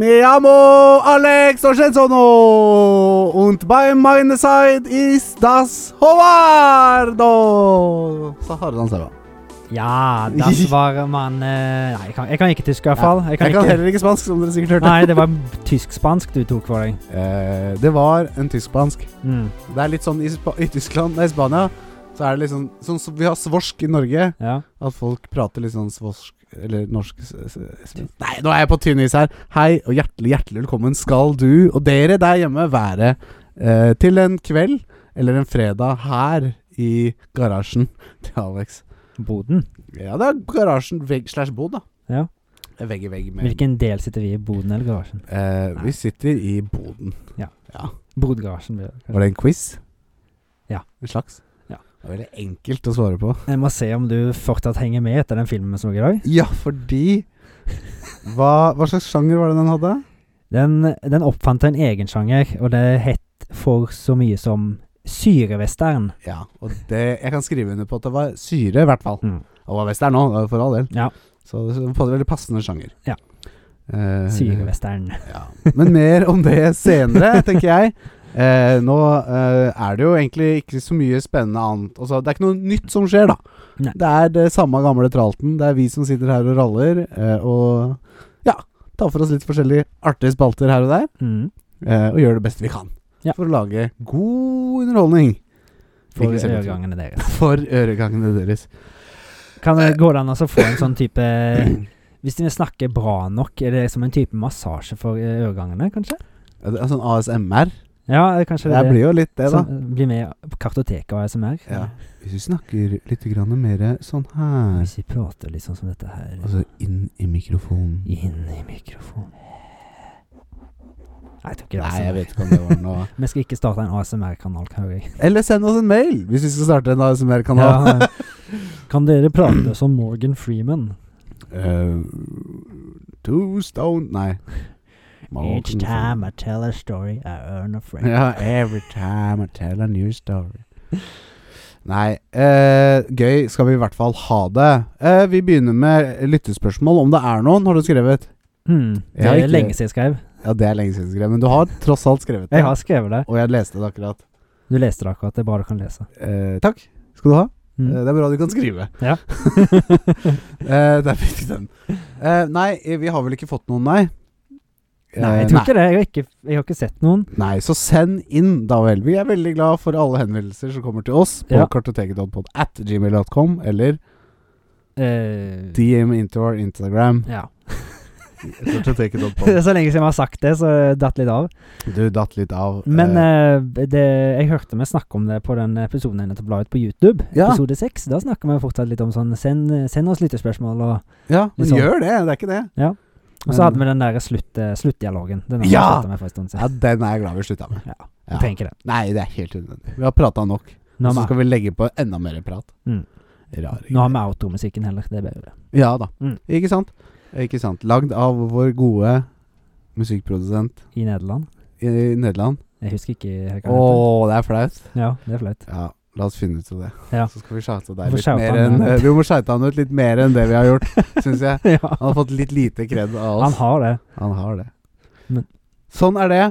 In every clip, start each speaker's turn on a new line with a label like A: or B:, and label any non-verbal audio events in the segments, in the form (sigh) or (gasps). A: Damo, Alex Oschenzono. Und bei meiner Seite ist das Hovardo. Så har du den stemmen.
B: Ja, (laughs) das var man eh, Nei, jeg kan, jeg kan ikke tysk, i hvert fall. Jeg kan
A: Jeg kan
B: ikke,
A: heller ikke spansk, som dere sikkert hørte.
B: nei, det var tysk-spansk du tok for deg.
A: Eh, det var en tysk-spansk.
B: Mm,
A: Det er litt sånn i, Spa i Tyskland, nei, Spania, så er det litt sånn Sånn som vi har svorsk i Norge,
B: ja.
A: at folk prater litt sånn svorsk eller norsk s- s- s- Nei, nå er jeg på tynn is her. Hei og hjertelig, hjertelig velkommen skal du og dere der hjemme være eh, til en kveld eller en fredag her i garasjen (laughs) til Alex.
B: Boden.
A: Ja, det er garasjen vegg slash bod, da.
B: Ja.
A: Det er Vegg i vegg med
B: Hvilken del sitter vi i? Boden eller garasjen?
A: eh, Vi sitter i boden.
B: Bodgarasjen. blir det kanskje.
A: Var det en quiz?
B: Ja.
A: En slags?
B: Ja.
A: Det var veldig enkelt å svare på.
B: Jeg må se om du fortsatt henger med etter den filmen vi så i dag.
A: Ja, fordi hva, hva slags sjanger var det den hadde?
B: Den, den oppfant en egen sjanger, og det het for så mye som syrevestern.
A: Ja, og det, jeg kan skrive under på at det var syre, i hvert fall.
B: Mm.
A: Og det var western nå, for all del.
B: Ja.
A: Så det var veldig passende sjanger.
B: Ja.
A: Eh,
B: Syrevestern.
A: ja. Men mer om det senere, tenker jeg. Eh, nå eh, er det jo egentlig ikke så mye spennende annet altså, Det er ikke noe nytt som skjer, da.
B: Nei.
A: Det er det samme gamle tralten. Det er vi som sitter her og raller, eh, og ja, tar for oss litt forskjellige artige spalter her og der.
B: Mm.
A: eh, og gjør det beste vi kan
B: Ja.
A: for å lage god underholdning
B: For
A: Ikke så lett.
B: øregangene deres.
A: for øregangene deres.
B: Kan
A: Eh.
B: det gå an å få en sånn
A: (clears throat)
B: type Hvis vi snakker bra nok, er det som en type massasje for eh, øregangene, kanskje?
A: Ja, det er Sånn ASMR.
B: Ja, eh, kanskje det
A: Det Sånn.
B: er
A: blir jo litt det, da.
B: Som blir med på kartoteket og ASMR.
A: Ja. Hvis du snakker litt grann mer sånn her
B: Hvis vi prater litt sånn som dette her
A: Altså inn i mikrofonen.
B: Inn i mikrofonen Nei, jeg tror ikke det. er
A: Nei, jeg
B: ASMR.
A: vet ikke om det var noe
B: Vi skal ikke starte en ASMR-kanal, hører jeg.
A: (laughs) Eller send oss en mail hvis vi skal starte en ASMR-kanal.
B: Ja. (laughs) Kan dere prate som Morgan Freeman?
A: Eh, two stone Nei.
B: Each time I tell a story, I earn a
A: (laughs)
B: friend.
A: Ja, every time I tell a new story. Nei, eh, gøy skal vi i hvert fall ha det. Eh, vi begynner med lyttespørsmål. Om det er noen, har du skrevet?
B: Hmm,
A: Jeg
B: det
A: har
B: er
A: ikke-
B: lenge siden jeg skrev.
A: Ja, det er lenge siden skrevet, men du har tross alt skrevet det.
B: Jeg har skrevet det.
A: Og jeg leste det akkurat.
B: Du leste det akkurat. Det er bra du kan lese.
A: Eh, takk skal du ha.
B: Mm.
A: Eh, det er bra du kan skrive.
B: Ja.
A: (laughs) eh, der fikk du den. Eh, nei, eh, vi har vel ikke fått noen, nei.
B: Nei,
A: Eh,
B: jeg tror ikke det. Jeg har ikke, jeg har ikke sett noen.
A: Nei, så send inn, da vel. Vi er veldig glad for alle henvendelser som kommer til oss på
B: Ja.
A: kartoteket.pod at gmail.com, eller
B: Eh,
A: DM into our Instagram.
B: ja. (laughs)
A: kartoteket.pod.
B: så lenge siden vi har sagt det, så det datt litt av.
A: (laughs) Du datt litt av.
B: Men
A: eh,
B: eh, det, jeg hørte vi snakke om det på den episoden jeg nettopp la ut på YouTube.
A: Ja.
B: Episode seks. Da snakker vi fortsatt litt om sånn Send, send oss lyttespørsmål, og,
A: ja, men
B: liksom-
A: gjør det. Det er ikke det.
B: Ja. og så hadde vi den der slutt, eh, sluttdialogen. Den har vi
A: Ja!
B: sluttet med for en stund
A: Ja,
B: siden.
A: den er jeg glad vi slutta med.
B: Ja.
A: Ja.
B: Vi trenger ikke det.
A: Nei, det er helt unødvendig. Vi har prata nok.
B: Nå
A: Og
B: har
A: så
B: vi-
A: skal vi legge på enda mer prat.
B: Mm.
A: Raring.
B: Nå har vi automusikken heller, det er bedre.
A: Ja da.
B: Mm.
A: Ikke sant? Ikke sant. Lagd av vår gode musikkprodusent
B: I Nederland.
A: i Nederland.
B: Jeg husker ikke hva
A: Å, det er flaut.
B: heter. Ja, det er flaut.
A: Ja, la oss finne ut av det.
B: Ja.
A: Så skal vi shoute
B: Vi
A: deg
B: får
A: litt
B: shoute
A: mer
B: han
A: enn
B: ut.
A: (laughs) Vi må shoute han ut litt mer enn det vi
B: (laughs)
A: har gjort, syns jeg.
B: (laughs) ja.
A: Han har fått litt lite kred av
B: Han
A: oss.
B: har det.
A: Han har det.
B: Men-
A: Sånn er det.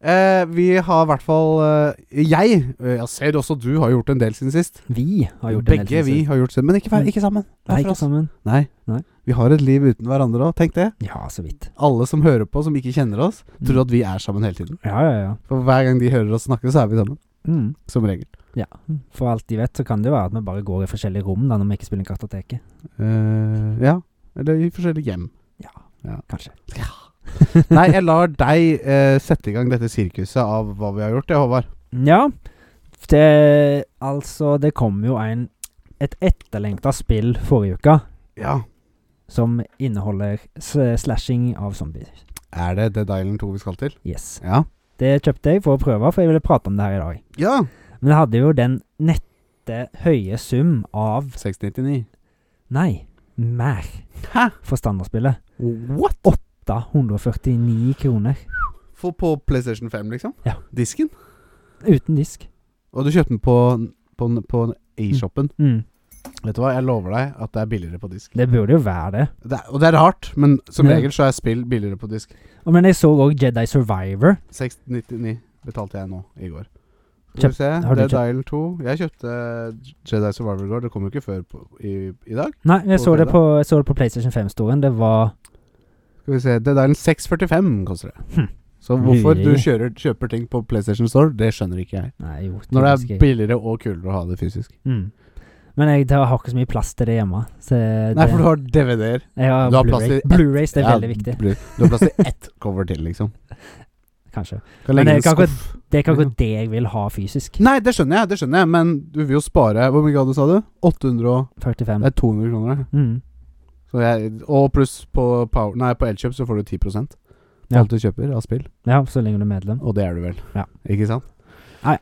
A: Eh, vi har i hvert fall eh, Jeg eh, Jeg ser også du har gjort en del siden sist.
B: Vi har gjort en del
A: Begge
B: ting
A: vi
B: siden. Mm.
A: har gjort det. Men ikke, hver- ikke sammen.
B: Nei,
A: Hver for
B: ikke
A: oss.
B: sammen.
A: Nei.
B: Nei.
A: Vi har et liv uten hverandre òg. Tenk det.
B: Ja, så vidt.
A: Alle som hører på, som ikke kjenner oss,
B: Mm.
A: tror at vi er sammen hele tiden.
B: Ja, ja, ja.
A: For hver gang de hører oss snakke, så er vi sammen.
B: Mm.
A: Som regel.
B: ja. For alt de vet, så kan det jo være at vi bare går i forskjellige rom da når vi ikke spiller Kartoteket.
A: Eh, ja. Eller i forskjellige
B: (laughs)
A: hjem.
B: Kanskje.
A: Nei, jeg lar deg eh, sette i gang dette sirkuset av hva vi har gjort, jeg, Håvard.
B: Mm. Ja. Det Altså, det kom jo en et etterlengta spill forrige uke
A: Ja.
B: som inneholder s- slashing av zombier.
A: Er det Dead Island 2 vi skal til?
B: Yes.
A: Ja.
B: Det kjøpte jeg for å prøve, for jeg ville prate om det her i dag.
A: Ja.
B: Men jeg hadde jo den nette høye sum av
A: 699.
B: Nei, mer
A: Hæ?
B: for standardspillet.
A: What?
B: Da 149 kroner.
A: For på PlayStation 5, liksom?
B: Ja.
A: Disken?
B: Uten disk.
A: Og du kjøpte den på, på, på A-shoppen?
B: Mm.
A: Vet du hva, jeg lover deg at det er billigere på disk.
B: Det burde jo være det.
A: Det er, og det er rart, men som
B: Ja.
A: regel så er spill billigere på disk.
B: Og, men jeg så òg Jedi Survivor.
A: 699 betalte jeg nå i går. Skal
B: Kjøpt-
A: vi se,
B: har du
A: Dead Island 2. Jeg kjøpte Jedi Survivor i går. Det kom jo ikke før på, i, i dag.
B: Nei, jeg
A: På
B: så, det
A: fredag?
B: på, jeg så det på PlayStation 5-storen. Det var
A: Skal vi se, Dead Island 645 koster det.
B: Hm.
A: Så hvorfor
B: Lurer.
A: du kjører, kjøper ting på PlayStation Store, det skjønner ikke jeg.
B: Nei, jo.
A: Når det
B: typisk
A: er
B: jeg.
A: billigere og kulere å ha det fysisk.
B: mm. Men jeg det har ikke så mye plass til det hjemme. Så det,
A: Nei, for du har DVD-er.
B: jeg har
A: du har plass
B: Blu-ray.
A: til ett.
B: Blu-rays det er
A: Ja,
B: veldig viktig,
A: blir- Du har plass til ett cover til, liksom.
B: kanskje.
A: Kan
B: Men
A: legge
B: det
A: det i en
B: kan ikke-
A: skuff.
B: Det er ikke akkurat det jeg vil ha fysisk.
A: Nei, det skjønner jeg, det skjønner jeg, men du vil jo spare Hvor mye ga du, sa du? 800 og
B: 45.
A: Det er 200 kroner, det.
B: Mm.
A: Så jeg, og pluss på, power, nei, på Elkjøp så får du 10 på
B: Ja.
A: alt du kjøper av spill.
B: Ja, så lenge du er medlem.
A: Og det er du vel.
B: Ja.
A: Ikke sant?
B: Nei.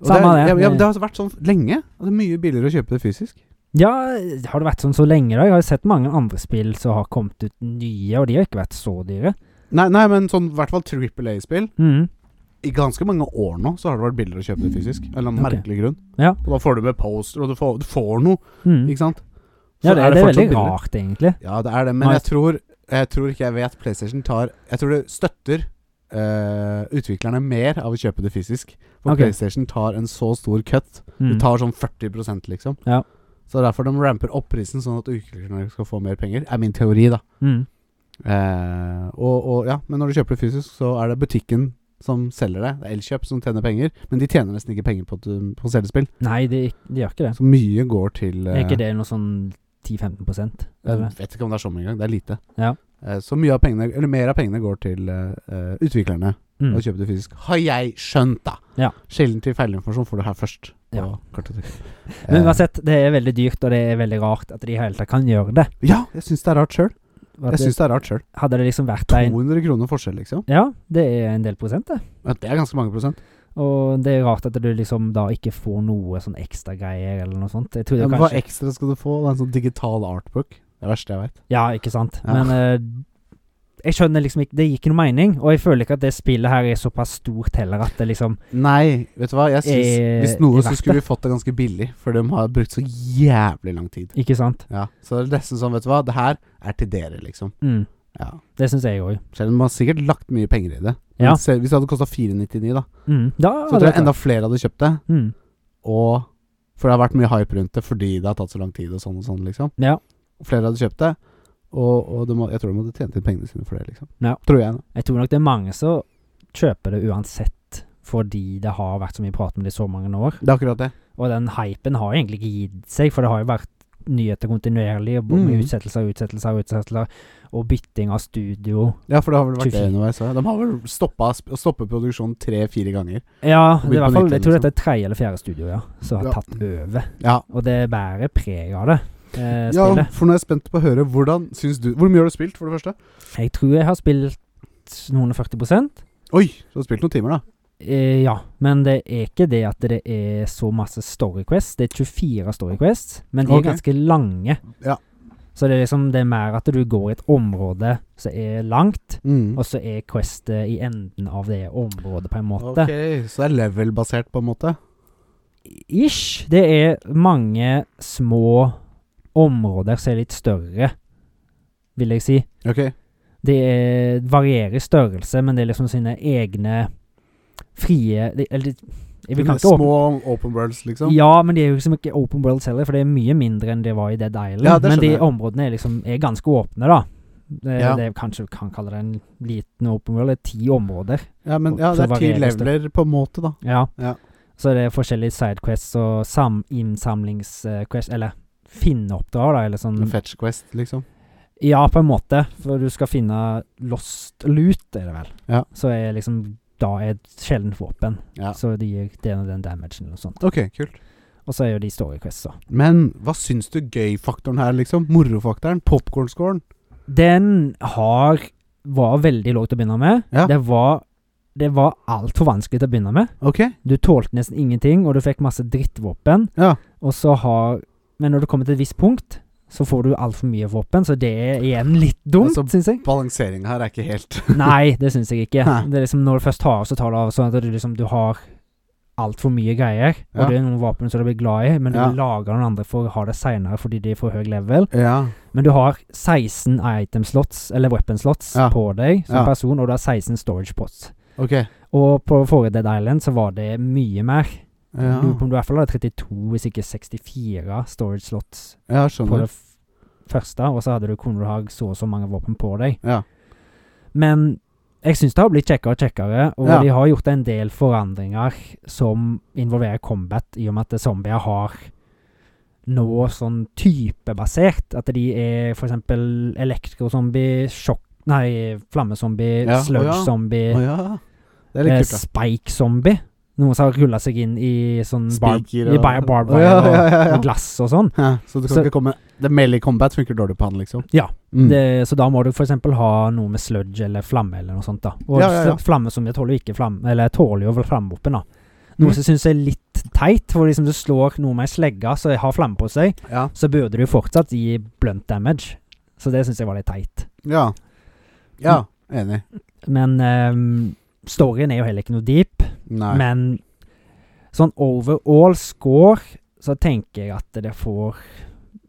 A: Og
B: Samme
A: det. er- Ja,
B: det.
A: ja, men det har vært sånn lenge. at Det er mye billigere å kjøpe det fysisk.
B: Ja, har det vært sånn så lenge, da? Jeg har jo sett mange andre spill som har kommet ut nye, og de har ikke vært så dyre.
A: Nei, nei men sånn i hvert fall Triple A-spill.
B: Mm.
A: I ganske mange år nå så har det vært billigere å kjøpe det fysisk. Av en eller annen
B: Ok.
A: merkelig grunn.
B: Ja.
A: Og da får du med poster, og du får, du får noe,
B: Mm.
A: ikke sant?
B: Ja,
A: Så
B: det, det er
A: fortsatt
B: veldig
A: billigere.
B: rart, egentlig.
A: Ja, det er det, men
B: Nei.
A: jeg tror, jeg tror ikke jeg vet PlayStation tar Jeg tror det støtter eh, utviklerne mer av å kjøpe det fysisk. For
B: Ok.
A: PlayStation tar en så stor cut.
B: Mm.
A: De tar sånn 40 liksom.
B: Ja.
A: Så derfor de ramper opp prisen, sånn at utviklerne skal få mer penger. Er min teori, da.
B: Mm.
A: Eh, og, og ja, men når du kjøper det fysisk, så er det butikken som selger det. Det er Elkjøp som tjener penger, men de tjener nesten ikke penger på, at du- på å selge spill.
B: Nei, de, de gjør ikke det.
A: Så mye går til
B: Er
A: eh,
B: ikke det noe sånn 10-15
A: Jeg vet ikke om det er sånn engang. Det er lite.
B: Ja.
A: Eh, Så mye av pengene, eller mer av pengene går til eh, eh, utviklerne
B: Mm.
A: og kjøper det fysisk. Har jeg skjønt, da!
B: Ja.
A: Kilden til feilinformasjon får du her først. På
B: Ja.
A: kartoteket.
B: (laughs) Men
A: Eh,
B: uansett, det er veldig dyrt, og det er veldig rart at de i hele tatt kan gjøre det.
A: Eh, Ja, jeg syns det er rart sjøl. Jeg
B: At det-
A: syns det er rart sjøl.
B: Hadde det liksom vært en
A: 200 kroner forskjell, liksom.
B: Ja, det er en del prosent, det.
A: Ja, Det er ganske mange prosent.
B: Og det er rart at du liksom da ikke får noe sånn ekstra greier eller noe sånt. Jeg trodde
A: Ja, men hva
B: kanskje
A: ekstra skal du få? Det er en sånn digital artbook. Det er det verste jeg veit.
B: Ja, ikke sant.
A: Ja.
B: Men eh, jeg skjønner liksom ikke Det gir ikke noe mening, og jeg føler ikke at det spillet her er såpass stort heller at det liksom
A: Nei, vet du hva. Jeg synes,
B: Eh,
A: Hvis noe, så
B: verdt
A: skulle vi fått det ganske billig. For de har brukt så jævlig lang tid.
B: Ikke sant?
A: Ja, Så det er nesten sånn, vet du hva. Det her er til dere, liksom.
B: Mm.
A: Ja
B: Det syns jeg òg.
A: Selv om man har sikkert lagt mye penger i det.
B: Ja.
A: Men se- Hvis det hadde kosta 499, da,
B: Mm. Da
A: så
B: hadde
A: tror
B: det
A: jeg enda flere hadde kjøpt det.
B: vært- mm.
A: Og For det har vært mye hype rundt det fordi det har tatt så lang tid og sånn og sånn, liksom.
B: Ja.
A: Og Flere hadde kjøpt det, og, og de må, jeg tror de hadde tjent inn pengene sine for det, liksom.
B: Ja.
A: Tror jeg. da.
B: Jeg tror nok det er mange som kjøper det uansett, fordi det har vært så mye prat om det i så mange år.
A: Det er akkurat det.
B: Og den hypen har egentlig ikke gitt seg, for det har jo vært nyheter kontinuerlig, og med
A: Mm.
B: utsettelser og utsettelser og utsettelser, og bytting av studio.
A: Ja, for det har vel vært det
B: 24.
A: underveis også. De har vel stoppa sp- stoppet produksjonen tre-fire ganger.
B: Ja,
A: Og
B: det er
A: begynt
B: i
A: på
B: hvert fall,
A: nytt
B: jeg
A: igjen,
B: tror dette er tredje eller fjerde studio ja, som har
A: Ja.
B: tatt over.
A: Ja.
B: Og det bærer preg av det, eh,
A: ja,
B: spillet.
A: for nå er jeg spent på å høre hvordan syns du Hvor mye har du spilt, for det første?
B: Jeg tror jeg har spilt noen og 40
A: Oi, du har spilt noen timer, da.
B: Eh, ja, men det er ikke det at det er så masse story quests. Det er 24 story quests, men de
A: Ok.
B: er ganske lange.
A: Ja.
B: Så det er liksom det er mer at du går i et område som er langt,
A: Mm.
B: og så er questet i enden av det området, på en måte.
A: Ok, så det er level-basert, på en måte?
B: Ish. Det er mange små områder som er litt større, vil jeg si.
A: Ok.
B: Det er, varierer i størrelse, men det er liksom sine egne frie de, Eller de- jeg vil
A: Små
B: ikke åpne
A: open worlds, liksom?
B: Ja, men de er jo liksom ikke open world heller, for det er mye mindre enn det var i Dead Island.
A: Ja, det
B: men de
A: skjønner jeg.
B: områdene er liksom er ganske åpne, da. Det,
A: Ja.
B: det er kanskje vi kan kalle det en liten open world. Det er ti områder.
A: Ja, men ja,
B: Så
A: det er ti
B: varierer det
A: leveler på en måte, da.
B: Ja.
A: Ja.
B: Så det er forskjellige sidequests og sam innsamlingsquests, eller finneoppdrag, da, eller sånn.
A: En Fetch Quest, liksom.
B: Ja, på en måte, for du skal finne lost loot, er det vel.
A: Ja.
B: Så er liksom da er et sjeldent våpen,
A: Ja.
B: så det gir den og den damagen og sånt.
A: Ok, kult.
B: Og så er jo de story quests, da.
A: Men hva syns du gøy-faktoren her, liksom? Morofaktoren? Popkorn-scoren?
B: Den har var veldig låg til å begynne med.
A: Ja.
B: Det var, det var altfor vanskelig til å begynne med.
A: Ok.
B: Du tålte nesten ingenting, og du fikk masse drittvåpen.
A: Ja.
B: Og så har Men når du kommer til et visst punkt, så får du altfor mye våpen, så det er igjen litt dumt,
A: Altså-
B: synes syns jeg.
A: Balanseringa her er ikke helt (laughs)
B: Nei, det syns jeg ikke.
A: Nei.
B: Det er liksom Når du først tar av, så tar du av, sånn at du liksom Du har altfor mye greier. Og
A: Ja.
B: det er noen våpen som du blir glad i, men du
A: Ja.
B: lager noen andre for å ha det seinere fordi de er for høy level.
A: Ja.
B: Men du har 16 item slots, eller weapon slots,
A: Ja.
B: på deg som
A: Ja.
B: person, og du har 16 storage pots.
A: Ok.
B: Og på forrige Dead Island så var det mye mer.
A: Ja,
B: Lurer på om du i hvert fall hadde 32, hvis ikke 64 storage slots
A: ja
B: på
A: skjønner.
B: det f første, og så hadde du, kunne du ha så og så mange våpen på deg.
A: Ja.
B: Men jeg syns det har blitt kjekkere og kjekkere, og
A: Ja.
B: de har gjort en del forandringer som involverer combat, i og med at zombier har nå sånn typebasert. At de er for eksempel elektrozombie, sjokk... Nei, flammezombie,
A: Ja, å ja.
B: sludge-zombie,
A: Å ja. Det er
B: eh,
A: litt kult, da.
B: spike-zombie. Noen som har rulla seg inn i sånn barb...
A: Spiker
B: I
A: og-
B: bar barbed
A: Å, ja,
B: wire
A: ja, ja, ja.
B: og- og glass og sånn.
A: Ja, så du kan
B: Så-
A: ikke komme Det Melee Combat funker dårlig på han, liksom?
B: Ja,
A: Mm.
B: Det, så da må du f.eks. ha noe med sludge eller flamme eller noe sånt. da Og
A: Ja, ja, ja.
B: flamme som jeg tåler jo ikke flamme, eller jeg tåler jo flammevåpen, da. Noe
A: Mm.
B: som jeg syns er litt teit, for liksom du slår noe med ei slegge som har flamme på seg,
A: Ja.
B: så burde du jo fortsatt gi blunt damage. Så det syns jeg var litt teit.
A: Ja. ja.
B: Mm.
A: Enig.
B: Men ehm, storyen er jo heller ikke noe deep.
A: Nei.
B: Men sånn overall score så tenker jeg at det får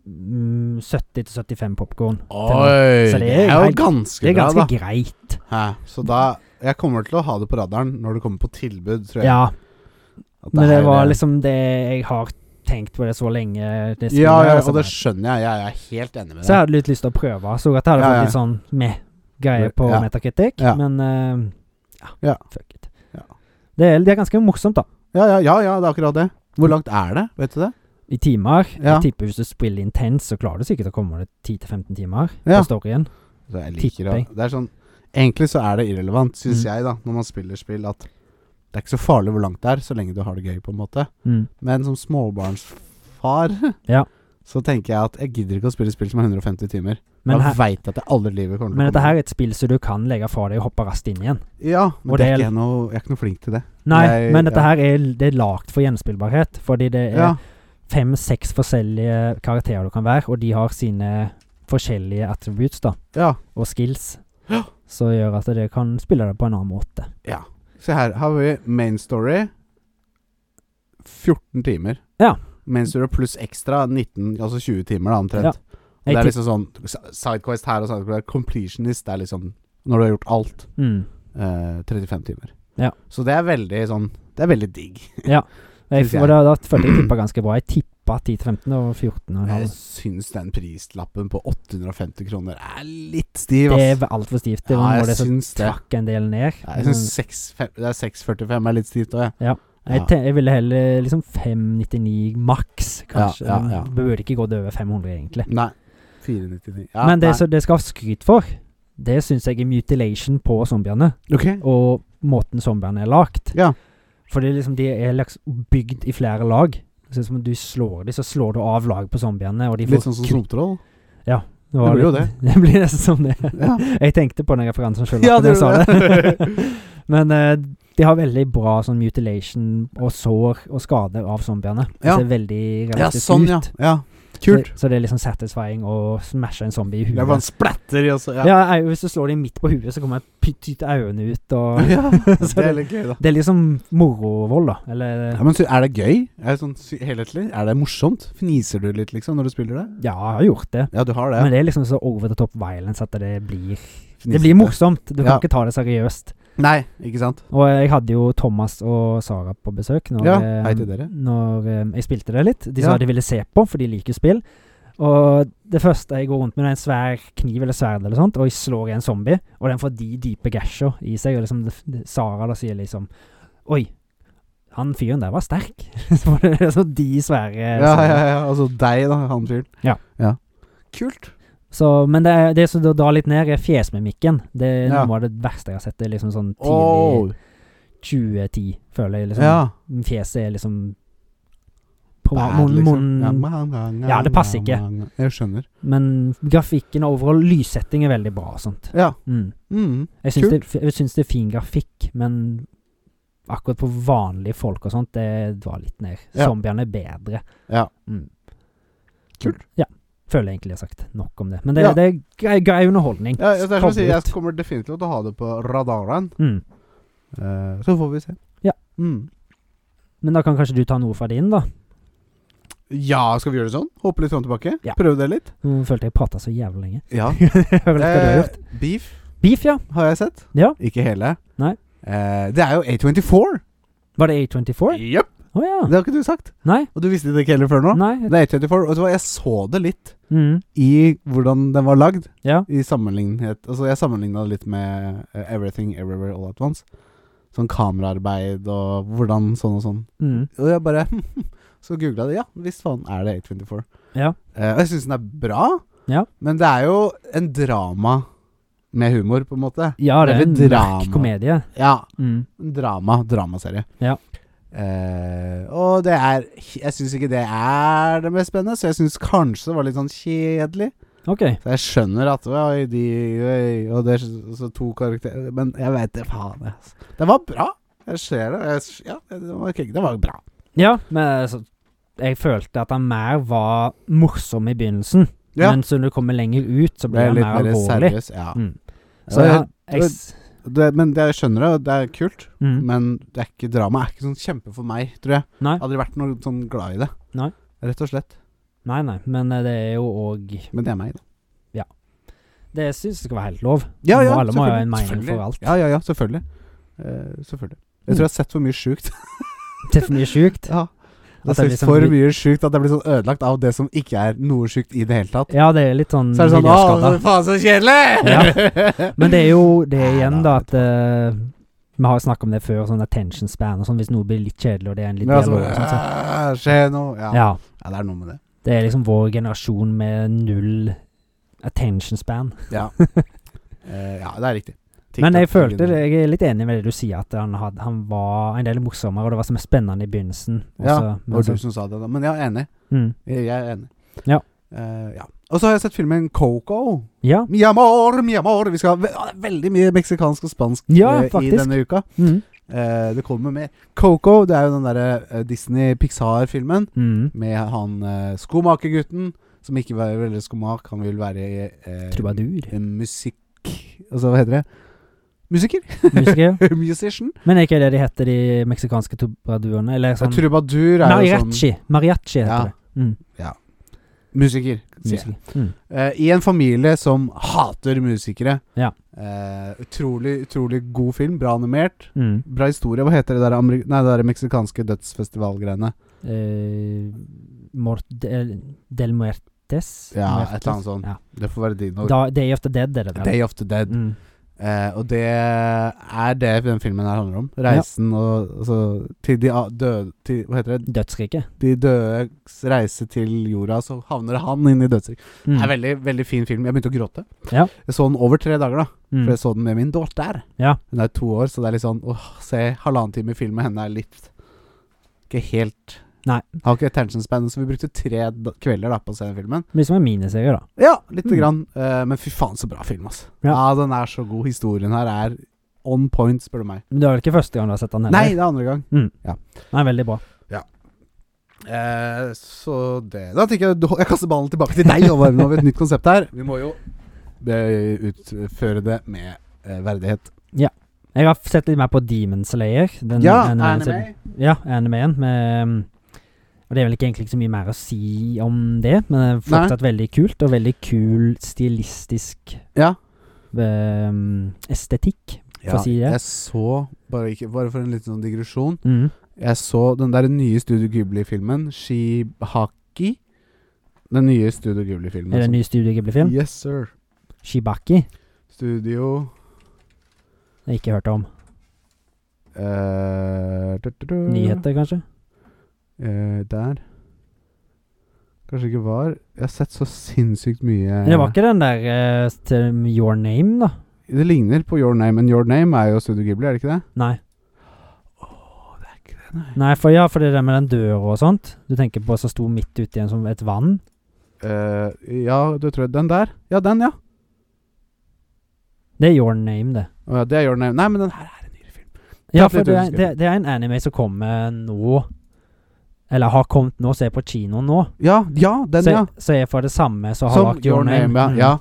B: mm, 70-75 popkorn.
A: Oi! Det
B: Så det
A: er
B: er
A: jo
B: helt-
A: ganske,
B: Det er
A: bra,
B: ganske
A: da.
B: greit.
A: Hæ. Så da Jeg kommer til å ha det på radaren når det kommer på tilbud, tror jeg.
B: Ja,
A: At
B: Men det
A: her
B: var
A: er- eh,
B: liksom det jeg har tenkt på det så lenge. Det
A: ja,
B: spillet,
A: ja,
B: og så
A: og det
B: altså, bare-
A: skjønner jeg. Jeg er helt enig med
B: så jeg
A: deg.
B: hadde litt lyst til å prøve. Så at jeg hadde
A: Ja, ja.
B: fått litt sånn meh-greie på
A: Ja.
B: metakritikk,
A: Ja.
B: men eh, ja,
A: Ja.
B: fuck it.
A: Ja.
B: Det, er, det er ganske morsomt, da.
A: Ja, ja, ja, ja, det er akkurat det. Hvor langt er det? Vet du det?
B: I timer.
A: Ja.
B: Jeg tipper hvis du spiller intens, så klarer du sikkert å komme deg 10-15 timer
A: Ja.
B: på storyen.
A: Så jeg liker
B: Tipper jeg.
A: å Det er sånn Egentlig så er det irrelevant, syns
B: Mm.
A: jeg, da, når man spiller spill, at det er ikke så farlig hvor langt det er, så lenge du har det gøy, på en måte.
B: Mm.
A: Men som småbarnsfar
B: (laughs) Ja.
A: så tenker jeg at jeg gidder ikke å spille spill som er 150 timer.
B: Men,
A: jeg
B: her,
A: veit at jeg aldri i livet kommer
B: men
A: til
B: dette
A: å
B: her er et spill som du kan legge fra deg og hoppe raskt inn igjen.
A: Ja, men
B: Og
A: det er
B: det-
A: ikke jeg, noe, jeg er ikke noe flink til det.
B: Nei,
A: Jeg-
B: men dette
A: ja.
B: her er, det er lagd for gjenspillbarhet, fordi det er
A: Ja,
B: fem-seks forskjellige karakterer du kan være, og de har sine forskjellige attributes da,
A: ja.
B: og skills.
A: Ja.
B: Som gjør at det kan spille det på en annen måte.
A: ja. Se her, har vi main story 14 timer.
B: Ja.
A: Main story pluss ekstra 19, altså 20 timer, da, omtrent.
B: Ja.
A: Og
B: Jeg
A: det er
B: tipp-
A: liksom sånn s- Sidequest her og sidequest der. Completionist det er liksom Når du har gjort alt.
B: mm.
A: Eh, 35 timer.
B: Ja.
A: Så det er veldig sånn Det er veldig digg.
B: jeg,
A: Synes jeg.
B: og da, da følte jeg tippa ganske bra. Jeg tippa 10-15 og 14. Og en
A: Jeg
B: halv.
A: syns den prislappen på 850 kroner er litt stiv,
B: Det
A: ass.
B: er altfor stivt. Det
A: Ja,
B: var noe
A: jeg
B: det som
A: syns det.
B: trakk en del ned.
A: Ja, Jeg syns 6,5 det er 6,45 er litt stivt òg, jeg.
B: Ja. Jeg, te- jeg ville heller liksom 599 maks, kanskje.
A: Ja, ja, ja.
B: Det burde ikke gått over 500, egentlig.
A: Nei. 499. Ja,
B: Men det
A: nei.
B: som det skal ha skryt for, det syns jeg er mutilation på zombiene.
A: Ok.
B: og måten zombiene er lagt.
A: Ja.
B: Fordi liksom de er laks- bygd i flere lag. Så som om du slår dem, så slår du av lag på zombiene. Og de får
A: Litt sånn som
B: kn-
A: Snopetroll.
B: og
A: det blir jo
B: litt- (laughs) det blir nesten som det.
A: (laughs) Ja.
B: Jeg tenkte på den referansen sjøl
A: Ja,
B: da jeg
A: det
B: sa
A: gjorde
B: det. (laughs) Men eh, de har veldig bra sånn mutilation og sår og skader av zombiene.
A: Ja.
B: Det ser veldig
A: ja,
B: realistisk
A: sånn, ja.
B: ut.
A: ja. Kult.
B: Så, så det er liksom satisfying å smashe en zombie i
A: Det er bare en
B: huet.
A: splatter i også.
B: Ja.
A: Ja.
B: au, hvis du slår dem midt på huet, så kommer pytt øynene ut
A: (laughs)
B: og
A: (laughs)
B: (laughs)
A: Ja,
B: Så
A: Det er
B: det-
A: litt gøy, da.
B: Det er liksom morovold, da. Eller
A: Ja, men sy- Er det gøy? Er det sånn sy- helhetlig? Er det morsomt? Fniser du litt, liksom, når du spiller det?
B: Ja, jeg har gjort det.
A: Ja, du har
B: Men
A: det.
B: det er liksom så over the top violence at det blir
A: Fniser
B: Det blir morsomt. Du kan
A: Ja.
B: ikke ta det seriøst.
A: Nei, ikke sant?
B: Og jeg hadde jo Thomas og Sara på besøk når,
A: Ja,
B: eh,
A: hei til dere.
B: når eh, jeg spilte det litt. De
A: Ja.
B: sa de ville se på, for de liker spill. Og det første jeg går rundt med, det er en svær kniv eller sverd eller sånt, og jeg slår i en zombie, og den får de dype gasher i seg, og liksom det- det- Sara da sier liksom Oi, han fyren der var sterk. (laughs) så var det liksom de svære
A: Ja, ja, ja. Altså deg, da, han fyren.
B: sånn. Ja.
A: Kult.
B: Så, men det, er- det som da drar litt ned, er fjesmimikken. Det er
A: Ja.
B: noe av det verste jeg har sett. Det er liksom sånn tidlig
A: Åh,
B: 2010, føler jeg. liksom
A: ja.
B: Fjeset er liksom på
A: Bad,
B: munnen,
A: liksom. Ja,
B: munnen,
A: man, man,
B: Ja, det passer ikke.
A: man, man. Jeg skjønner.
B: Men grafikken og overhold, lyssetting er veldig bra og sånt.
A: Ja.
B: Mm.
A: Mm.
B: Jeg syns det, jeg syns det er fin grafikk, men akkurat på vanlige folk og sånt, det drar litt ned.
A: Ja.
B: Zombiene er bedre.
A: Ja.
B: Mm.
A: Kult.
B: Ja. Føler jeg egentlig jeg har sagt nok om det. Men det,
A: Ja.
B: det er grei, grei underholdning.
A: Ja, jeg, det er som
B: Koble
A: jeg, sier,
B: ut.
A: jeg kommer definitivt til å ha det på radaren.
B: Mm.
A: Eh, så får vi se.
B: Ja.
A: Mm.
B: Men da kan kanskje du ta noe fra din, da.
A: Ja, skal vi gjøre det sånn? Hoppe litt fram og tilbake?
B: Ja.
A: Prøve det litt?
B: Nå følte jeg prata så jævlig lenge.
A: Ja.
B: Jeg vet ikke (laughs) hva du har gjort.
A: Eh, beef
B: Beef, ja.
A: har jeg sett.
B: Ja.
A: Ikke hele.
B: Nei.
A: Eh, det er jo A24.
B: Var det A24?
A: Jepp.
B: Å ja.
A: Det har ikke du sagt.
B: Nei.
A: Og du visste det ikke heller før nå.
B: Nei.
A: Det er A24. Og vet du hva, jeg så det litt
B: Mm.
A: i hvordan den var lagd.
B: Ja.
A: I sammenlignet Altså, jeg sammenligna det litt med eh, Everything Everywhere All At Once. Sånn kameraarbeid og hvordan sånn og sånn.
B: Mm.
A: Og jeg bare (laughs) Så googla det. Ja, visst faen er det A24.
B: Ja.
A: Eh, og jeg syns den er bra,
B: Ja.
A: men det er jo en drama med humor, på en måte.
B: ja, det er en
A: Eller
B: mørk
A: drama.
B: komedie.
A: Ja,
B: Mm.
A: en drama. Dramaserie.
B: Ja.
A: Eh, og det er Jeg syns ikke det er det mest spennende, så jeg syns kanskje det var litt sånn kjedelig.
B: Ok.
A: Så jeg skjønner at Oi, de oi, Og det er så- så to karakterer Men jeg veit det, faen. jeg, ass. Det var bra. Jeg ser det. Jeg, s- ja, det var, ikke- det var bra.
B: Ja, men altså, jeg følte at han mer var morsom i begynnelsen.
A: Ja.
B: Men så når du kommer lenger ut, så
A: Ble
B: blir han
A: litt
B: mer
A: mer
B: alvorlig.
A: seriøs. Ja.
B: Mm.
A: Og
B: Så ja,
A: det-
B: jeg s-
A: Det, men det, jeg skjønner det, og det er kult.
B: mm.
A: Men det er ikke drama er ikke sånn kjempe for meg, tror jeg.
B: Nei.
A: Jeg har Aldri vært noe sånn glad i det.
B: Nei.
A: Rett og slett.
B: Nei, nei, men eh, det er jo òg
A: Men det er meg, da.
B: Det syns jeg skal være helt lov.
A: Ja,
B: Må-
A: ja,
B: alle må ha
A: selvfølgelig,
B: en mening
A: selvfølgelig.
B: for alt.
A: Ja, ja, ja, selvfølgelig. Eh, selvfølgelig. Jeg tror jeg har sett for mye
B: (laughs)
A: sjukt.
B: Det er for mye sjukt.
A: ja. Jeg
B: At
A: har sett
B: det liksom
A: for
B: blir-
A: mye sjukt at jeg blir sånn ødelagt av det som ikke er noe sjukt i det hele tatt.
B: Ja, det er litt sånn
A: Så er det sånn Å,
B: miljøskada.
A: faen, så kjedelig! (laughs)
B: Men det er jo det er
A: Nei,
B: igjen,
A: da,
B: da, at eh, Vi har jo snakka om det før, sånn attention span og sånn, hvis noe blir litt kjedelig, og det er en litt
A: Ja,
B: dialog
A: sånn,
B: og sånn, så
A: «Æ, Skje noe. Ja. ja.
B: Ja.
A: det er noe med det.
B: Det er liksom vår generasjon med null attention span.
A: Ja, Eh, ja det er riktig.
B: Men jeg
A: TikTok-filmen.
B: følte Jeg er litt enig med det du sier, at han, hadde, han var en del morsommere, og det var så mye spennende i begynnelsen. og
A: Ja,
B: så-
A: Det
B: men
A: var du
B: så-
A: som sa det, da. Men jeg er enig.
B: mm.
A: Jeg er enig.
B: Ja.
A: Eh, ja. Og så har jeg sett filmen Coco.
B: Ja.
A: Mi amor, mi amor. Vi skal ha ve ah, det er veldig mye meksikansk og spansk
B: Ja,
A: eh, i
B: faktisk.
A: denne uka.
B: Mm.
A: Eh, det kommer mer. Coco det er jo den derre eh, Disney-Pixar-filmen
B: Mm.
A: med han eh, skomakergutten som ikke vil være veldig skomak. Han vil være eh, (laughs)
B: Trubadur.
A: en musikk... Altså, hva heter det? Musiker? (laughs)
B: Musiker.
A: Musician?
B: Men er ikke det de heter, de meksikanske trubaduene? Eller sånn
A: Trubadur er jo sånn
B: Mariachi. Mariachi heter
A: Ja.
B: det. Mm.
A: Musiker. sier jeg.
B: Musiker. Mm.
A: Eh, I en familie som hater musikere.
B: Ja.
A: Eh, utrolig, utrolig god film. Bra animert.
B: Mm.
A: Bra historie. Hva heter det der, Ameri nei, det der meksikanske dødsfestivalgreiene?
B: Eh, Mort del, del Muertes?
A: Ja,
B: Muertes?
A: et eller annet sånt.
B: Ja.
A: Det får være dine ord.
B: Da, Day of the Dead er det vel?
A: Day of the Dead.
B: Mm.
A: Eh, og det er det den filmen her handler om. Reisen og altså, til de a- døde til, Hva heter det?
B: Dødsriket.
A: De dødes reise til jorda, så havner han inn i dødsriket.
B: Mm.
A: Det er veldig, veldig fin film. Jeg begynte å gråte.
B: Ja.
A: Jeg så den over tre dager, da.
B: Mm.
A: For jeg så den med min datter.
B: Ja.
A: Hun er to år, så det er litt sånn åh, se halvannen time film med henne er litt Ikke helt
B: Nei.
A: Har ikke attention span, så vi brukte tre da kvelder da på å se den filmen.
B: Det blir som en miniserie, da.
A: Ja, lite
B: Mm.
A: grann. eh, men fy faen, så bra film, altså. Ja.
B: Ja.
A: den er så god. Historien her er on point, spør du meg.
B: Men det er vel ikke første gang du har sett han heller?
A: Nei, det er andre gang.
B: Nei, veldig bra.
A: Eh, så det Da tenker jeg Jeg kaster ballen tilbake til deg, Håvard. Nå har vi et nytt konsept her. Vi må jo eh, utføre det med eh, verdighet.
B: Jeg har sett litt mer på Demon Slayer. Den
A: Ja,
B: animeen som-
A: anime.
B: Ja, animeen. Med, um, og det er vel ikke egentlig ikke så mye mer å si om det, men det er fortsatt veldig kult, og veldig kul stilistisk
A: Ja.
B: um, estetikk.
A: Ja,
B: si det.
A: jeg så bare, ikke, bare for en liten sånn digresjon
B: Mm.
A: Jeg så den der nye Studio Ghibli-filmen, Shibaki. Den nye Studio Ghibli-filmen. altså.
B: Er det en ny Studio Ghibli-film?
A: Yes, sir.
B: Shibaki?
A: Studio
B: Det har jeg ikke hørt om.
A: eh, du, du, du.
B: Nyheter, kanskje?
A: Eh, der. Kanskje ikke var Jeg har sett så sinnssykt mye
B: Men det var ikke den der eh, til Your Name, da?
A: Det ligner på Your Name, men Your Name er jo Studio Ghibli, er det ikke det?
B: Nei.
A: Det er ikke det, nei.
B: Nei, for ja, for det der med den døra og sånt. Du tenker på som sto midt ute i en som et vann.
A: Eh, ja, du tror jeg Den der? Ja, den, ja.
B: Det er Your Name, det.
A: Å ja. Det er Your Name. Nei, men den her er en nyere film.
B: Ja,
A: Takk for at
B: for
A: du
B: det er,
A: husker.
B: det, det er en anime som kommer nå Eller har kommet nå, som er på kino nå.
A: Ja, ja, den,
B: Så,
A: ja.
B: så er for det samme som har
A: Som
B: lagt Your Name.
A: ja.
B: Mm.
A: Ja,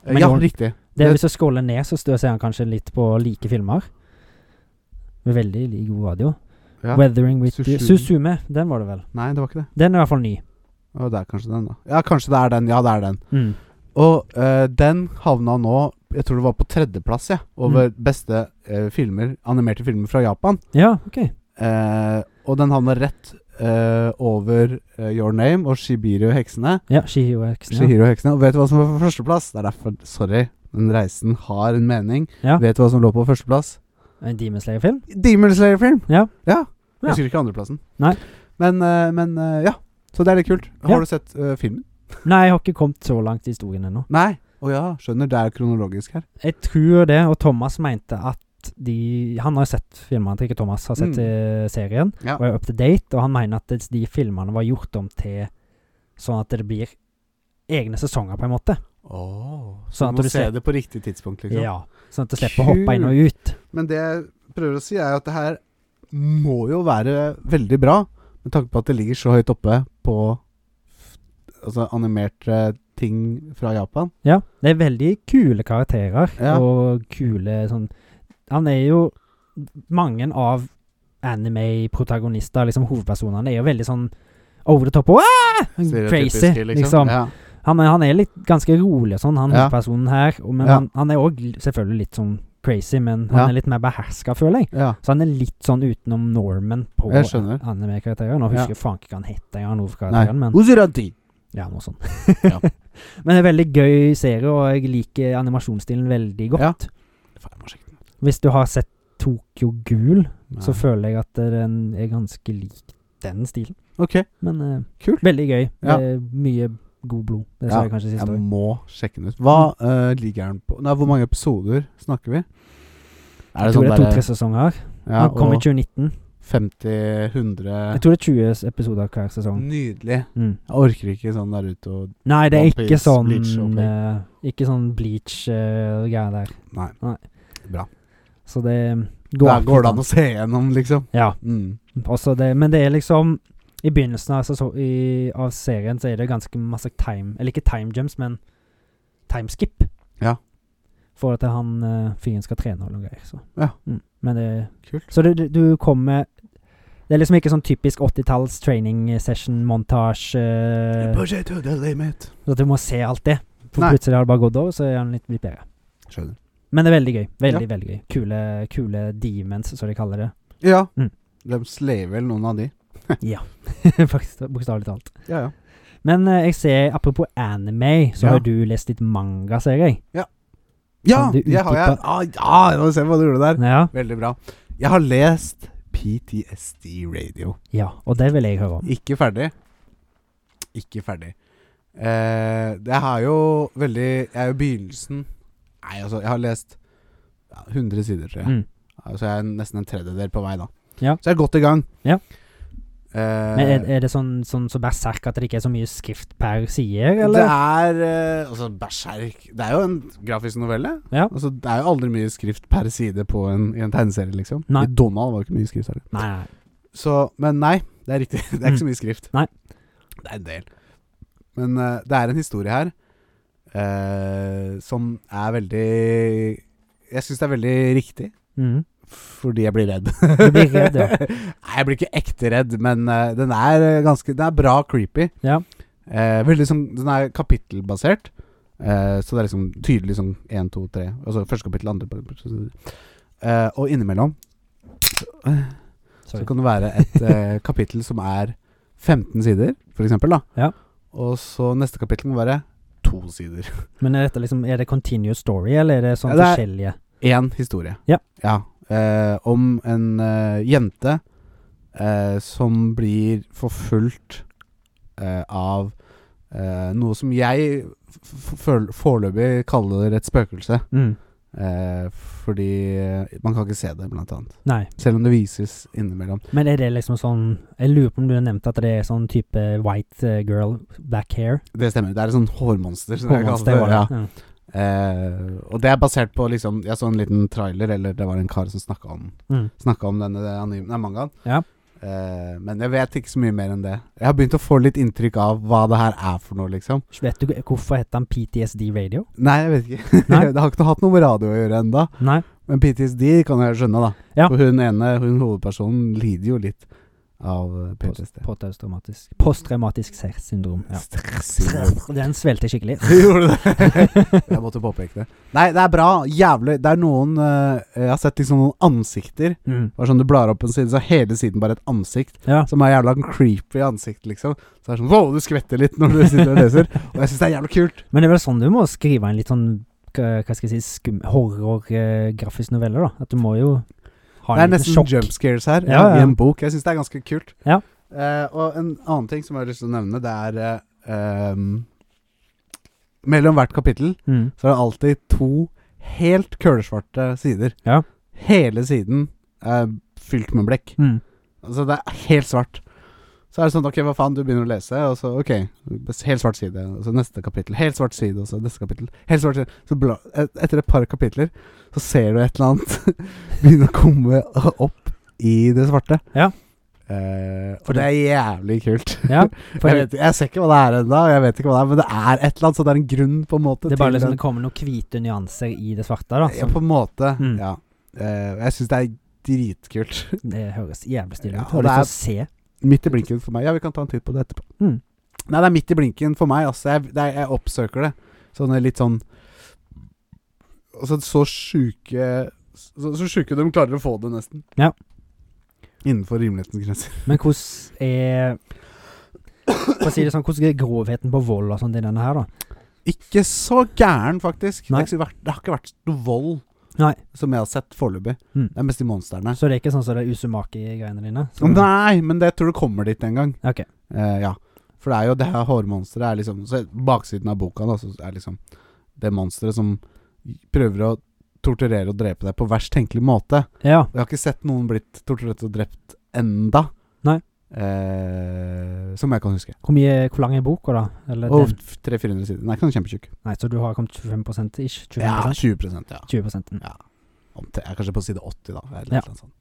A: Eh,
B: Men
A: ja
B: Your-
A: riktig.
B: Det er
A: det-
B: Hvis du scroller ned, så står- ser han kanskje litt på like filmer. Med veldig lik radio.
A: Ja.
B: Weathering with Susume.
A: Suzume.
B: Susume, den var det vel.
A: Nei, det var ikke det.
B: Den er i hvert fall ny.
A: Og det er kanskje den, da. Ja, kanskje det er den. Ja, det er den.
B: Mm.
A: Og eh, den havna nå Jeg tror det var på tredjeplass, jeg, over
B: Mm.
A: beste eh, filmer, animerte filmer fra Japan.
B: Ja, ok.
A: Eh, og den havna rett eh, over eh, Your Name og Shibiru-heksene.
B: Ja, Shihiro X. Ja.
A: Shihiro-heksene Og vet du hva som var på førsteplass? Det er derfor Sorry, den reisen har en mening.
B: Ja.
A: Vet du hva som lå på førsteplass?
B: En Demon Slayer-film?
A: Demon Slayer-film!
B: Ja.
A: ja.
B: Ja.
A: Jeg husker ikke andreplassen.
B: Nei.
A: Men, eh, men eh, ja. Så det er litt kult. Har
B: Ja.
A: du sett eh, filmen?
B: Nei, jeg har ikke kommet så langt i historien ennå.
A: Nei. Å ja, skjønner. Det er kronologisk her.
B: Jeg tror det, og Thomas mente at de Han har jo sett filmene til ikke Thomas, har sett
A: Mm.
B: eh, serien,
A: Ja.
B: og er up to date, og han mener at de filmene var gjort om til sånn at det blir egne sesonger, på en måte.
A: Oh,
B: Sånn
A: så
B: at
A: du må
B: du
A: se
B: ser-
A: det på riktig tidspunkt, liksom.
B: Ja. Sånn at du slipper å hoppe inn og ut.
A: Men det jeg prøver å si, er jo at det her må jo være veldig bra, med tanke på at det ligger så høyt oppe på f- altså, animerte ting fra Japan.
B: Ja. Det er veldig kule karakterer,
A: Ja.
B: og kule sånn Han er jo Mange av anime-protagonister, liksom hovedpersonene, er jo veldig sånn over the top og ah! crazy,
A: Stereotypiske,
B: liksom.
A: Ja.
B: Han er, han er litt ganske rolig og sånn, han
A: Ja.
B: hovedpersonen her. Og, men
A: Ja.
B: han, han er òg selvfølgelig litt sånn crazy, men han
A: Ja.
B: er litt mer beherska, føler jeg.
A: ja.
B: Så han er litt sånn utenom normen på
A: Jeg skjønner.
B: anime-karakterer. Nå
A: Ja.
B: husker jeg faen ikke hva han heter, han
A: Nei.
B: hovedkarakteren, men
A: Uzurati.
B: ja, noe sånt.
A: Ja.
B: (laughs) men det er en veldig gøy serie, og jeg liker animasjonsstilen veldig godt.
A: Faen, jeg må sjekke den.
B: Hvis du har sett Tokyo Gul, så
A: Nei.
B: føler jeg at den er ganske lik den stilen.
A: Ok,
B: Men eh,
A: Kult.
B: veldig gøy.
A: Ja.
B: Det er mye god blod.
A: Ja,
B: Det sa jeg kanskje sist
A: jeg
B: òg.
A: må sjekke den ut. Hva eh, ligger den på Nei, Hvor mange episoder snakker vi? Er
B: Jeg tror det sånn
A: derre-
B: er to-tre sesonger.
A: sånn ja,
B: han kom i
A: og
B: 2019.
A: 50-100
B: Jeg tror det er 20 episoder hver sesong.
A: Nydelig.
B: Mm.
A: Jeg orker ikke sånn der ute og
B: Nei, det er
A: One
B: ikke
A: Piece,
B: sånn
A: Bleach, ok.
B: eh, Ikke sånn bleach-greie der.
A: Nei.
B: Nei.
A: Bra.
B: Så det går,
A: Da går det an å se gjennom, liksom.
B: Ja.
A: Mm.
B: Også Altså, det, men det er liksom I begynnelsen av, sesong, i, av serien så er det ganske masse time Eller ikke time jumps, men timeskip.
A: Ja.
B: For at han eh, fyren skal trene og noe greier. Så.
A: Ja.
B: Mm. Men det
A: Kult.
B: Så du, du, du kommer Det er liksom ikke sånn typisk 80-talls training session, montasje eh,
A: it to the limit.
B: Så at du må se alt det. For
A: Nei.
B: plutselig har det bare gått over, så er han litt, litt bedre.
A: Skjønner.
B: Men det er veldig gøy. Veldig, veldig gøy. Kule, kule demons, som de kaller det. (laughs)
A: Ja.
B: Mm.
A: De slaver vel noen av de.
B: Faktisk, Bokstavelig talt.
A: Ja, ja.
B: Men eh, jeg ser, apropos anime, så
A: Ja.
B: har du lest litt manga, ser jeg.
A: Ja,
B: Kan du
A: jeg har jeg.
B: utdype-
A: Ah, ja, nå ser jeg hva du gjorde der.
B: Ja.
A: Veldig bra. Jeg har lest PTSD Radio.
B: ja. Og det vil jeg høre om.
A: Ikke ferdig. Ikke ferdig. Eh, det er jo veldig Jeg er jo begynnelsen Nei, altså, jeg har lest ja, 100 sider, tror jeg.
B: Mm.
A: Altså jeg er nesten en tredjedel på vei da
B: Ja.
A: Så jeg er godt i gang
B: Ja.
A: Eh,
B: Men er, er det sånn, sånn så berserk at det ikke er så mye skrift per side,
A: Det
B: eller?
A: er eh, Altså Berserk Det er jo en grafisk novelle
B: Ja.
A: altså, Det er jo aldri mye skrift per side på en, i en tegneserie liksom
B: Nei.
A: I Donald var det ikke mye skrift heller
B: Nei, nei.
A: Så, men nei Det er riktig Det er ikke så mye skrift
B: Nei.
A: Det er en del Men eh, det er en historie her eh, Som er veldig Jeg synes det er veldig riktig
B: Mhm.
A: Fordi jeg blir redd.
B: Du blir redd, ja.
A: Nei, jeg blir ikke ekte redd, men eh, den er eh, ganske Den er bra creepy.
B: Ja.
A: Eh, veldig sånn Den er kapittelbasert. Eh, så det er liksom tydelig sånn én, to, tre. Altså første kapittel, andre eh, Og innimellom så
B: Sorry.
A: kan det være et eh,
B: (laughs)
A: kapittel som er 15 sider, for eksempel, da.
B: Ja.
A: Og så neste kapittel må være to sider.
B: Men er, dette liksom, er det continuous story, eller er det sånn
A: Ja, det er-
B: forskjellige
A: Én historie.
B: Ja.
A: eh, om en eh, jente eh, som blir forfulgt eh, av eh, noe som jeg f- f- føl- foreløpig kaller et spøkelse.
B: mm.
A: Eh, fordi eh, man kan ikke se det, blant annet.
B: Nei.
A: Selv om det vises innimellom.
B: Men er det liksom sånn Jeg lurer på om du har nevnt at det er sånn type white eh, girl, black hair?
A: Det stemmer. Det er et sånt hårmonster. Som jeg kaller
B: Hormones,
A: det,
B: var
A: ja.
B: det. Ja.
A: Eh, og det er basert på liksom Jeg så en liten trailer, eller det var en kar som snakka om
B: Mm.
A: Snakket om denne anime, nei, mangaen.
B: Ja.
A: Eh, men jeg vet ikke så mye mer enn det. Jeg har begynt å få litt inntrykk av hva det her er for noe, liksom.
B: Vet du hvorfor heter han PTSD Radio?
A: Nei, jeg vet ikke. (laughs)
B: Nei?
A: det har ikke noe hatt noe med radio å gjøre enda
B: Nei.
A: Men PTSD kan jeg skjønne, da.
B: Ja.
A: For hun ene, hun hovedpersonen, lider jo litt av eh, PTSD.
B: Posttraumatisk Posttraumatisk stresssyndrom. Ja.
A: Stress.
B: Den svelte jeg skikkelig. (laughs)
A: Du (laughs) gjorde det? (laughs) jeg måtte påpeke det. Nei, det er bra. Jævlig. Det er noen eh, Jeg har sett liksom noen ansikter.
B: Mm.
A: Det var sånn Du blar opp en side, så er hele siden bare et ansikt.
B: Ja.
A: Som er jævla creepy ansikt, liksom. Så det er sånn Wow, du skvetter litt når du sitter og leser. Og jeg syns det er jævlig kult.
B: (laughs) Men det er vel sånn du må skrive en litt sånn k- Hva skal jeg si skum, horror-grafisk novelle, da. At du må jo ha
A: Det er
B: en liten
A: nesten
B: sjokk.
A: jump scares her
B: Ja, ja.
A: i en bok. Jeg syns det er ganske kult.
B: Ja.
A: Eh, og en annen ting som jeg har lyst til å nevne, det er eh, ehm, Mellom hvert kapittel
B: Mm.
A: så er det alltid to helt kølsvarte sider.
B: Ja.
A: Hele siden er fylt med blekk.
B: Mm.
A: Altså det er helt svart. Så er det sånn Ok, hva faen, du begynner å lese, og så ok, helt svart side. Og så neste kapittel, helt svart side, og så neste kapittel, helt svart side. Så bla, et, etter et par kapitler så ser du et eller annet (laughs) begynne å komme opp i det svarte.
B: Ja.
A: Eh, og det er jævlig kult. (laughs)
B: Ja, for
A: jeg, vet, jeg ser ikke hva det er ennå, jeg vet ikke hva det er, men det er et eller annet, så det er en grunn, på en måte.
B: det er bare
A: til
B: liksom
A: den-
B: det kommer noen hvite nyanser i det svarte, da.
A: ja,
B: Som,
A: på en måte.
B: Mm.
A: Ja. Eh, jeg syns det er dritkult.
B: det høres jævlig stilig
A: Ja,
B: ut.
A: og
B: Har
A: det
B: lyst
A: er-
B: til å se.
A: Midt i blinken for meg. Ja, vi kan ta en titt på det etterpå.
B: Mm.
A: Nei, det er midt i blinken for meg. Altså. Jeg, det er, jeg oppsøker det. Sånn litt sånn Altså, så sjuke Så, så sjuke de klarer å få det, nesten.
B: Ja.
A: Innenfor rimelighetens grenser.
B: Men hvordan er For å si det sånn, hvordan er grovheten på vold og sånn i denne her, da?
A: Ikke så gæren, faktisk. Det,
B: Nei.
A: har ikke vært, det har ikke vært noe vold
B: Nei.
A: som jeg har sett foreløpig.
B: Mm.
A: Det er mest de monstrene.
B: Så det er ikke sånn som det er usumaki i greiene dine? Som,
A: Nei, men det, jeg tror det kommer dit en gang.
B: Ok.
A: Eh, ja. For det er jo det her hårmonsteret er liksom så Baksiden av boka da, så er liksom det monsteret som prøver å torturere og drepe deg på verst tenkelig måte.
B: Ja.
A: Og jeg har ikke sett noen blitt torturert og drept enda.
B: Nei.
A: Eh, som jeg kan huske.
B: Hvor, mye, hvor lang er boka, da? Eller
A: Og
B: den?
A: 300-400 sider. Nei, ikke sånn kjempetjukk.
B: Nei, så du har kommet 25 ish? 25
A: Ja, 20 ja.
B: 20 mm.
A: Om til- Jeg er kanskje på side 80, da. Eller
B: Ja.
A: et eller annet sånt.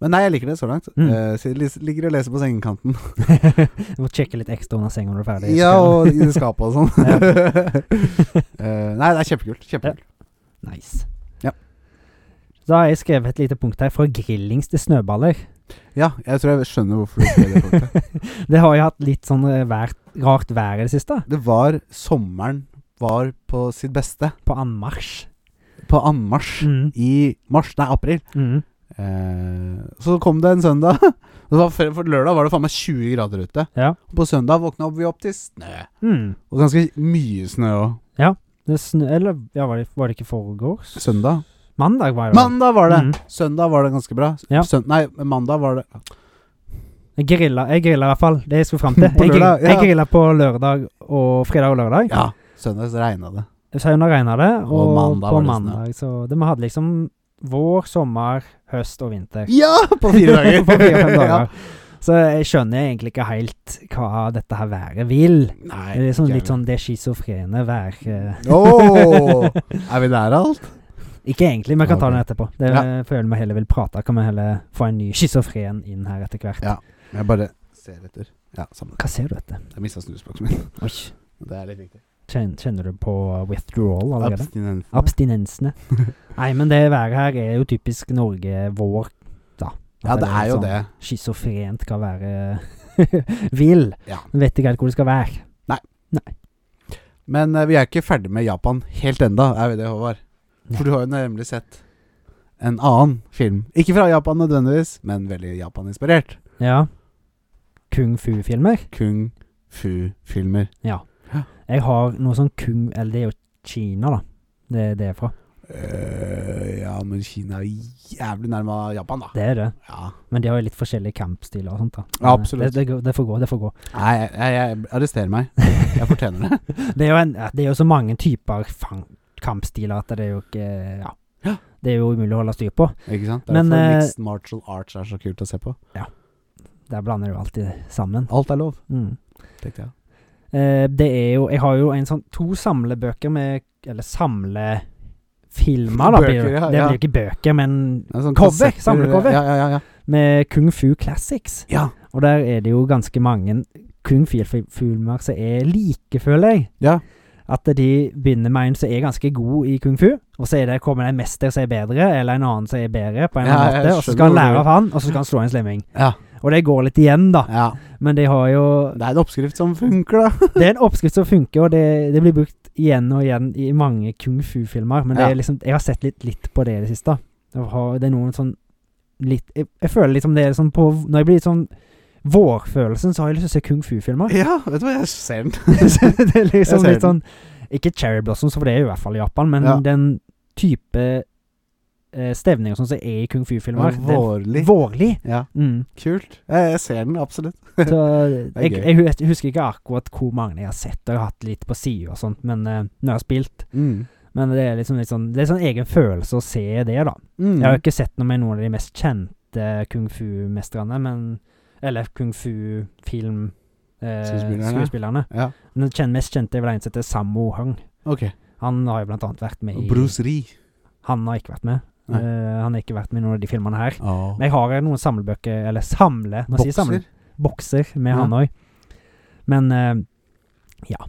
A: Men nei, jeg liker det så langt.
B: Mm.
A: Eh, så jeg lis- ligger og leser på sengekanten.
B: (laughs) du må sjekke litt ekstra under senga når du er ferdig.
A: Ja, og i skapet og
B: (laughs)
A: sånn.
B: Ja.
A: (laughs) Eh, nei, det er kjempekult. Kjempekult.
B: (laughs) Nice.
A: Ja.
B: Da har jeg skrevet et lite punkt her. Fra grillings til snøballer.
A: Ja, jeg tror jeg skjønner hvorfor du skrev det. punktet.
B: (laughs) Det har jo hatt litt sånn eh, vær, rart vær i det siste.
A: Det var sommeren var på sitt beste.
B: På anmarsj.
A: På anmarsj
B: Mm.
A: i mars, nei, april.
B: Mm.
A: Eh, så kom det en søndag. (laughs) Og Det var fre- for lørdag var det faen meg 20 grader ute.
B: Ja.
A: På søndag våkna vi opp til snø.
B: Mm.
A: Og ganske mye snø òg.
B: Det snø, eller ja, var, det, var det ikke foregårs?
A: Søndag.
B: Mandag var det.
A: Mandag var det!
B: Mm.
A: Søndag var det ganske bra.
B: Ja.
A: Søn nei, mandag var det
B: Jeg grilla, jeg grilla i hvert fall. Det jeg skulle fram til.
A: (laughs) På
B: Jeg grilla,
A: lørdag, ja.
B: jeg grilla på lørdag og fredag og lørdag.
A: Ja, søndag så regna det.
B: Sauna regna det, og,
A: Og mandag
B: på
A: var det snø.
B: mandag så det, Vi hadde liksom vår, sommer, høst og vinter.
A: Ja! (laughs) På fire dager.
B: (laughs) på fire-fem dager.
A: (laughs) Ja.
B: Så jeg skjønner egentlig ikke helt hva dette her været vil.
A: Nei,
B: Det er liksom
A: ikke
B: litt
A: jeg
B: sånn det schizofrene vær... eh,
A: vet. Åh,
B: sånn,
A: er vi der alt?
B: (laughs) Ikke egentlig, men jeg kan ta
A: Ok.
B: den etterpå. Det
A: Ja.
B: føler vi heller vil prate. Kan vi heller få en ny schizofren inn her etter hvert?
A: Ja. Jeg bare ser etter. Ja, samme.
B: Hva ser du etter?
A: Jeg mista snusboksen min.
B: Oi,
A: (laughs) Det er litt viktig.
B: kjen- kjenner du på withdrawal allerede?
A: Abstinens. (laughs)
B: Abstinensene. Nei, men det været her er jo typisk Norge vår, da. At
A: Ja, det er jo
B: litt
A: det.
B: sånn Schizofrent hva (laughs) været vil.
A: Ja.
B: Vet ikke helt hvor det skal være.
A: Men eh, vi er ikke ferdig med Japan helt enda, er vi det, Håvard?
B: Nei.
A: For du har jo nemlig sett en annen film. Ikke fra Japan nødvendigvis, men veldig Japan-inspirert.
B: Ja. Kung fu-filmer.
A: Kung fu-filmer.
B: Ja.
A: Ja.
B: Jeg har noe sånn kung Eller det er jo Kina, da. Det er det fra.
A: Eh, ja, men Kina er jævlig nærme Japan, da.
B: Det er det.
A: Ja.
B: Men de har jo litt forskjellige kampstiler og sånt, da. Men,
A: Ja,
B: eh,
A: absolutt.
B: Det, det, går- det får gå, det får gå.
A: Nei, jeg, jeg, jeg arresterer meg. Jeg fortjener det. (laughs)
B: Det er jo, en, ja, det er jo så mange typer fang, kampstiler at det er jo ikke Ja.
A: Ja.
B: Det er jo umulig å holde styr på.
A: Ikke sant? Det er
B: Men,
A: derfor
B: eh,
A: mixed martial arts er så kult å se på.
B: Der blander du alltid sammen.
A: Alt er lov,
B: Mm.
A: tenkte jeg.
B: Eh, det er jo Jeg har jo en sånn to samlebøker med Eller samlefilmer, da. blir
A: Bøker,
B: det.
A: ja,
B: det
A: ja.
B: blir jo ikke bøker, men
A: Det er sånn
B: Cover,
A: kassetter-
B: samlecover.
A: Ja, ja, ja, ja.
B: med Kung Fu Classics.
A: ja.
B: Og der er det jo ganske mange Kung Fu-filmer som er like, føler jeg.
A: ja.
B: At de begynner med en som er ganske god i kung fu, og så er det, kommer det en mester som er bedre, eller en annen som er bedre, på en eller
A: Ja,
B: annen
A: jeg
B: måte, og så
A: skjønner
B: skal
A: hvor
B: han
A: du
B: lære
A: vil.
B: av han, og så skal han slå en slemming.
A: Ja.
B: Og det går litt igjen, da.
A: ja.
B: Men de har jo
A: Det er en oppskrift som funker, da.
B: Det er en oppskrift som funker, og det, det blir brukt igjen og igjen i mange kung fu-filmer. Men det
A: Ja.
B: er liksom, jeg har sett litt, litt på det i det siste. Jeg har, det er noen sånn litt Jeg, jeg føler liksom det er sånn på Når jeg blir litt sånn vårfølelsen, så har jeg lyst til å se kung fu-filmer.
A: (laughs) Ja, vet du hva, jeg ser den.
B: (laughs) Så det er
A: Jeg
B: liksom
A: ser
B: litt sånn Ikke cherry blossoms, for det er jo i hvert fall i Japan, men
A: Ja.
B: den type eh, stevning og sånn som er i kung fu-filmer, den-
A: Vårlig.
B: vårlig.
A: Ja,
B: Mm.
A: kult. Jeg, jeg ser den absolutt.
B: Så
A: (laughs) er
B: jeg,
A: gøy.
B: jeg, hu- husker ikke akkurat hvor mange jeg har sett, og jeg har hatt litt på sida og sånt, men eh, når jeg har spilt
A: Mm.
B: Men det er liksom litt sånn Det er sånn egen følelse å se det, da.
A: Mm.
B: Jeg har jo ikke sett noe med noen av de mest kjente kung fu-mesterne, men Eller kung fu-film eh,
A: Skuespillerne.
B: skuespillerne.
A: Ja.
B: Men Den kjen- mest kjente er vel en som heter Sammo Hung.
A: Ok.
B: Han har jo blant annet vært med i
A: Bruce Lee.
B: Han har ikke vært med.
A: Nei.
B: Eh, han har ikke vært med i noen av de filmene her.
A: Oh.
B: Men jeg har noen samlebøker Eller samle Nå sier jeg samle.
A: Bokser.
B: Bokser med
A: Ja.
B: han òg. Men eh, ja.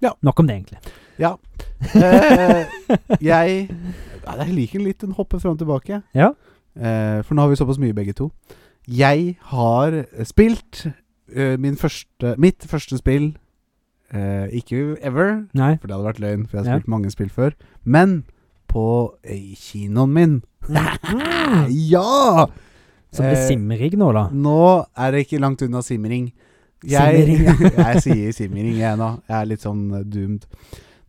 A: Ja.
B: Nok om det, egentlig.
A: (laughs)
B: (laughs)
A: Eh, jeg ja, Jeg liker litt den hoppe fram og tilbake.
B: Ja.
A: Eh, for nå har vi såpass mye, begge to. Jeg har eh, spilt eh, min første, mitt første spill eh, Ikke ever,
B: Nei.
A: for det hadde vært løgn, for jeg
B: Ja.
A: har spilt mange spill før. Men på eh, kinoen min.
B: Mm.
A: Ja!
B: Så blir det
A: Eh,
B: simmerig nå, da.
A: Nå er det ikke langt unna simmering.
B: Simmering,
A: (laughs) jeg sier simmering, jeg nå. Jeg er litt sånn eh, doomed.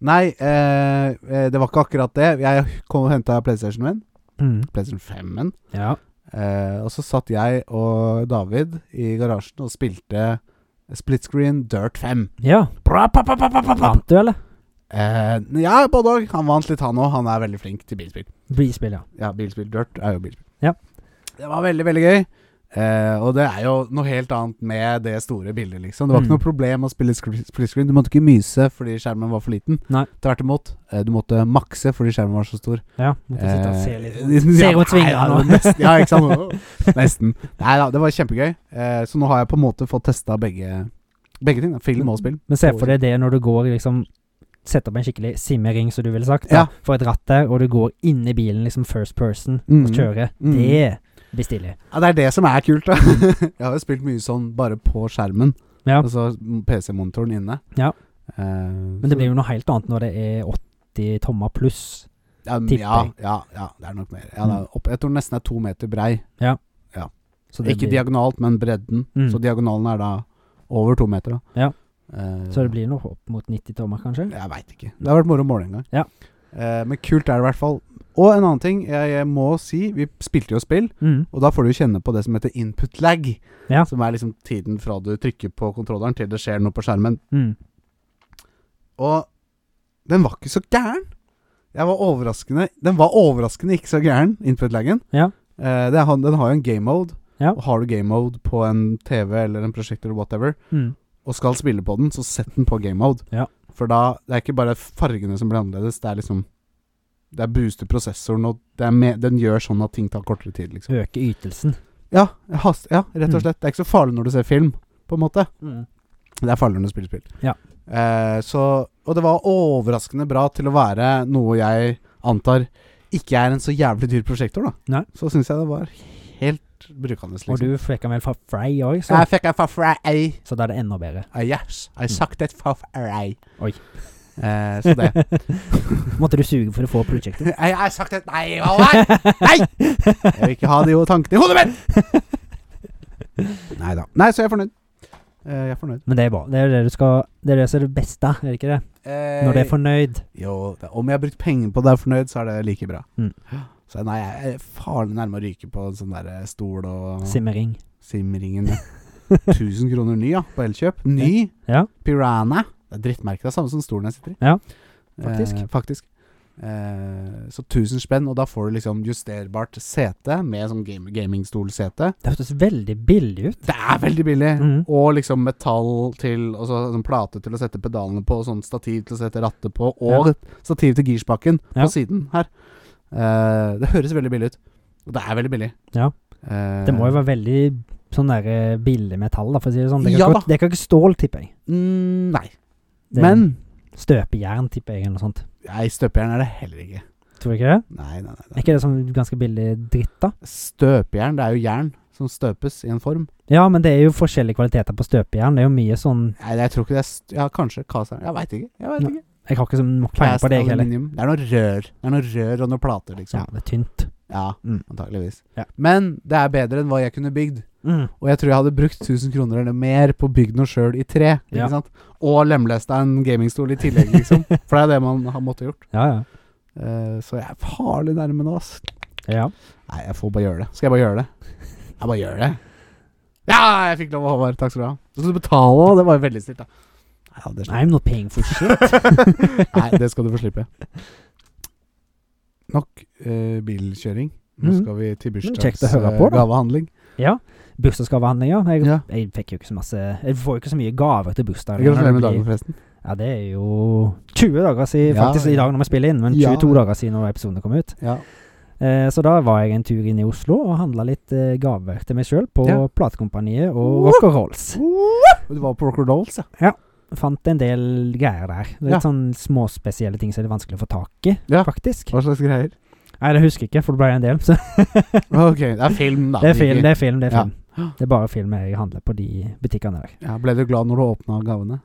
A: Nei, eh, eh, det var ikke akkurat det. Jeg kom og henta PlayStation min.
B: Mm.
A: PlayStation 5-en.
B: Ja.
A: Eh, og så satt jeg og David i garasjen og spilte split screen Dirt 5.
B: ja.
A: Bra, pa, pa, pa, pa, pa, pa.
B: Vant du, eller?
A: Eh, ja, både òg. Han vant litt, han òg. Han er veldig flink til bilspill.
B: Blispill, ja.
A: Ja, bilspill. Dirt er jo bilspill.
B: Ja.
A: Det var veldig, veldig gøy. Eh, og det er jo noe helt annet med det store bildet, liksom. Det var ikke
B: Mm.
A: noe problem å spille skri- split screen. Du måtte ikke myse fordi skjermen var for liten.
B: Nei.
A: Tvert imot. Eh, du måtte makse fordi skjermen var så stor.
B: Ja, måtte sitte og se
A: Eh,
B: litt.
A: (laughs) ja,
B: Se rundt
A: nei, ja,
B: svingene nå.
A: nesten, ja,
B: (laughs)
A: ikke sant. (laughs) Nesten. Nei da, det var kjempegøy. Eh, så nå har jeg på en måte fått testa begge, begge ting. Da. Film og spill.
B: Men se for deg det når du går liksom Sett opp en skikkelig simmering, som du ville sagt.
A: Ja.
B: Da, for et ratt der, og du går inni bilen, liksom first person,
A: Mm.
B: og kjører.
A: Mm.
B: Det blir stilig.
A: Ja, det er det som er kult, da. (laughs) jeg har jo spilt mye sånn bare på skjermen.
B: Ja.
A: Altså PC-monitoren inne.
B: Ja.
A: Eh,
B: Men det blir jo noe helt annet når det er 80 tommer pluss.
A: ja, m-
B: tipper
A: ja,
B: jeg.
A: ja, ja, det er nok mer. Ja, det er opp, jeg tror nesten det er to meter brei.
B: Så det,
A: Ikke
B: blir,
A: diagonalt, men bredden.
B: Mm.
A: Så diagonalen er da over to meter. Da.
B: Ja.
A: Eh,
B: så det blir noe opp mot 90 tommer, kanskje?
A: Jeg veit ikke. Det har vært moro å måle en gang.
B: Ja.
A: Eh, men kult er det i hvert fall. Og en annen ting jeg, jeg må si. Vi spilte jo spill,
B: Mm.
A: og da får du jo kjenne på det som heter input lag.
B: Ja.
A: Som er liksom tiden fra du trykker på kontrolleren til det skjer noe på skjermen.
B: Mm.
A: Og den var ikke så gæren. Jeg var overraskende Den var overraskende ikke så gæren, input-lagen.
B: Ja.
A: Eh, det er han- den har jo en game mode.
B: Ja.
A: Og har du game mode på en TV eller en prosjektor eller whatever,
B: Mm.
A: og skal spille på den, så sett den på game mode.
B: Ja.
A: For da Det er ikke bare fargene som blir annerledes, det er liksom Det er booster prosessoren, og det er med, den gjør sånn at ting tar kortere tid, liksom.
B: Øke ytelsen.
A: Ja, jeg hast, ja, rett og
B: Mm.
A: slett. Det er ikke så farlig når du ser film, på en måte. Det er farligere enn å spille spill.
B: Ja.
A: Eh, så, og det var overraskende bra til å være noe jeg antar ikke er en så jævlig dyr prosjektor, da.
B: Nei.
A: Så syns jeg det var helt brukende, liksom.
B: Og du fikk den vel fra Frey òg, så,
A: jeg fikk en fafrei.
B: så da er det enda bedre.
A: Uh, yes, I sucked at fafrei.
B: Mm. Oi.
A: Eh, så
B: (laughs)
A: det.
B: Måtte du suge for å få
A: (laughs)
B: prosjektet?
A: I, I sucked at Nei, hva var det? Jeg vil ikke ha de tankene i hodet mitt! Nei da. Nei, så jeg er fornøyd. Eh, jeg er fornøyd.
B: (laughs) Men det er bra. Det er det du skal Det er det som er det beste, er det ikke det?
A: Eh,
B: Når du er fornøyd.
A: Jo, det, om jeg har brukt penger på det og er fornøyd, så er det like bra.
B: Mm.
A: Så nei, jeg er farlig nærme å ryke på en sånn der stol og
B: Simmering. (laughs)
A: simringen. 1000 kroner ny, ja, på Elkjøp. Ny
B: Ja.
A: Piranha. Det er drittmerke, det er samme som stolen jeg sitter i.
B: Ja, faktisk.
A: Eh, faktisk. Eh, så 1000 spenn, og da får du liksom justerbart sete med sånn game, gamingstolsete.
B: Det hørtes veldig billig ut.
A: Det er veldig billig!
B: Mhm.
A: Og liksom metall til Og så sånn plate til å sette pedalene på, og sånn stativ til å sette rattet på, og stativ til girspaken
B: Ja.
A: på siden her. Eh, det høres veldig billig ut. Og det er veldig billig.
B: Ja.
A: Eh,
B: Det må jo være veldig sånn der eh, billig metall, da, for å si det sånn. Det kan,
A: Ja
B: ikke-
A: da.
B: det kan ikke stål, tipper jeg.
A: mm, Nei.
B: Det,
A: Men
B: Støpejern, tipper jeg, eller noe sånt.
A: Nei, støpejern er det heller ikke.
B: Tror du ikke det?
A: Nei, nei, nei.
B: Er
A: nei.
B: ikke det sånn ganske billig dritt, da?
A: Støpejern, det er jo jern som støpes i en form.
B: Ja, men det er jo forskjellige kvaliteter på støpejern. Det er jo mye sånn
A: Nei, jeg tror ikke det er st Ja, kanskje kasern. Jeg veit ikke. Jeg vet
B: Nei,
A: ikke.
B: Jeg har ikke så nok peiling på det, jeg heller.
A: aluminium. Det er noe rør. Det er noe rør og noen plater,
B: Ja,
A: liksom.
B: det er tynt.
A: Ja,
B: Mm.
A: antakeligvis.
B: Ja.
A: Men det er bedre enn hva jeg kunne bygd.
B: (laughs) Mm.
A: Og jeg tror jeg hadde brukt 1000 kroner eller mer på å bygge noe sjøl i tre. Ikke
B: Ja.
A: sant? Og lemlesta en gamingstol i tillegg, (laughs) liksom. For det er det man har måttet gjort.
B: Ja, ja.
A: Eh, så jeg er farlig nærme nå, ass.
B: ja.
A: Nei, jeg får bare gjøre det. Skal jeg bare gjøre det? Jeg bare gjør det. Ja, jeg fikk lov, Håvard. Takk skal du ha. Så skal du betale òg. Det var jo veldig snilt, da. Nei, ja, det sånn. slipper
B: I'm not paying for shit.
A: (laughs) jeg. Nei, det skal du få slippe. Nok eh, bilkjøring. Nå
B: Mhm.
A: skal vi til eh,
B: kjekt å høre på, da.
A: bursdagsgavehandling.
B: Bursdagsgavehandlinger. Jeg,
A: Ja.
B: jeg fikk jo ikke så masse Jeg får jo ikke så mye gaver til bursdager.
A: Gratulerer med
B: når det
A: dagen,
B: blir-
A: forresten.
B: Ja, det er jo 20 dager siden
A: Ja.
B: faktisk i dag når vi spiller inn, men
A: Ja.
B: 22 dager siden når episoden kom ut.
A: Ja.
B: Eh, så da var jeg en tur inn i Oslo og handla litt eh, gaver til meg sjøl på
A: Ja.
B: Platekompaniet
A: Woo!
B: og Rock and Rolls.
A: Og Du var på Rocker Dolls, ja.
B: Fant en del greier der. Litt
A: Ja.
B: sånn småspesielle ting som er litt vanskelig å få tak i,
A: Ja.
B: faktisk.
A: Hva slags (laughs) greier?
B: Nei, det husker jeg ikke, for det ble en del. (laughs) Så
A: Ok, det er film, da.
B: det er film,
A: Ikke-
B: det er film. Det er,
A: Ja.
B: film. det er bare film jeg handler på de butikkene der.
A: Ja, ble du glad når du åpna gavene?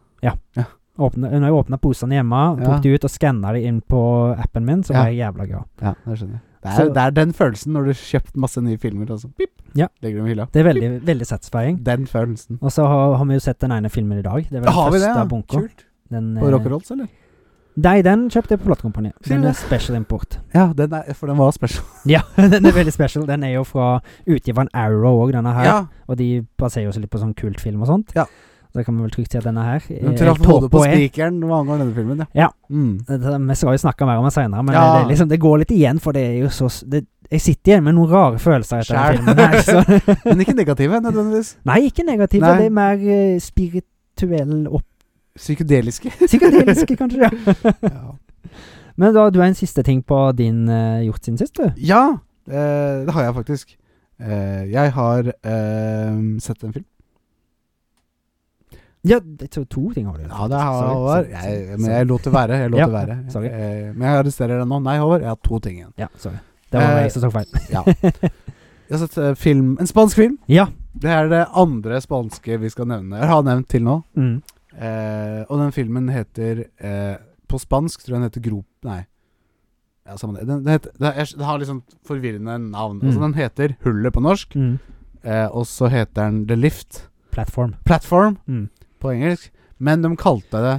B: Åpne, når jeg åpna posene hjemme,
A: Ja.
B: tok de ut og skanna de inn på appen min, så
A: Ja.
B: var jeg jævla glad.
A: Ja, det skjønner jeg. Det er,
B: Så-
A: det er den følelsen når du har kjøpt masse nye filmer, og så pip,
B: Ja.
A: legger dem i hylla.
B: Det er veldig, veldig satisfying.
A: Den følelsen.
B: Og så har, har vi jo sett den ene filmen i dag. Det er vel den
A: Har vi det?
B: første
A: Ja?
B: av bunka.
A: Kult.
B: Den,
A: På
B: eh,
A: Rockerolls, eller?
B: Nei, den kjøpte jeg på platekompaniet.
A: Sier
B: Den
A: du
B: er
A: det?
B: special import. (laughs)
A: Ja, den er, for den var special.
B: Ja, (laughs) den er veldig special. Den er jo fra utgiveren Arrow òg, denne her.
A: Ja,
B: Og de baserer jo seg litt på sånn kultfilm og sånt.
A: Ja.
B: Så da kan vi vel trygt si at denne her
A: Den
B: eh,
A: traff
B: El
A: hodet på
B: Topo er-
A: spikeren hva angår denne filmen, ja.
B: Ja.
A: Mm.
B: Det- det- Vi skal jo snakke mer om det seinere, men
A: Ja.
B: det, er liksom, det går litt igjen, for det er jo så s- det, Jeg sitter igjen med noen rare følelser etter
A: Skjær.
B: den filmen her.
A: (laughs)
B: Så. (laughs)
A: Men ikke negative, nødvendigvis.
B: Nei, ikke negativ.
A: Nei.
B: Det er mer eh, spirituell opp...
A: Psykedeliske.
B: Psykedelisk, kanskje. Ja.
A: (laughs) ja.
B: Men da, du har en siste ting på din eh, gjort siden sist, du.
A: ja eh, det har jeg faktisk. Eh, jeg har eh, sett en film.
B: Ja, jeg tror to ting har du.
A: Ja, det har
B: Sorry,
A: Håvard.
B: sorry, sorry,
A: Jeg, men
B: sorry.
A: jeg lot det være. Jeg lot
B: Ja,
A: det være.
B: sorry.
A: Eh, men jeg arresterer deg nå. Nei, Håvard, jeg har to ting igjen.
B: Ja, sorry. Det var
A: Eh,
B: jeg som tok feil. (laughs)
A: (laughs) Jeg har sett eh, film, en spansk film.
B: Ja.
A: Det er det andre spanske vi skal nevne. Jeg har nevnt til nå.
B: Mm.
A: Eh, og den filmen heter eh, På spansk tror jeg den heter Grop... Nei. Ja, samme det. Den, den, heter, det, er, det har liksom forvirrende navn. Altså,
B: Mm.
A: den heter Hullet på norsk,
B: Mm.
A: eh, og så heter den The Lift
B: Platform.
A: Platform
B: Mm.
A: på engelsk. Men de kalte det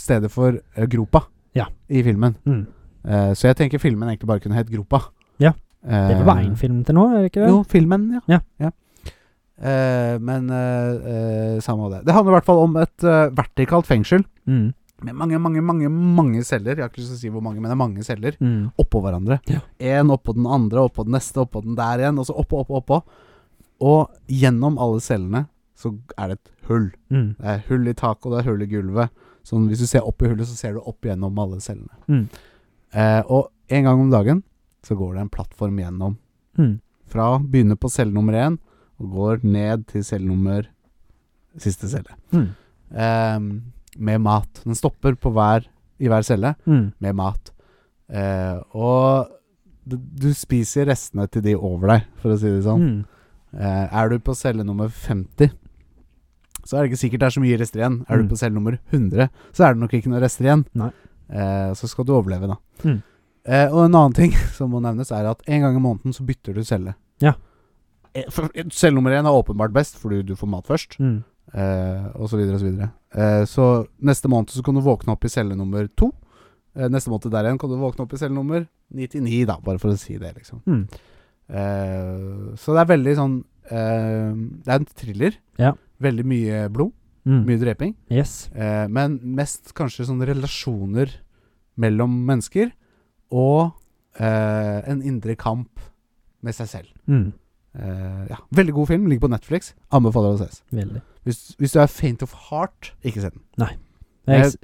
A: stedet for eh, Gropa
B: Ja.
A: i filmen.
B: Mm.
A: Eh, så jeg tenker filmen egentlig bare kunne hett Gropa.
B: Ja.
A: Eh,
B: Det er vel bare én film til nå, er det ikke det?
A: Jo, filmen, ja.
B: Ja.
A: Eh, men eh, eh, samme av det. Det handler i hvert fall om et eh, vertikalt fengsel
B: Mm.
A: med mange, mange, mange mange celler. Jeg har ikke lyst til å si hvor mange, men det er mange celler
B: Mm.
A: oppå hverandre.
B: Ja.
A: Én oppå den andre, oppå den neste, oppå den der igjen, og så oppå, oppå, oppå. Og gjennom alle cellene så er det et hull.
B: Mm.
A: Det er hull i taket, og det er hull i gulvet. Sånn, hvis du ser opp i hullet, så ser du opp gjennom alle cellene.
B: Mm.
A: Eh, og en gang om dagen så går det en plattform gjennom
B: Mm.
A: fra begynner på celle nummer én og går ned til celle nummer siste celle.
B: Mm.
A: Ehm, med mat. Den stopper på hver, i hver celle
B: Mm.
A: med mat. Eh, og d- du spiser restene til de over deg, for å si det sånn.
B: Mm.
A: Eh, er du på celle nummer 50, så er det ikke sikkert det er så mye rester igjen. Er
B: Mm.
A: du på celle nummer 100, så er det nok ikke noe rester igjen.
B: Nei.
A: Eh, så skal du overleve, da.
B: Mm.
A: Eh, og en annen ting (laughs) som må nevnes, er at en gang i måneden så bytter du celle.
B: Ja.
A: Eh, for- eh, Celle nummer én er åpenbart best, fordi du får mat først,
B: Mm.
A: eh, og så videre og så videre. Eh, så neste måned så kan du våkne opp i celle nummer to. Eh, neste måned der igjen kan du våkne opp i celle nummer 99, da, bare for å si det, liksom.
B: Mm.
A: Eh, så det er veldig sånn eh, Det er en thriller.
B: Ja.
A: Veldig mye blod,
B: Mm.
A: mye dreping.
B: Yes.
A: eh, men mest kanskje sånne relasjoner mellom mennesker og eh, en indre kamp med seg selv.
B: Mm.
A: Eh, ja. Veldig god film. Ligger på Netflix. Anbefaler å ses.
B: Veldig.
A: Hvis, hvis du er faint of heart, ikke se den.
B: Jeg,
A: Jeg-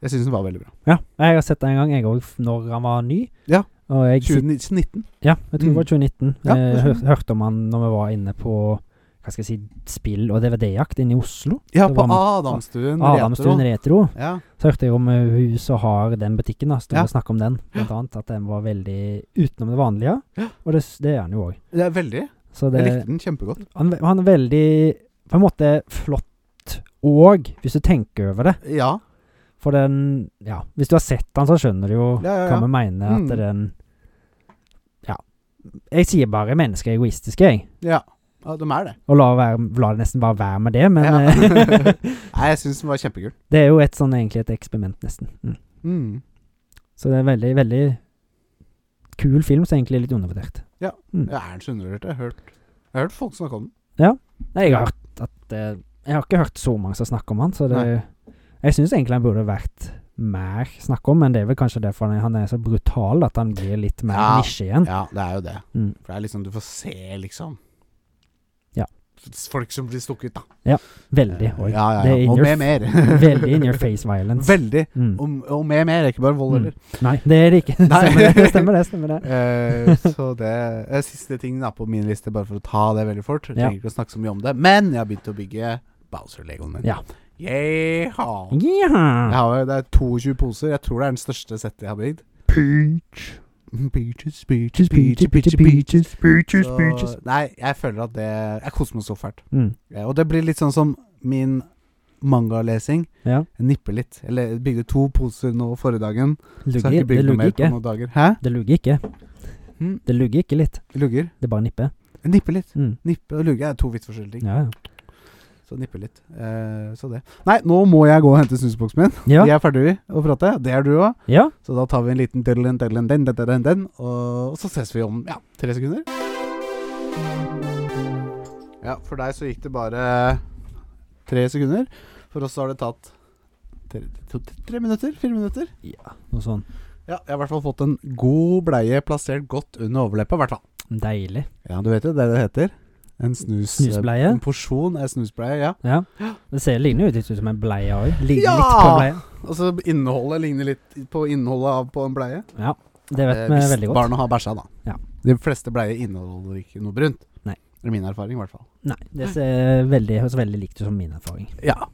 A: Jeg syns den var veldig bra.
B: Ja, jeg har sett den en gang, jeg òg, når han var ny.
A: Ja.
B: Og jeg, sit-
A: 2019.
B: ja, jeg tror det var
A: Mm.
B: 2019.
A: Ja,
B: jeg
A: det
B: hør,
A: stemmer.
B: hørte om han når vi var inne på Hva hva skal jeg si, spill- og DVD-jakt inne i Oslo.
A: Ja,
B: Det
A: på
B: var med-
A: Adamstuen.
B: Adamstuen
A: retro.
B: Retro.
A: Ja.
B: Så hørte jeg om eh, hun som har den butikken, da. Stod
A: Ja.
B: og snakket om den, blant annet. At den var veldig utenom det vanlige.
A: Ja.
B: Og det, s- det er han jo òg.
A: Det er veldig.
B: Så det
A: Jeg likte den kjempegodt.
B: han, han er veldig På en måte flott og, hvis du tenker over det
A: Ja.
B: For den Ja, hvis du har sett den, så skjønner du jo
A: Ja, ja, ja.
B: hva vi mener at
A: Mm.
B: den Ja. Jeg sier bare mennesker er egoistiske, jeg.
A: ja. Ja, de er det.
B: Og la, være, la det nesten bare være med det, men
A: Ja.
B: eh, (laughs)
A: Nei, jeg syns den var kjempekul.
B: det er jo et sånn egentlig et eksperiment, nesten. Mm.
A: Mm.
B: Så det er en veldig, veldig kul film som egentlig er litt undervurdert.
A: Ja, er den så undervurdert? Jeg har hørt Jeg har hørt folk snakke om den.
B: Nei, jeg har hørt at eh, Jeg har ikke hørt så mange som snakker om han, så det Jeg syns egentlig han burde vært mer snakk om, men det er vel kanskje derfor han- han er så brutal at han blir litt mer
A: Ja.
B: nisje igjen.
A: Ja, det er jo det.
B: Mm.
A: For det er liksom Du får se, liksom.
B: Ja.
A: Folk som blir stukket, da.
B: Veldig.
A: Ja,
B: Oi.
A: ja, ja.
B: Det er in
A: Og
B: your
A: med (laughs)
B: f-
A: mer.
B: (laughs) Veldig in your face violence.
A: Veldig.
B: Mm.
A: Og, og med mer, ikke bare vold,
B: Mm.
A: heller.
B: Nei, det er det ikke.
A: Nei.
B: Stemmer det, det, stemmer det. stemmer det
A: Eh, så det eh, Siste ting da på min liste, bare for å ta det veldig fort. Jeg
B: Ja.
A: trenger ikke å snakke så mye om det. Men jeg har begynt å bygge Bowser-legoen min.
B: Ja.
A: Yeeha. Jeg
B: Ja.
A: har, det er 22 poser. Jeg tror det er den største settet jeg har bygd.
C: Peach.
A: Peaches,
C: Peaches,
A: peaches,
C: peaches, peaches, peaches, peaches, peaches.
A: Så, nei, jeg føler at det Jeg koser meg så fælt.
B: Mm.
A: Eh, Og det blir litt sånn som min mangalesing.
B: ja.
A: Jeg nipper litt. Eller jeg bygde to poser nå forrige dagen. Skal
B: Lugger,
A: ikke
B: det
A: bygge noe
B: lugger
A: mer på
B: ikke.
A: noen dager. Hæ?
B: Det lugger ikke.
A: Mm.
B: Det lugger ikke litt.
A: Lugger?
B: Det bare nipper.
A: Jeg nipper litt.
B: Mm.
A: Nippe og lugge er to vidt forskjellige ting.
B: Ja,
A: Så nippe litt. Eh, så det. Nei, nå må jeg gå og hente snusboksen min.
B: ja.
A: Vi
B: Ja.
A: er ferdige å prate. Det er du òg.
B: ja.
A: Så da tar vi en liten diddelen, diddelen, den, den, den, den, og, og så ses vi om ja, tre sekunder. Ja, for deg så gikk det bare tre sekunder. For oss så har det tatt tre, to, tre minutter? Fire minutter?
B: Noe sånn
A: Ja, jeg har i hvert fall fått en god bleie plassert godt under overleppa, i hvert fall.
B: deilig.
A: Ja, du vet jo det det heter. En snus,
B: Snusbleie?
A: En porsjon er snusbleie, ja.
B: Ja. Det ser ligner jo litt ut som en bleie òg. Ligner
A: Ja!
B: litt på en bleie.
A: Og så Altså, innholdet ligner litt på innholdet av på en bleie.
B: Ja. Det vet
A: Eh,
B: vi
A: hvis
B: veldig godt.
A: barna har bæsja, da.
B: Ja.
A: De fleste bleier inneholder ikke noe brunt.
B: Nei.
A: Det er min erfaring, i hvert fall.
B: Nei, det ser veldig, høres veldig likt ut som min erfaring.
A: Ja.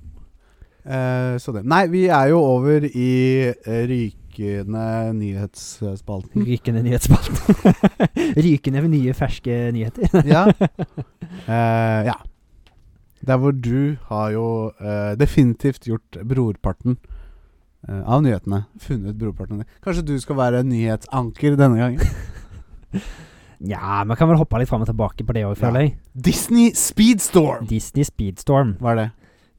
A: Eh, så det. Nei, vi er jo over i eh, rykende nyhetsspalten.
B: Rykende nyhetsspalt. (laughs) Rykende med nye, ferske nyheter.
A: (laughs)
B: (laughs)
A: ja. Eh, ja. Der hvor du har jo eh, definitivt gjort brorparten eh, av nyhetene. Funnet brorparten. av de. Kanskje du skal være nyhetsanker denne
B: (laughs)
A: gangen?
B: Ja, man kan vel hoppe litt fram og tilbake på det òg, føler jeg.
A: Disney Speedstorm!
B: Disney Speedstorm.
A: Hva er det?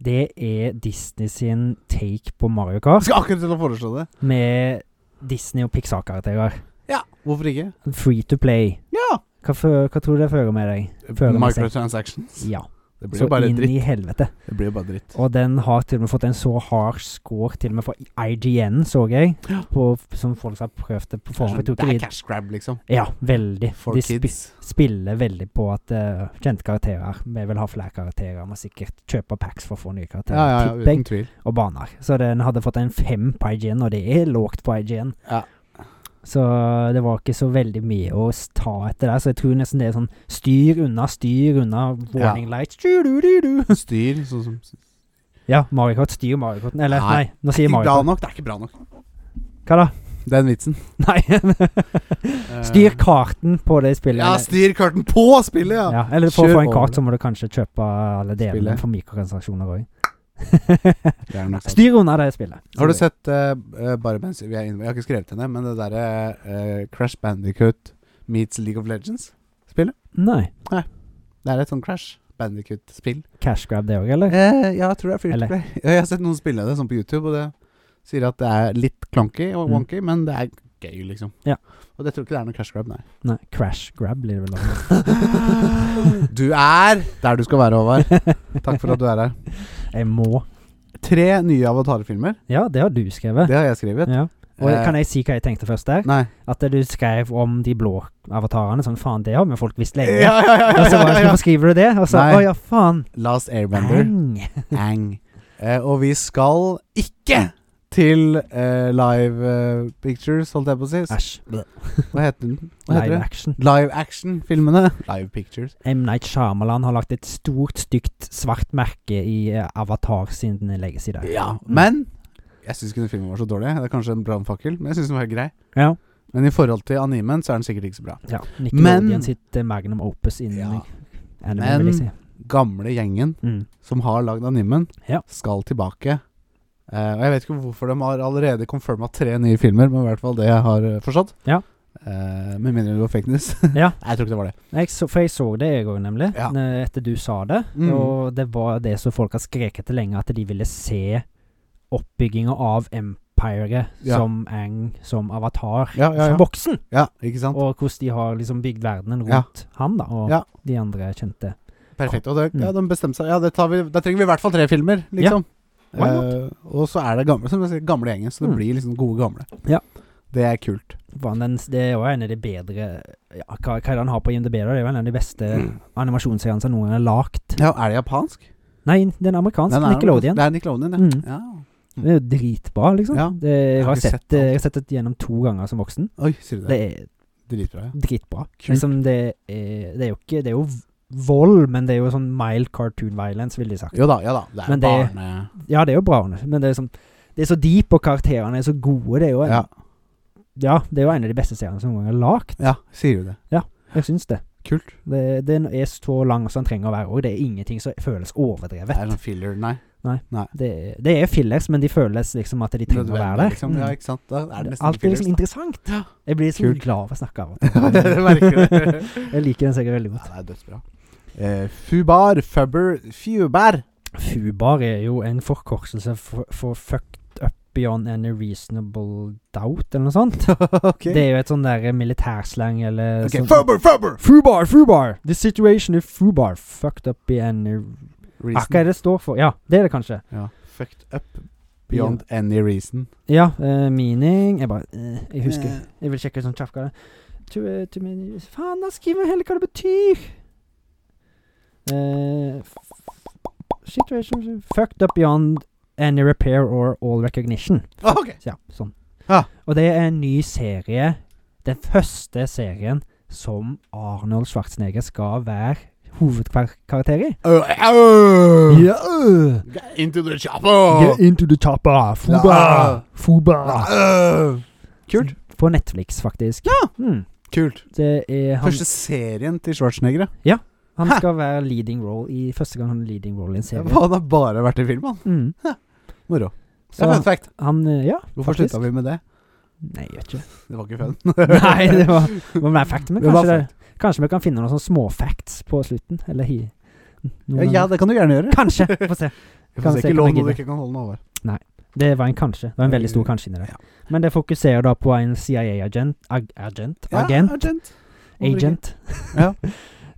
B: Det er Disney sin take på Mario Kart
A: Jeg skal akkurat til å foreslå det.
B: med Disney og Pixar-karakterer.
A: Ja, hvorfor ikke?
B: Free to play.
A: Ja.
B: Hva, fø- hva tror du det fører med deg? Føler meg sett.
A: Microtransactions.
B: Ja.
A: Det blir
B: Så
A: jo bare
B: inn
A: dritt.
B: i helvete.
A: Det blir jo bare dritt.
B: Og den har til og med fått en så hard score, til og med fra IGN, så jeg, på, som folk som har prøvd det på forhånd. Jeg
A: Det
B: tror ikke
A: er
B: de-
A: cash grab, liksom.
B: Ja, veldig.
A: For
B: De spi-
A: kids.
B: spiller veldig på at eh, kjente karakterer Vi vil ha flere karakterer, må sikkert kjøpe packs for å få nye karakterer,
A: Ja, ja, ja,
B: tipper jeg,
A: uten tvil.
B: og baner. Så den hadde fått en fem på IGN, og det er lågt på IGN.
A: Ja.
B: Så det var ikke så veldig mye å s- ta etter der, så jeg tror nesten det er sånn styr unna, styr unna, warning lights tju-du-du-du.
A: Styr, sånn som
B: Ja, Mario Kart, styr Mario Karten. Eller,
A: Nei.
B: nei, nå sier
A: Ikke bra
B: Mario Kart.
A: nok. Det er ikke bra nok.
B: Hva da?
A: Den vitsen.
B: (laughs) Nei.
A: Eh,
B: styr karten på det spillet.
A: Ja,
B: eller-
A: styr karten på spillet, ja!
B: Ja, eller for å
A: Kjør
B: få en
A: over
B: kart,
A: det.
B: så må du kanskje kjøpe alle delene
A: Spillet.
B: for mikrotransaksjoner
A: (laughs)
B: òg.
A: Det er nok sant.
B: (laughs) Styr unna det spillet.
A: Har du sett eh, eh, Bare mens vi er inne Jeg har ikke skrevet henne, men det derre eh, Crash Bandicoot meets League of Legends?
B: Nei.
A: Det er et sånn Crash Bandicoot-spill.
B: Cash grab det òg, eller?
A: Eh, ja, jeg tror det er free to
B: Eller-
A: play. (laughs) Ja, Jeg har sett noen spille det sånn på YouTube, og det sier at det er litt clunky og
B: Mm.
A: wonky, men det er gøy, liksom.
B: Ja.
A: Og det tror ikke det er noe cash grab, nei. (laughs)
B: Nei, crash grab blir det vel. da.
A: Du er der du skal være, Håvard. Takk for at du er her.
B: Jeg må.
A: Tre nye avatarfilmer.
B: Ja, det har du skrevet.
A: Det har jeg skrevet.
B: Ja. Og
A: Eh,
B: kan jeg si hva jeg tenkte først der?
A: Nei.
B: At du skrev om de blå avatarene. Sånn, faen, det har jo folk visst lenge.
A: Ja, ja, ja,
B: Og så
A: ja,
B: bare,
A: ja, ja.
B: hvorfor skriver du det? Og så,
A: Nei.
B: å ja, faen.
A: Last Airbender.
B: Bang.
A: Ang. Eh, og vi skal ikke til eh, Live eh, Pictures, holdt jeg på å si.
B: Æsj.
A: Hva heter den? Hva heter
B: Live
A: det?
B: action.
A: Live Action-filmene. Live Pictures.
B: M. Night Shyamalan har lagt et stort, stygt svart merke i eh, Avatar sin legacy der.
A: Ja, men jeg syns ikke den filmen var så dårlig. Det er kanskje en brannfakkel, men jeg syns den var helt grei.
B: Ja.
A: Men i forhold til animen så er den sikkert ikke så bra.
B: ja.
A: Men-
B: Nickelodeon sitt eh, magnum opus innen
A: Ja.
B: anime,
A: Men-
B: vil jeg si.
A: Gamle gjengen
B: Mm.
A: som har lagd animen,
B: Ja.
A: skal tilbake. Eh, og jeg vet ikke hvorfor de har allerede confirma tre nye filmer, men i hvert fall det jeg har eh, forstått.
B: Ja.
A: Eh, med mindre det var fake news.
B: Ja.
A: (laughs) jeg tror ikke det var det.
B: Jeg så, for jeg så det, jeg òg, nemlig.
A: Ja.
B: ne- Etter du sa det.
A: Mm.
B: Og det var det som folk har skreket etter lenge, at de ville se oppbygginga av Empire
A: Ja.
B: som Ang, som avatar,
A: Ja, ja,
B: som
A: ja.
B: voksen.
A: ja ikke sant?
B: Og hvordan de har liksom bygd verdenen
A: Ja.
B: rundt han, da. Og
A: Ja.
B: de andre kjente.
A: Perfekt. Og det,
B: Mm.
A: ja, de bestemte seg. Ja, det tar vi, da trenger vi i hvert fall tre filmer, liksom.
B: Ja, why not?
A: Eh, og så er det gamle, som jeg sier, gamle gjengen, så det
B: Mm.
A: blir liksom gode gamle.
B: Ja.
A: Det er kult.
B: Var den, det er jo en av de bedre ja, Hva, hva er det han har på IMDb? da? Det er vel en av de beste
A: Mm.
B: animasjonsseriene som noen gang er lagd.
A: Ja, er det japansk?
B: Nei, den amerikanske
A: Den er-
B: Nickelodeon.
A: Det er Nickelodeon, ja.
B: Mm.
A: ja.
B: Det er jo dritbra, liksom.
A: Ja.
B: Det, jeg,
A: har
B: har
A: ikke
B: sett,
A: sett
B: det-
A: alt.
B: jeg har sett det gjennom to ganger som voksen.
A: Oi, sier du det?
B: Det er
A: Dritbra. Ja.
B: dritbra.
A: Kult.
B: Liksom det, er, det er jo ikke Det er jo vold, men det er jo sånn mild cartoon violence, ville de sagt.
A: Jo da, ja da. Det er
B: Men det-
A: barne...
B: Ja, det er jo bra, men det er, sånn, det er så deep, og karakterene er så gode. Det er jo en,
A: Ja.
B: ja. det er jo en av de beste seriene som noen gang er lagd.
A: ja, sier du det.
B: Jeg syns det.
A: Kult.
B: det. Den er så lang som den trenger å være, og det er ingenting som føles
A: Det er
B: overdrevet.
A: sånn filler, nei.
B: Det, er- det er fillers, men de føles liksom at de trenger å
A: Nødvendig,
B: være der.
A: Liksom. Ja, ikke sant. Da er det
B: Mm.
A: nesten
B: Alt er
A: (laughs)
B: liksom
A: fillers,
B: interessant. Jeg blir liksom
A: Kult.
B: glad av å snakke av
A: (laughs)
B: og
A: da.
B: til.
A: Jeg merker det.
B: (laughs) Jeg liker den sikkert
A: (laughs)
B: veldig
A: Ja,
B: godt.
A: det er dødsbra. Eh, fubar, fubber, fubær.
B: Fubar er jo en forkortelse for, for fucked up beyond any reasonable doubt, eller noe sånt.
A: (laughs) ok.
B: Det er sånn- jo et sånn der militærslang eller
A: Ok,
B: sånt-
A: Fubber, fubber!
B: Fubar, fubar! The situation is fubar. Fucked up beyond any Ah, Hva er det står for? Ja, det er det kanskje.
A: Ja. Fucked up beyond any reason.
B: Ja, eh, meaning Jeg bare eh, Jeg husker.
A: Eh.
B: Jeg vil sjekke sånn kjapt hva det er. To, eh, to many- Faen, da skriver jeg heller hva det betyr! Eh, situation Fucked up beyond any repair or all recognition.
A: Ah, ok.
B: Så ja, sånn.
A: Ja.
B: Og det er en ny serie. Den første serien som Arnold Schwarzenegger skal være hovedkarakter i.
A: Oh, oh.
B: Ja.
A: Get into the chopper!
B: into the chopper!
A: Ja.
B: Fuba!
A: Ah, Kult.
B: På Netflix, faktisk. Ja. Mm.
A: Kult.
B: Det er han,
A: Første serien til Schwarzenegger. ja.
B: han
A: Hæ?
B: skal være leading role i første gang han er leading role i en serie.
A: Han har bare vært i film, han.
B: Mm.
A: Moro.
B: Så
A: Så fun fact.
B: han eh, Ja,
A: Hvorfor
B: faktisk.
A: slutta vi med det?
B: Nei, jeg vet
A: (laughs)
B: ikke.
A: Det var ikke fun.
B: (laughs) Nei, det var, det var mer fact. Men
A: Det var
B: kanskje, det, kanskje vi kan finne noen sånne småfacts på slutten? Eller hi...
A: (laughs) Ja,
B: noen-
A: ja, det kan du gjerne gjøre. (laughs)
B: Kanskje! Få se.
A: Vi
B: kan
A: får se
B: se
A: ikke lov
B: om jeg
A: når du
B: gidder.
A: ikke kan holde den over.
B: Det var en kanskje. Det var en veldig
A: Eh,
B: stor kanskje inni der. Men det fokuserer da på en CIA-agent ag Agent?
A: Ja,
B: Agent?
A: agent. Hvorfor
B: agent
A: Ja.
B: (laughs)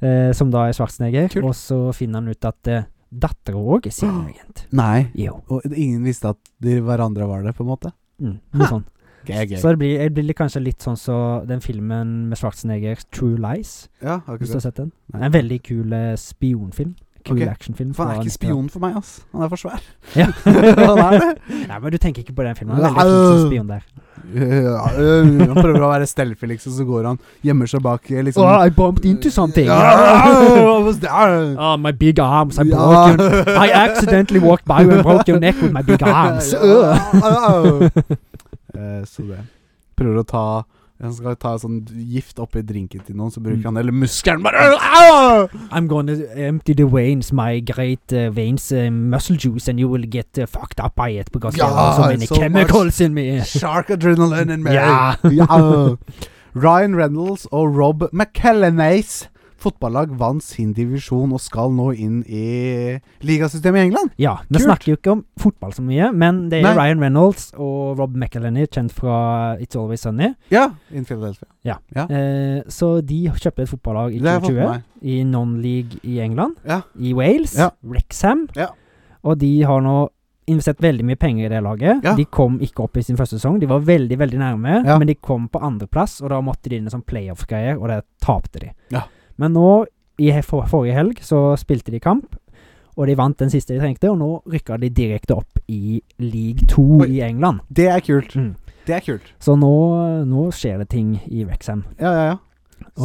B: eh, som da er Schwarzenegger.
A: Kult.
B: Og så finner han ut at eh, dattera òg er CIA-agent.
A: ikke? Nei.
B: Jo.
A: Og ingen visste at de hverandre var det, på en måte.
B: Mm, noe sånn.
A: Gøy, gøy.
B: Så det blir, det blir kanskje litt sånn som den filmen med Schwarzenegger, 'True Lies'.
A: Ja, har
B: Hvis
A: ikke
B: du har
A: sett.
B: sett den?
A: Nei.
B: En veldig kul eh, spionfilm. Kul
A: Ok.
B: actionfilm.
A: For han
B: fra
A: er ikke
B: 90-tallet.
A: spion for meg, ass. Han er for svær. (laughs)
B: Ja.
A: han er det.
B: (laughs) Nei, men du tenker ikke på den filmen. Han er veldig flink som spion der.
A: Ja, øh, han prøver å være stealthy, liksom, så går han gjemmer seg bak eh, liksom
B: I bumped into something! (laughs)
A: Ja, hva er det?
B: Oh, my big arms. I
A: Ja.
B: broke your, I accidentally walked by you and broke your neck with my
A: (laughs)
B: big arms.
A: Ja, ja, ja. Eh, Så det Prøver å ta Han skal ta sånn gift oppi drinken til noen, så
B: Mm.
A: bruker han hele muskelen bare Au!
B: I'm gonna empty the veins, my great uh, veins, uh, muscle juice, and you will get uh, fucked up by it because there are so
A: Yeah,
B: many
A: so
B: chemicals
A: (laughs)
B: in me.
A: Shark adrenaline in me.
B: Ja.
A: (laughs) Ja. Ryan Reynolds og Rob McElhenays fotballag vant sin divisjon og skal nå inn i ligasystemet i England.
B: Ja, vi
A: Kult.
B: snakker jo ikke om fotball så mye, men det er
A: Nei.
B: Ryan Reynolds og Rob McElhenney, kjent fra It's Always Sunny.
A: Ja, in Philadelphia.
B: Eh, så de kjøpte et fotballag i
A: Det har jeg fått med
B: 2020
A: meg.
B: i non-league i England,
A: Ja.
B: i Wales,
A: Ja.
B: Wrexham.
A: Ja.
B: Og de har nå investert veldig mye penger i det laget.
A: Ja.
B: De kom ikke opp i sin første sesong. De var veldig veldig nærme,
A: Ja.
B: men de kom på andreplass, og da måtte de inn i sånn playoff-greier, og der tapte de.
A: Ja.
B: Men nå, i he- for, forrige helg, så spilte de kamp, Og de vant den siste de trengte, og nå rykka de direkte opp i league
A: Oi.
B: 2 i England.
A: Det er kult.
B: Mm.
A: Det er kult.
B: Så nå, nå skjer det ting i Wrexham.
A: Ja, ja, ja.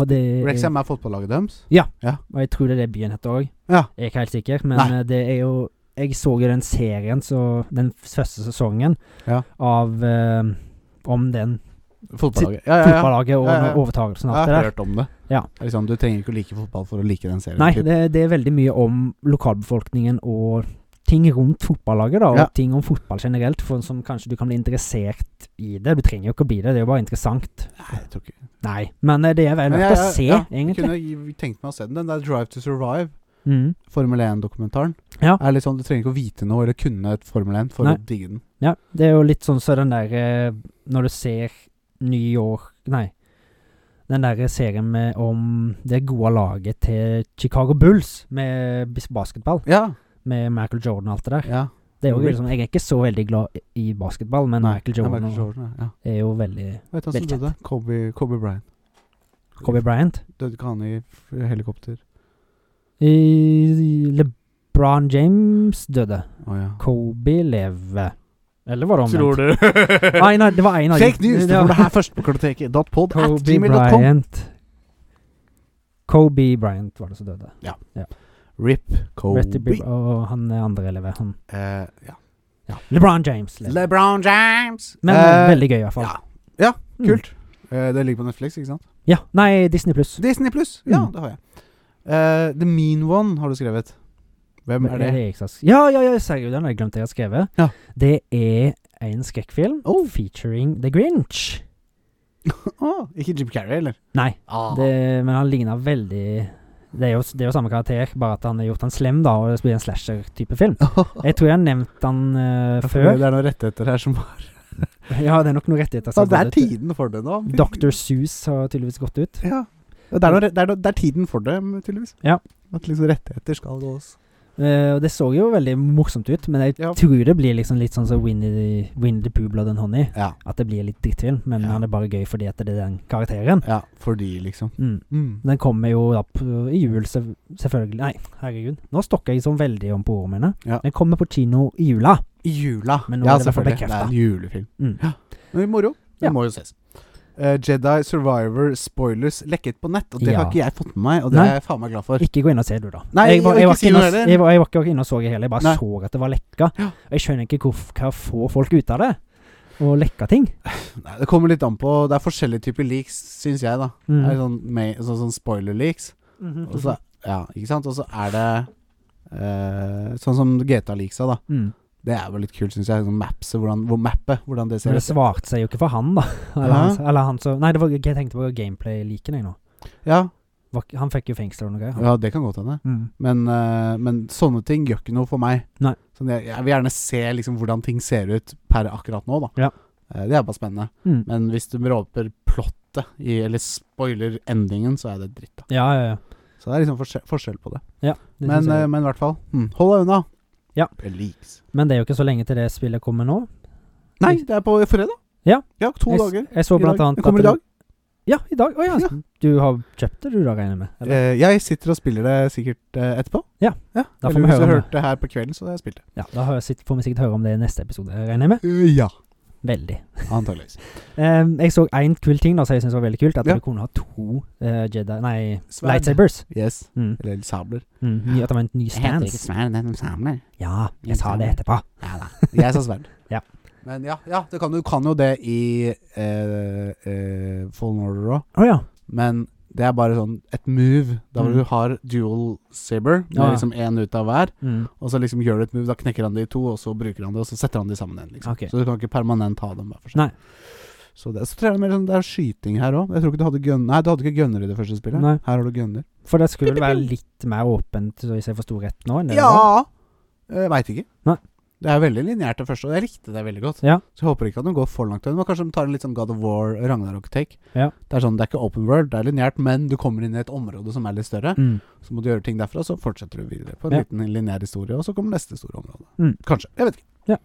B: Og, det,
A: Rexham er fotballaget deres.
B: og jeg tror det er det byen heter òg.
A: Ja.
B: Jeg er ikke helt sikker, men
A: Nei.
B: eh, det er jo Jeg så jo den serien, så den første sesongen
A: Ja.
B: av eh, Om den
A: Fotballaget. Ja, ja, ja.
B: fotballaget og
A: Ja, ja, ja.
B: overtakelsen
A: Jeg
B: og alt
A: har
B: det der.
A: hørt om det.
B: Ja.
A: Det er Liksom, du trenger ikke å like fotball for å like den serien.
B: Nei,
A: typ.
B: det, det er veldig mye om lokalbefolkningen og ting rundt fotballaget, da, og
A: Ja.
B: ting om fotball generelt, for, som kanskje du kan bli interessert i det. Du trenger jo ikke å bli det, det er jo bare interessant.
A: Nei, jeg tror ikke
B: Nei, men eh, det er vel
A: Men
B: verdt
A: jeg-
B: å
A: jeg-
B: se,
A: ja, Jeg
B: egentlig.
A: kunne gi- tenkt meg å se den. Den der Drive to Survive,
B: Mm.
A: Formel 1-dokumentaren.
B: Ja.
A: Er litt sånn, Du trenger ikke å vite noe eller kunne et Formel 1 for
B: Nei.
A: å digge den.
B: Ja, det er jo litt sånn så den der eh, Når du ser New York Nei. Den der serien med, om det gode laget til Chicago Bulls med bis- basketball,
A: Ja.
B: med Michael Jordan og alt det der.
A: ja.
B: Det er jo
A: Rick.
B: liksom, jeg er ikke så veldig glad i- i basketball, men Michael
A: Ja,
B: Jordan
A: Michael
B: og-
A: Jordan ja. ja.
B: er jo veldig
A: Vet du hva
B: Veldig
A: som døde? Kobe, Kobe Bryant.
B: Kobe Bryant.
A: Døde ikke han i f- helikopter?
B: I LeBron James døde.
A: Å ja.
B: Kobe lever. Eller var det omvendt?
A: (laughs) Tror du
B: Nei, nei, det var
A: (laughs)
B: en av de-
A: Fake news! Du
B: det
A: får
B: var-
A: det her først på kartoteket.pod at
B: Kobe
A: gmail.com.
B: Bryant. Kobe Bryant var det som døde.
A: Rip
B: Rest in
A: Kobe.
B: peace. Og han er andre elever. Han.
A: Eh, ja.
B: Ja. LeBron James. lever.
A: LeBron James!
B: Men
A: Eh,
B: veldig gøy, i hvert fall.
A: ja. Ja,
B: Mm.
A: kult. Eh, det ligger på Netflix, ikke sant?
B: Ja. Nei, Disney pluss.
A: Disney pluss. Ja,
B: Mm.
A: det har jeg. Eh, The Mean One har du skrevet. Hvem er det?
B: jeg som har sk- Ja, ja, ja, seriøst, den har jeg glemt jeg har skrevet.
A: Ja.
B: Det er en skrekkfilm
A: Oh.
B: featuring The Grinch.
A: Å, ikke Jim Carrey, eller?
B: Nei,
A: Ah.
B: det, men han ligner veldig det er, jo, det er jo samme karakter, bare at han har gjort han slem, da, og det blir en slasher-type film. Jeg tror jeg har nevnt han
A: (laughs)
B: eh,
A: Ja, for
B: før.
A: Det er noen rettigheter her som
B: Ja, det er nok noen rettigheter.
A: Ja,
B: som
A: Det
B: har
A: er
B: gått ut.
A: tiden for det nå.
B: Dr. Seuss har tydeligvis gått ut.
A: Ja. Ja, Det er, noe, re- det, er noe, det er tiden for det, tydeligvis.
B: Ja.
A: At liksom rettigheter skal gås.
B: Eh, Og det så jo veldig morsomt ut, men jeg
A: Ja.
B: tror det blir liksom litt sånn som Winnie, the- Winnie the Pooh Blood and Honey.
A: Ja.
B: At det blir litt drittfilm, men
A: Ja.
B: han er bare gøy fordi at det er den karakteren.
A: ja. Fordi, liksom.
B: Mm.
A: Mm.
B: Den kommer jo opp øh, i jul, selv- selvfølgelig. Nei, herregud. Nå stokker jeg sånn veldig om på ordene mine.
A: Ja.
B: Den kommer på kino i jula.
A: I jula.
B: Men nå
A: ja,
B: er det i hvert fall
A: selvfølgelig. Det er
B: bekreftet.
A: en julefilm.
B: Mm.
A: Men moro. Den
B: Ja.
A: må jo ses. Eh, Jedi Survivor spoilers lekket på nett, og det
B: Ja.
A: har ikke jeg fått med meg, og det
B: Nei.
A: er jeg faen meg glad for.
B: Ikke gå inn og se, du, da.
A: Nei,
B: jeg var,
A: og
B: jeg
A: ikke
B: var
A: si
B: ikke inne
A: noe
B: og-
A: heller.
B: jeg var- jeg var ikke inne og så det heller. Jeg bare
A: Nei.
B: så at det var lekka.
A: Ja.
B: Og Jeg skjønner ikke hvorfor hva får folk ut av det? Å lekke ting.
A: Nei, det kommer litt an på Det er forskjellige typer leaks, syns jeg, da.
B: Mm. Mhm.
A: Det er sånn, Altså, ma- sånn, sånn spoiler leaks. Og så, ja, ikke sant? Og så er det eh, Sånn som GTA-leaksa, da.
B: mm.
A: Det er jo litt kult, syns jeg. Sånn mapset, hvordan, hvor mappet, hvordan det
B: Men
A: ser
B: det
A: ut.
B: svarte seg jo ikke for han, da. (laughs) Eller,
A: Hæ?
B: han, eller han som Nei, det var, jeg tenkte på gameplay-liken, jeg nå.
A: Ja,
B: Var ikke- Han fikk jo fengsel og noe greier. han.
A: ja, det kan godt hende.
B: Mm.
A: Men, eh, men sånne ting gjør ikke noe for meg.
B: Nei.
A: Sånn, jeg, jeg vil gjerne se liksom, hvordan ting ser ut per akkurat nå, da.
B: Ja.
A: Eh, det er bare spennende.
B: Mm.
A: Men hvis du råper plottet, i, eller spoiler endingen, så er det dritt, da.
B: Ja, ja, ja.
A: Så det er liksom forskjell, forskjell på det.
B: Det
A: Men,
B: synes jeg.
A: eh, men i hvert fall. Mm, hold deg unna.
B: Ja.
A: Leaks.
B: men det er jo ikke så lenge til det spillet kommer nå.
A: Nei, det er på fredag.
B: Ja.
A: to
B: jeg, s-
A: dager.
B: Jeg så
A: I
B: blant
A: dag.
B: annet
A: Det kommer
B: at
A: i dag.
B: Du, ja, i dag. Å ja.
A: Ja.
B: Du har kjøpt det, du da, regner jeg med? Eller?
A: Eh, jeg sitter og spiller det sikkert eh, etterpå.
B: Ja. Da får vi
A: Eller hvis
B: høre
A: du
B: om det.
A: hørte det her på kvelden, så har jeg spilt det. Eh,
B: Ja, da har jeg sitt- får vi sikkert høre om det i neste episode, regner jeg med.
A: ja.
B: Veldig.
A: Antakeligvis.
B: Em, jeg så én kul ting da, som jeg syns var veldig kult. At
A: Ja.
B: vi kunne ha to eh, Jedi Nei,
A: Sverd.
B: lightsabers.
A: Yes.
B: Mm.
A: Eller sabler.
B: Mm. Ny, at det var en ny stands.
A: sverd, det er sabler.
B: Ja, jeg sa det etterpå.
A: Ja da. (laughs) Jeg sa sverd.
B: Ja.
A: Men ja, ja du, kan, du kan jo det i eh, eh, Fallen Order òg,
B: Å ja.
A: men det er bare sånn et move. Da
B: Mm.
A: du har dual saber, med
B: Ja, ja.
A: liksom én ut av hver.
B: Mm.
A: Og så liksom gjør du et move, da knekker han det i to, og så bruker han det, og så setter han det sammen igjen. Liksom.
B: Ok.
A: Så du kan ikke permanent ha dem hver for
B: Nei.
A: seg. Så det, så tror jeg det er mer sånn, det er skyting her òg. Jeg tror ikke du hadde gun Nei, du hadde ikke gunner i det første spillet.
B: Nei.
A: Her har du gunner.
B: For det skulle
A: Pip,
B: vel være
A: pip,
B: litt mer åpent, så hvis jeg forsto rett nå? enn det
A: Ja! Eh,
B: var?
A: Jeg veit ikke.
B: Nei.
A: Det er veldig lineært det første, og jeg likte det veldig godt.
B: Ja.
A: Så jeg håper ikke at de går for langt. Men kanskje de tar en litt sånn God of War, Ragnarok-take.
B: Ja.
A: Det er sånn, det er ikke open world, det er lineært, men du kommer inn i et område som er litt større.
B: Mm.
A: Så må du gjøre ting derfra, så fortsetter du videre på en
B: Ja.
A: liten lineær historie, og så kommer neste store område.
B: Mm.
A: Kanskje. Jeg vet ikke.
B: Ja.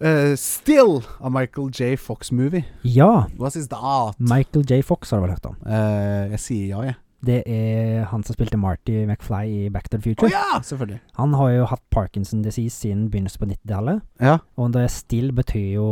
A: Eh, Still a Michael J. Fox movie.
B: Ja.
A: Hva syns du? at?
B: Michael J. Fox har du vel hørt om?
A: Eh, jeg sier ja, jeg.
B: Det er han som spilte Marty McFly i Back to the Future.
A: ja! (laughs) Selvfølgelig.
B: Han har jo hatt Parkinson disease siden begynnelsen på 90-tallet.
A: Ja.
B: Og det still betyr jo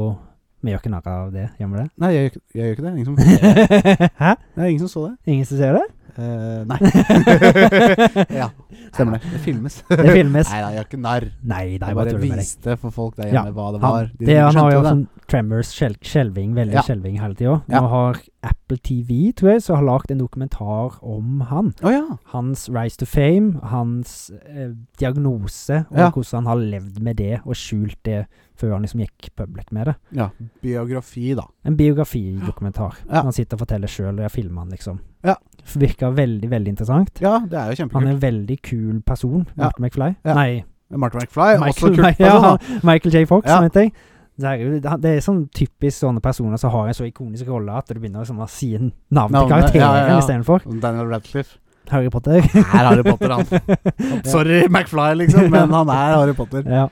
B: Vi gjør ikke narr av det, gjør vi det?
A: Nei, jeg, gjør ikke- jeg gjør ikke det. Ingen (laughs) som,
B: (laughs) Hæ?
A: det er ingen som så det.
B: Ingen som ser det?
A: Eh, nei. (laughs) ja, stemmer (laughs) det. Det filmes.
B: (laughs) Det filmes.
A: Nei da, jeg gjør ikke narr.
B: Nei, nei,
A: Jeg
B: bare
A: bare
B: tuller med deg.
A: viste for folk der
B: Ja,
A: hjemme hva det var.
B: Han, det, han har jo
A: skjønte
B: sånn tremors, skjel- skjelving, veldig
A: Ja.
B: skjelving hele tida. Nå
A: Ja.
B: har Apple TV, tror jeg, så har lagd en dokumentar om han.
A: Å ja.
B: Hans rise to fame, hans eh, diagnose, og
A: Ja.
B: hvordan han har levd med det og skjult det før han liksom gikk public med det.
A: ja. Biografi, da.
B: En biografidokumentar.
A: (gasps) Ja.
B: Han sitter og forteller sjøl, og jeg filmer han, liksom.
A: Ja.
B: Virker veldig, veldig interessant.
A: Ja, det er jo
B: Han
A: kjempekult.
B: er en veldig kul person,
A: Ja.
B: Martin McFly.
A: Ja.
B: Nei,
A: Martin McFly er også
B: Michael,
A: kult.
B: (laughs)
A: altså.
B: ja,
A: person, (laughs) da.
B: han- Michael J. Fox,
A: Ja.
B: mente jeg. Det er, jo, det er sånn typisk sånne personer som har en så ikonisk rolle at du begynner liksom å si en navn til
A: Navnet, ja,
B: karakteren
A: ja, ja.
B: istedenfor.
A: Og Daniel Radcliffe.
B: Harry Potter.
A: Er (laughs) Harry Potter, (laughs)
B: (laughs)
A: han. Sorry, McFly, liksom, men han er Harry Potter.
B: ja.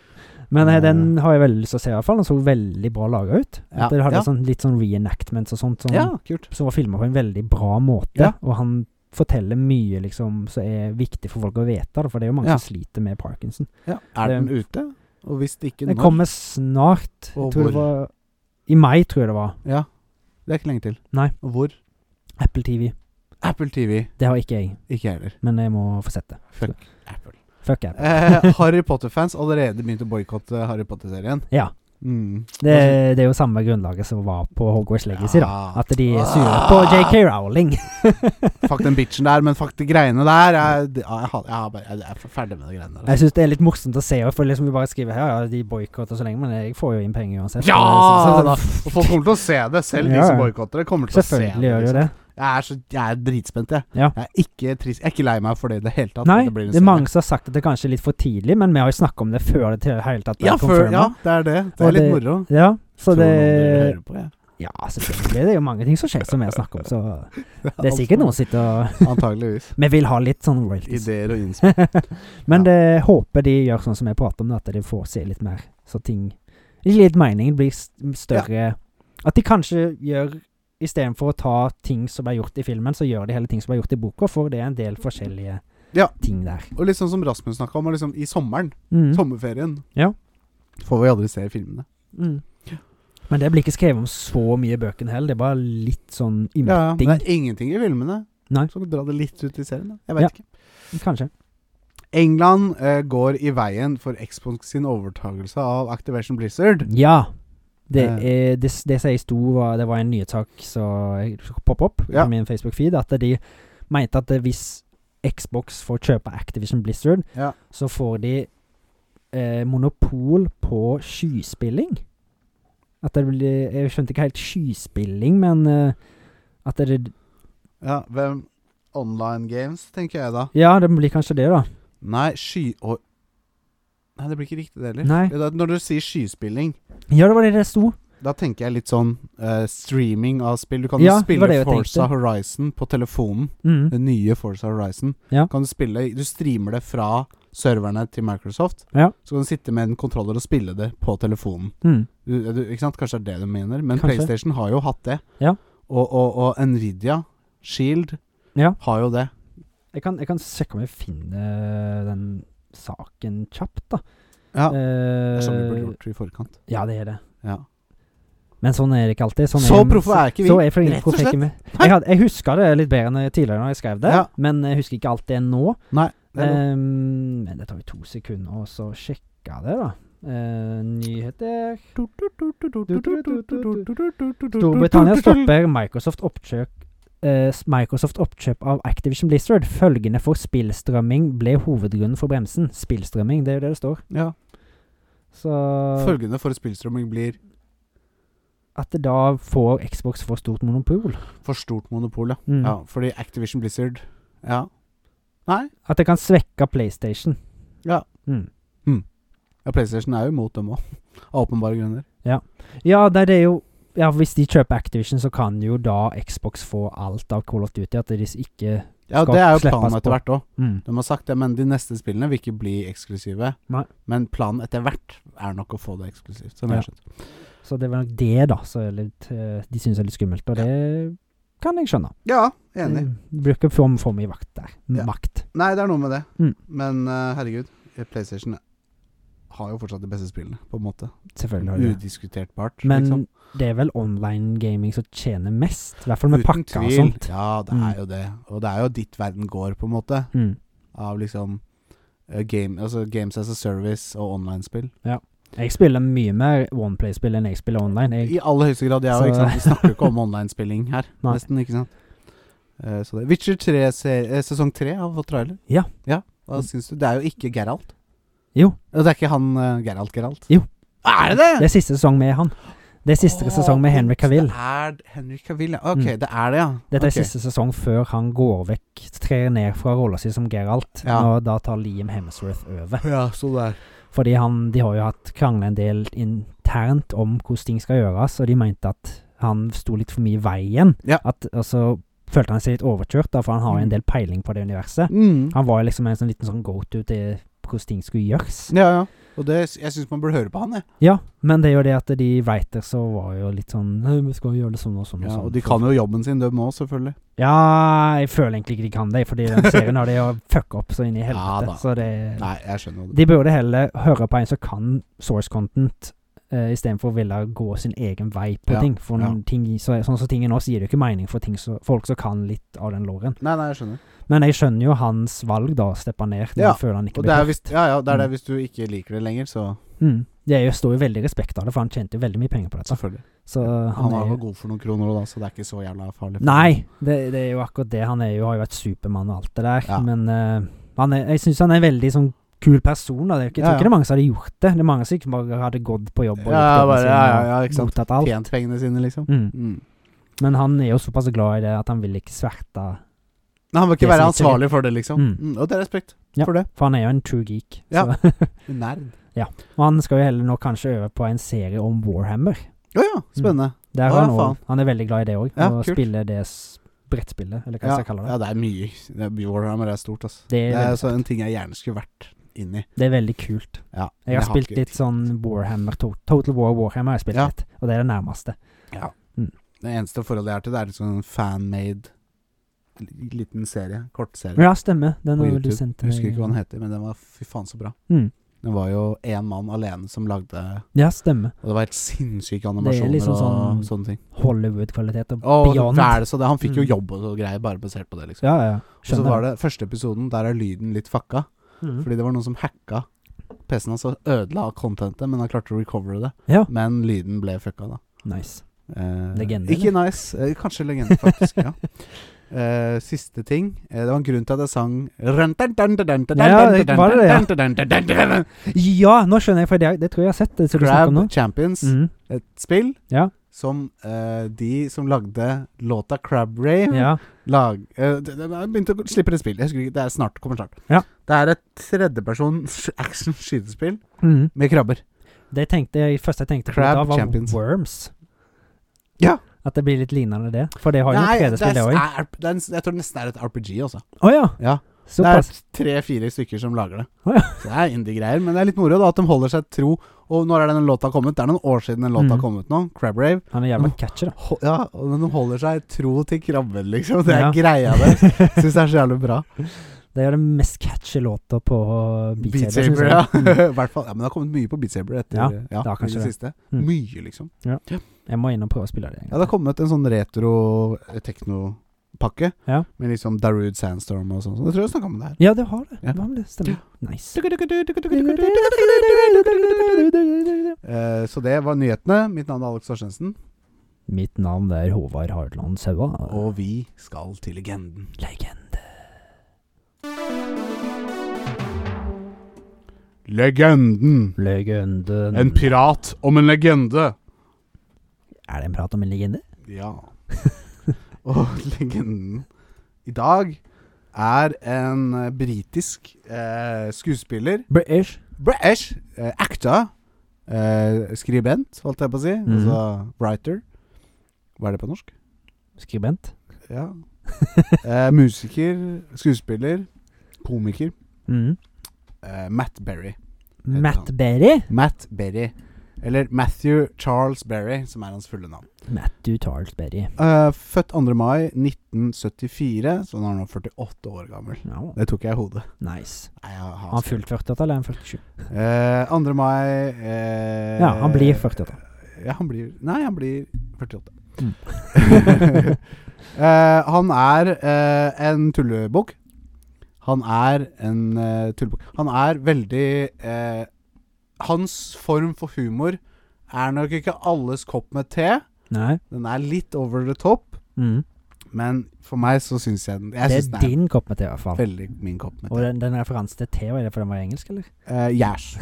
B: Men eh, den har jeg veldig lyst til å se, i hvert fall. Den så veldig bra laga ut.
A: Ja,
B: At det hadde
A: ja.
B: sånn, litt sånn reenactments og sånt. Sånn,
A: Ja, kult.
B: som var filma på en veldig bra måte.
A: Ja.
B: Og han forteller mye liksom som er viktig for folk å vite, da, for det er jo mange
A: Ja.
B: som sliter med parkinson.
A: Ja. Er den ute? Og hvis ikke,
B: Den
A: når?
B: kommer snart.
A: Og
B: Jeg tror det
A: hvor?
B: var I mai, tror jeg det var.
A: Ja. Det er ikke lenge til.
B: Nei.
A: Og hvor?
B: Apple TV.
A: Apple TV.
B: Det har ikke jeg,
A: Ikke jeg heller.
B: men jeg må få sett det.
A: Fuck Apple.
B: Fuck Apple.
A: (laughs) Eh, Harry Potter-fans allerede begynt å boikotte Harry Potter-serien.
B: Ja.
A: Mm.
B: Det, det er jo samme grunnlaget som var på Hogwarts Legacy, da.
A: Ja. Ah.
B: At de er sure på JK Rowling.
A: Fuck den bitchen der, men fuck de greiene der. Jeg, jeg, jeg, jeg, jeg, jeg er ferdig med de greiene der.
B: Jeg syns det er litt morsomt å se, for liksom vi bare skriver her, ja, de boikotter så lenge, men jeg får jo inn penger uansett.
A: Ja!
B: Så- liksom så-
A: da. Og folk kommer til å se det, selv de
B: Ja,
A: som
B: ja.
A: boikotter det. kommer til å se det.
B: sånn, (laughs) Selvfølgelig gjør de jo
A: liksom.
B: det.
A: Jeg er, så, jeg er dritspent, jeg.
B: Ja.
A: Jeg, er ikke trist. jeg er ikke lei meg for det i det hele tatt.
B: Nei,
A: at blir
B: det,
A: en
B: er
A: serie.
B: mange som har sagt at det er kanskje litt for tidlig, men vi har jo snakka om det før det til hele tatt ble
A: Ja, før,
B: confirmed.
A: ja, det er det. Det
B: Og
A: er litt
B: det-
A: moro.
B: ja, så
A: Tror
B: det
A: noen vil høre på, jeg.
B: Ja, selvfølgelig. Det er jo mange ting som skjer som vi har
A: (laughs)
B: snakket om, så det er sikkert noen som sitter og
A: Antageligvis.
B: Vi vil ha litt sånn royalties.
A: Ideer og innspill. Ja.
B: men det håper de gjør sånn som jeg prater om, at de får se litt mer, så ting Litt meningen blir s- større At de kanskje gjør Istedenfor å ta ting som ble gjort i filmen, så gjør de heller ting som ble gjort i boka, for det er en del forskjellige
A: Ja.
B: ting der.
A: Og litt sånn som Rasmus snakka om, og liksom i sommeren.
B: Mm.
A: Sommerferien.
B: Ja.
A: Får vi aldri se i filmene.
B: Mm. Men det blir ikke skrevet om så mye i bøkene heller. Det er bare litt sånn
A: Ja, ja.
B: ymting,
A: Men det er ingenting i filmene.
B: Nei.
A: Så dra det litt ut i serien, da. Jeg vet
B: Ja.
A: ikke.
B: kanskje.
A: England eh, går i veien for Xbox sin overtagelse av Activation Blizzard.
B: Ja. Det,
A: Eh.
B: er, det, s- det som jeg sto var, Det var en nyhetssak som poppet opp
A: Ja.
B: på min Facebook-feed, at de mente at hvis Xbox får kjøpe Activision Blizzard,
A: Ja.
B: så får de eh, monopol på skyspilling. At det blir Jeg skjønte ikke helt skyspilling, men eh, at det
A: Ja, hvem Online games, tenker jeg da.
B: Ja, det blir kanskje det, da.
A: Nei, sky... Å, nei, det blir ikke riktig det heller.
B: Nei.
A: Det er da- Når du sier skyspilling,
B: Ja, det var det det sto.
A: da tenker jeg litt sånn eh, streaming av spill. Du kan
B: Ja,
A: jo
B: det var
A: spille
B: det jeg
A: Forza
B: tenkte.
A: Horizon på telefonen.
B: Mm.
A: Det nye Forza Horizon.
B: Ja.
A: Kan du spille Du streamer det fra serverne til Microsoft.
B: Ja.
A: Så kan du sitte med en kontroller og spille det på telefonen.
B: Mm.
A: Du, du, ikke sant? Kanskje det er det du mener, men
B: Kanskje.
A: PlayStation har jo hatt det.
B: Ja.
A: Og, og, og Nvidia, Shield,
B: Ja.
A: har jo det.
B: Jeg kan, jeg kan sjekke om jeg finner eh, den saken kjapt, da.
A: Ja. Det
B: Eh,
A: er sånn vi burde gjort i forkant.
B: ja, det er det.
A: Ja.
B: Men sånn er det ikke alltid. Sånn
A: Så proffe er ikke vi,
B: Så er for-
A: rett og
B: proffe er ikke
A: slett.
B: vi.
A: Nei.
B: Jeg, hadde, jeg huska det litt bedre enn jeg tidligere når jeg skrev det,
A: Ja.
B: men jeg husker ikke alt det nå.
A: Nei. Det er noe.
B: Ehm, men det tar jo to sekunder å så sjekke det, da. Eh, nyheter Storbritannia stopper Microsoft oppkjøp eh, s- Microsoft oppkjøp av Activision Blizzard. Følgende for spillstrømming ble hovedgrunnen for bremsen. Spillstrømming, det er jo det det står.
A: ja.
B: Så
A: Følgende for spillstrømming blir
B: at det da får Xbox for stort monopol.
A: for stort monopol, ja.
B: Mm.
A: ja. Fordi Activision Blizzard Ja.
B: At det kan svekke PlayStation.
A: Ja.
B: Mm.
A: ja PlayStation er jo imot dem òg, (laughs) av åpenbare grunner.
B: Ja, nei, det er jo ja, Hvis de kjøper Activision, så kan jo da Xbox få alt av Call of Duty. At de ikke
A: Ja,
B: Skal
A: det er jo
B: slippes
A: planen
B: på.
A: etter hvert òg.
B: mm.
A: De har sagt det, men de neste spillene vil ikke bli eksklusive.
B: Nei.
A: Men planen etter hvert er nok å få det eksklusivt. Som jeg
B: Ja.
A: har skjønt.
B: Så det er vel nok det, da, som er litt, eh, de syns er litt skummelt. Og det kan jeg skjønne.
A: Ja, enig.
B: Det blir ikke for, for mye vakt der.
A: Ja.
B: Makt.
A: Nei, det er noe med det.
B: Mm.
A: Men eh, herregud, PlayStation har jo fortsatt de beste spillene, på en måte.
B: Selvfølgelig. har det.
A: Udiskutertbart.
B: Men
A: liksom.
B: det er vel online gaming som tjener mest? I hvert fall med
A: Uten
B: pakker og sånt.
A: Ja, det
B: Mm.
A: er jo det. Og det er jo dit verden går, på en måte.
B: Mm.
A: Av liksom eh, game, altså Games as a service og online-spill.
B: Jeg spiller mye mer OnePlay-spill enn jeg spiller online. Jeg,
A: I aller høyeste grad, jeg
B: Så-
A: òg. ikke sant? Vi snakker jo ikke om online-spilling her,
B: (laughs) Nei.
A: nesten. ikke sant? Eh, så det. Witcher 3 ser, eh, sesong 3 har fått trailer.
B: Ja.
A: Hva syns du? Det er jo ikke Geralt.
B: Jo.
A: Og det er ikke han eh, Geralt Geralt.
B: Jo.
A: Er det det?!
B: det er siste sesong med han. Det er siste
A: Å,
B: sesong med Henry Cavill.
A: Det er Henry Cavill, ja. Ok,
B: Mm.
A: det er det, ja.
B: Dette er
A: Ok.
B: siste sesong før han går vekk, trer ned fra rolla si som Geralt.
A: Ja.
B: Og da tar Liam Hemsworth over.
A: (laughs) Ja, så der.
B: Fordi han, de har jo hatt krangla en del internt om hvordan ting skal gjøres, og de mente at han sto litt for mye i veien.
A: Ja.
B: At, og så følte han seg litt overkjørt, da, for han har jo
A: Mm.
B: en del peiling på det
A: (laughs)
B: universet.
A: Mm.
B: Han var jo liksom en sånn liten sånn go-to til hvordan ting skulle gjøres.
A: Ja, ja. Og det, jeg syns man burde høre på han, jeg.
B: Ja, men det er jo det at de writers så var jo litt sånn «Nei, Vi skal gjøre det sånn og sånn og
A: Ja,
B: sånn.
A: og de kan jo jobben sin, de òg, selvfølgelig.
B: Ja, jeg føler egentlig ikke de kan det, fordi den serien har de jo fucka opp så inn
A: (laughs)
B: i
A: Ja,
B: helvete.
A: da.
B: så det
A: Nei, jeg skjønner det.
B: De burde heller høre på en som kan source content, eh, istedenfor å ville gå sin egen vei på
A: Ja,
B: ting. For
A: ja.
B: noen ting så, sånn som ting er nå, så gir det jo ikke mening for ting så, folk som kan litt av den loren.
A: Nei, nei, jeg skjønner.
B: Men jeg skjønner jo hans valg, da, å steppe ned når
A: Ja,
B: han føler han ikke
A: Og det er
B: blir
A: hvis, ja, ja, det er det
B: Mm.
A: hvis du ikke liker det lenger, så
B: Mm. Det er jo, står jo veldig respekt av det, for han tjente jo veldig mye penger på dette.
A: Selvfølgelig.
B: Så
A: Han
B: han,
A: var
B: er
A: jo
B: jo
A: god for noen kroner òg, da, så det er ikke så jævla farlig.
B: Nei, det, det er jo akkurat det. Han er jo, har jo vært Supermann og alt det der,
A: Ja.
B: men eh, han er, jeg syns han er en veldig sånn kul person. Da. Det er jo ikke, jeg
A: Ja,
B: tror
A: ja.
B: ikke det er mange som hadde gjort det. Det er mange som ikke bare hadde gått på jobb
A: Ja,
B: og gjort jobben
A: bare,
B: sin
A: ja, ja,
B: og
A: ja, ikke sant.
B: mottatt alt.
A: Tjent pengene sine, liksom.
B: Mm.
A: Mm.
B: Men han er jo såpass glad i det at han vil ikke sverte.
A: Nei, han må
B: Det
A: ikke være
B: som ikke-
A: ansvarlig for det, liksom.
B: Mm.
A: Mm. Og det er respekt
B: Ja.
A: for det.
B: For han er jo en true geek.
A: Ja.
B: Så, (laughs)
A: Nerd.
B: og han skal jo heller nå kanskje øve på en serie om Warhammer.
A: Å ja, spennende.
B: Der har
A: Å,
B: han,
A: ja,
B: også, han er veldig glad i det òg.
A: Ja,
B: og
A: kult.
B: spiller det s- brettspillet, eller hva
A: Ja.
B: skal jeg kalle det.
A: ja, det er mye. Det er, Warhammer er stort, altså.
B: Det er,
A: Det er
B: veldig,
A: altså en ting jeg gjerne skulle vært inni.
B: det er veldig kult.
A: Ja, men
B: Jeg har spilt
A: ikke
B: litt
A: tid.
B: sånn Warhammer, to, Total War Warhammer har jeg spilt
A: Ja.
B: litt, og det er det nærmeste.
A: Det eneste forholdet jeg har til det, er litt sånn fan-made l- liten serie. Kortserie.
B: Ja, stemmer. Den
A: på
B: har vel du
A: YouTube.
B: sendt
A: Jeg husker ikke hva den heter, men den var fy faen så bra.
B: Mm.
A: Den var jo én mann alene som lagde
B: Ja, stemmer.
A: Og det var helt sinnssyke animasjoner
B: liksom
A: og
B: sånn-
A: sånne ting.
B: Hollywood-kvalitet og
A: Og
B: beyond.
A: hva er det så det? Han fikk jo
B: Mm.
A: jobb og greier bare basert på det, liksom.
B: Ja, ja.
A: og så
B: Skjønner.
A: var det første episoden, der er lyden litt fucka.
B: Mm.
A: Fordi det var noen som hacka PC-en hans og ødela contentet, men han klarte å recovere det.
B: Ja.
A: Men lyden ble fucka, da.
B: Nice.
A: Eh,
B: Legende,
A: Ikke nice. Eh, kanskje legende, faktisk. ja.
B: (laughs)
A: Eh, siste ting eh, Det var en grunn til at jeg sang
B: Ja, det- var det det, ja?
A: Grab
B: Ja, nå skjønner jeg, for det, det tror jeg jeg har sett. Det som du snakker om nå.
A: Champions.
B: Mm.
A: Et spill
B: Ja.
A: som eh, de som lagde låta Crab Rave
B: Mm, Ja.
A: lag, eh, de, de har begynt å slippe et spill. Jeg husker ikke, Det er snart, kommer snart.
B: Ja.
A: Det er et tredjeperson (laughs) sh- action-skytespill
B: Mm.
A: med krabber.
B: Det tenkte jeg, første jeg tenkte på
A: Crab
B: da, var
A: Champions.
B: Worms.
A: Ja.
B: At det blir litt lignende det. For det har jo
A: Nei,
B: et
A: det er,
B: PD-spill, det òg.
A: er- det er en- jeg tror det nesten er et RPG, altså.
B: Å ja.
A: Ja.
B: Såpass.
A: Det er tre-fire stykker som lager det.
B: Å, ja.
A: Så det er indie-greier. Men det er litt moro da at de holder seg tro. Og når er den låta kommet? Det er noen år siden den låta
B: Mm.
A: kom ut nå. Crab Rave.
B: Han er jævla catchy, da.
A: Ho ja, og men de holder seg tro til krabben, liksom. Det er
B: Ja.
A: greia
B: (laughs)
A: der. Syns det er så jævlig bra.
B: Det er jo den mest catchy låta på Beat
A: Beat
B: Saber. synes
A: Saber,
B: jeg.
A: ja. (laughs)
B: Mm.
A: I hvert fall. Ja, men det har kommet mye på Beat Saber etter ja,
B: Ja,
A: ja,
B: det har
A: i
B: kanskje
A: det
B: det.
A: siste.
B: Mm.
A: Mye, liksom.
B: Jeg må inn og prøve å spille det. en
A: Ja,
B: gang.
A: det har kommet en sånn retro eh, teknopakke
B: Ja.
A: med liksom Darude Sandstorm og sånn. Det tror jeg jeg snakka om det her.
B: Ja, det har det.
A: Ja.
B: Hva om det stemmer? Nice.
A: Eh, så det var nyhetene. Mitt navn er Alex Torstensen.
B: Mitt navn er Håvard Hardland Saua.
A: Og vi skal til legenden.
B: Legende.
A: Legenden.
B: Legenden.
A: pirat om en legende.
B: er det en prat om en legende?
A: Ja. Og legenden i dag er en eh, britisk eh, skuespiller
B: British.
A: British eh, actor. Eh, skribent, holdt jeg på å si.
B: Mhm.
A: Altså writer. Hva er det på norsk?
B: Skribent.
A: Ja. (laughs) Eh, musiker, skuespiller, komiker.
B: Mm.
A: Eh, Matt Berry.
B: Matt Berry.
A: Matt Berry. Eller Matthew Charles Berry, som er hans fulle navn.
B: Matthew Tarlsberry.
A: Eh, født 2. mai 1974, så han er nå 48 år gammel.
B: Ja,
A: Det tok jeg i hodet.
B: nice.
A: Nei, jeg har-
B: Har han fullt 48, eller er han 47?
A: Eh, 2. mai eh,
B: Ja, han blir 48.
A: Ja, han blir Nei, han blir 48.
B: Mm.
A: (laughs) Eh, han er eh, en tullebukk. Han er en eh, tullebukk. Han er veldig eh, Hans form for humor er nok ikke alles kopp med te.
B: Nei.
A: Den er litt over the top,
B: Mm.
A: men for meg så syns jeg den Jeg
B: Det
A: syns
B: er
A: den
B: din kopp med te, i hvert
A: er
B: fall.
A: veldig min kopp med te.
B: Og den, den referansen til te, var det fordi den var engelsk,
A: (laughs)
B: eller?
A: Eh, yes.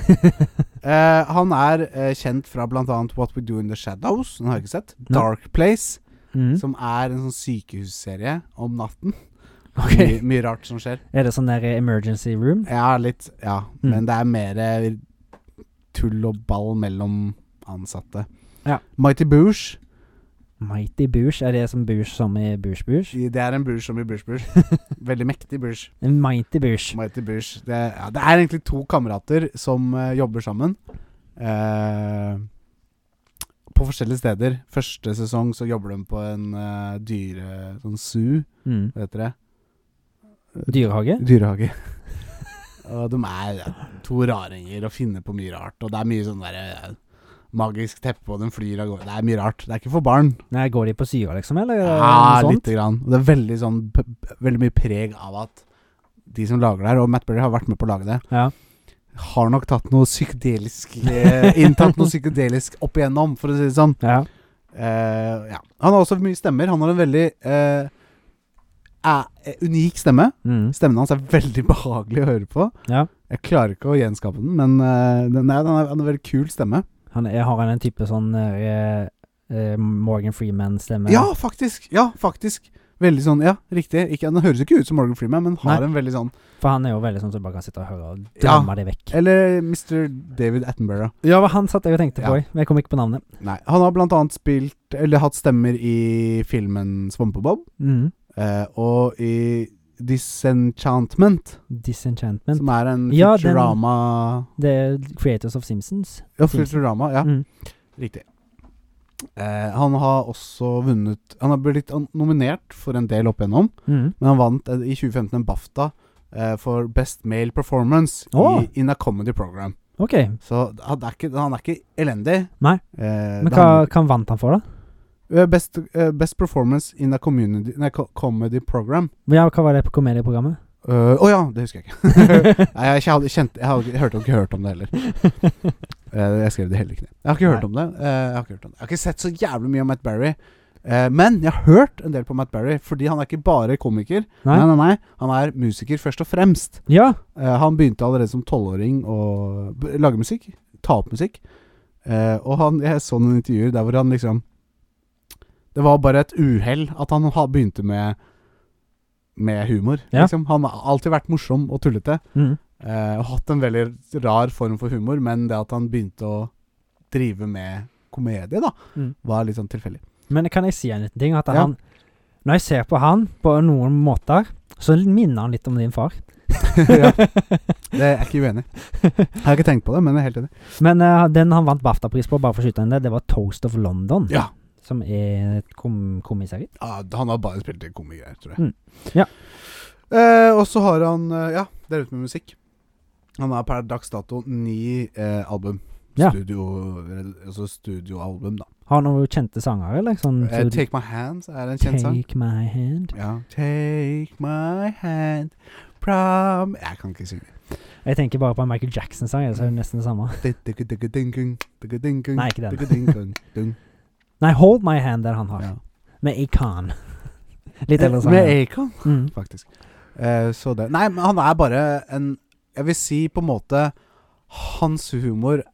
A: Eh, han er eh, kjent fra bl.a. What We Do In The Shadows, den har jeg ikke sett.
B: Nei.
A: Dark Place,
B: Mm.
A: som er en sånn sykehusserie om natten.
B: (laughs) Ok.
A: Mye, mye rart som skjer.
B: Er det sånn der emergency room?
A: Ja, litt. Ja.
B: Mm.
A: Men det er mer eh, tull og ball mellom ansatte.
B: Ja.
A: Mighty Boosh.
B: Mighty Boosh, er det som Boosh som i Boosh Boosh?
A: Det er en Boosh som blir
B: (laughs)
A: Boosh-Boosh. Veldig mektig Boosh.
B: En Mighty Boosh.
A: Mighty Boosh. Det, ja, det er egentlig to kamerater som eh, jobber sammen. Eh, på forskjellige steder. Første sesong så jobber de på en eh, dyre... Sånn zoo,
B: Mm.
A: hva heter det?
B: Dyrehage?
A: Dyrehage. og de er ja, to raringer og finner på mye rart. Og det er mye sånn der eh, magisk teppe, og de flyr av gårde. Det er mye rart. Det er ikke for barn.
B: Nei, går de på syre, liksom, eller eh,
A: Ja,
B: noe sånt?
A: lite grann. Og det er veldig, sånn, p- p- veldig mye preg av at de som lager det her, og Matt Berry har vært med på å lage det,
B: Ja.
A: har nok tatt noe
B: (laughs)
A: psykedelisk eh, Inntatt noe psykedelisk opp igjennom, for å si det sånn.
B: Ja.
A: Eh, ja. Han har også mye stemmer. Han har en veldig eh, æ- eh, unik stemme.
B: Mm.
A: Stemmen hans er veldig (laughs) behagelig å høre på.
B: ja.
A: Jeg klarer ikke å gjenskape den, men eh, den, er, den, er, den er en veldig kul stemme.
B: Han er, har han en type sånn eh, eh, Morgan Freeman-stemme?
A: Ja, faktisk! Ja, faktisk. Veldig sånn, ja, riktig. Ikke, den høres ikke ut som Morgan Freeman, men har
B: Nei.
A: en veldig sånn
B: For han er jo veldig sånn som bare kan sitte og høre og
A: Ja.
B: drømme det vekk.
A: Eller Mr. David Attenborough.
B: Ja, men han satt jeg og tenkte
A: Ja.
B: på òg, men jeg kom ikke på navnet.
A: Nei, han har blant annet spilt Eller hatt stemmer i filmen Svampebob
B: Mm.
A: eh, og i Disenchantment,
B: Disenchantment.
A: som er en
B: Ja, den-
A: Futurama
B: Det er Creators of Simpsons.
A: Ja, Futurama, ja.
B: Mm.
A: Riktig. Eh, han har også vunnet Han har blitt an- nominert for en del opp igjennom, men
B: Mm.
A: han vant eh, i 2015 en BAFTA eh, for Best Male Performance
B: Åh.
A: i, in a Comedy Program.
B: OK.
A: Så han er ikke, han er ikke elendig.
B: Nei.
A: Eh,
B: Men
A: det handler-
B: hva, hva vant han for, da?
A: Eh, Best, eh, best performance in a community, nei, co- comedy program.
B: Ja, hva var det på komedieprogrammet?
A: Eh, Å ja, det husker jeg ikke. (laughs) Nei, jeg, hadde kjent, jeg, hadde, ikke- hørte ikke hørt om det heller. Eh, jeg skrev det heller ikke ned. Jeg har ikke hørt
B: Nei.
A: om det. Eh, jeg, har ikke hørt om det. jeg har ikke sett så jævlig mye om Matt Berry. Eh, men jeg har hørt en del på Matt Berry, fordi han er ikke bare komiker.
B: (laughs) Nei?
A: Nei, nei, nei. Han er musiker først og fremst.
B: Ja.
A: Eh, han begynte allerede som tolvåring å b- lage musikk. Ta opp musikk. Eh, og han, jeg så noen intervjuer der hvor han liksom Det var bare et uhell at han ha, begynte med Med humor.
B: Ja.
A: Liksom. Han har alltid vært morsom og tullete.
B: Mm.
A: eh, og hatt en veldig rar form for humor, men det at han begynte å drive med komedie, da,
B: Mm.
A: var litt sånn tilfeldig. (laughs)
B: Men kan jeg si en liten ting? At
A: Ja.
B: han, når jeg ser på han på noen måter, så minner han litt om din far.
A: (laughs) ja, det er jeg ikke uenig i. Jeg har ikke tenkt på det, men jeg er helt enig.
B: (laughs) Men eh, den han vant BAFTA-pris på, bare for å skyte inn det, det var Toast of London.
A: Ja.
B: Som er et kom komiserie.
A: Ja, han har bare spilt i komikere, tror jeg.
B: Mm. Ja.
A: Eh, og så har han eh, Ja, det er ute med musikk. Han har per dags dato ni eh, album.
B: Ja.
A: Studio, altså studioalbum, da.
B: Har han noen kjente sanger, eller? Sånn,
A: Eh,
B: så-
A: Take My Hands er en kjent sang.
B: Take my hand.
A: Ja. Take my hand prom Jeg kan ikke synge.
B: Jeg tenker bare på en Michael Jackson-sang, ellers er det nesten det samme. (laughs) Nei,
A: Nei,
B: ikke den.
A: den.
B: Nei, Hold My Hand er han har.
A: Ja.
B: Med Acon. (laughs) Litt
A: Eh,
B: eldre sang.
A: Med Acon.
B: Mm.
A: faktisk. Eh, så det Nei, men han er bare en Jeg vil si på en måte Hans humor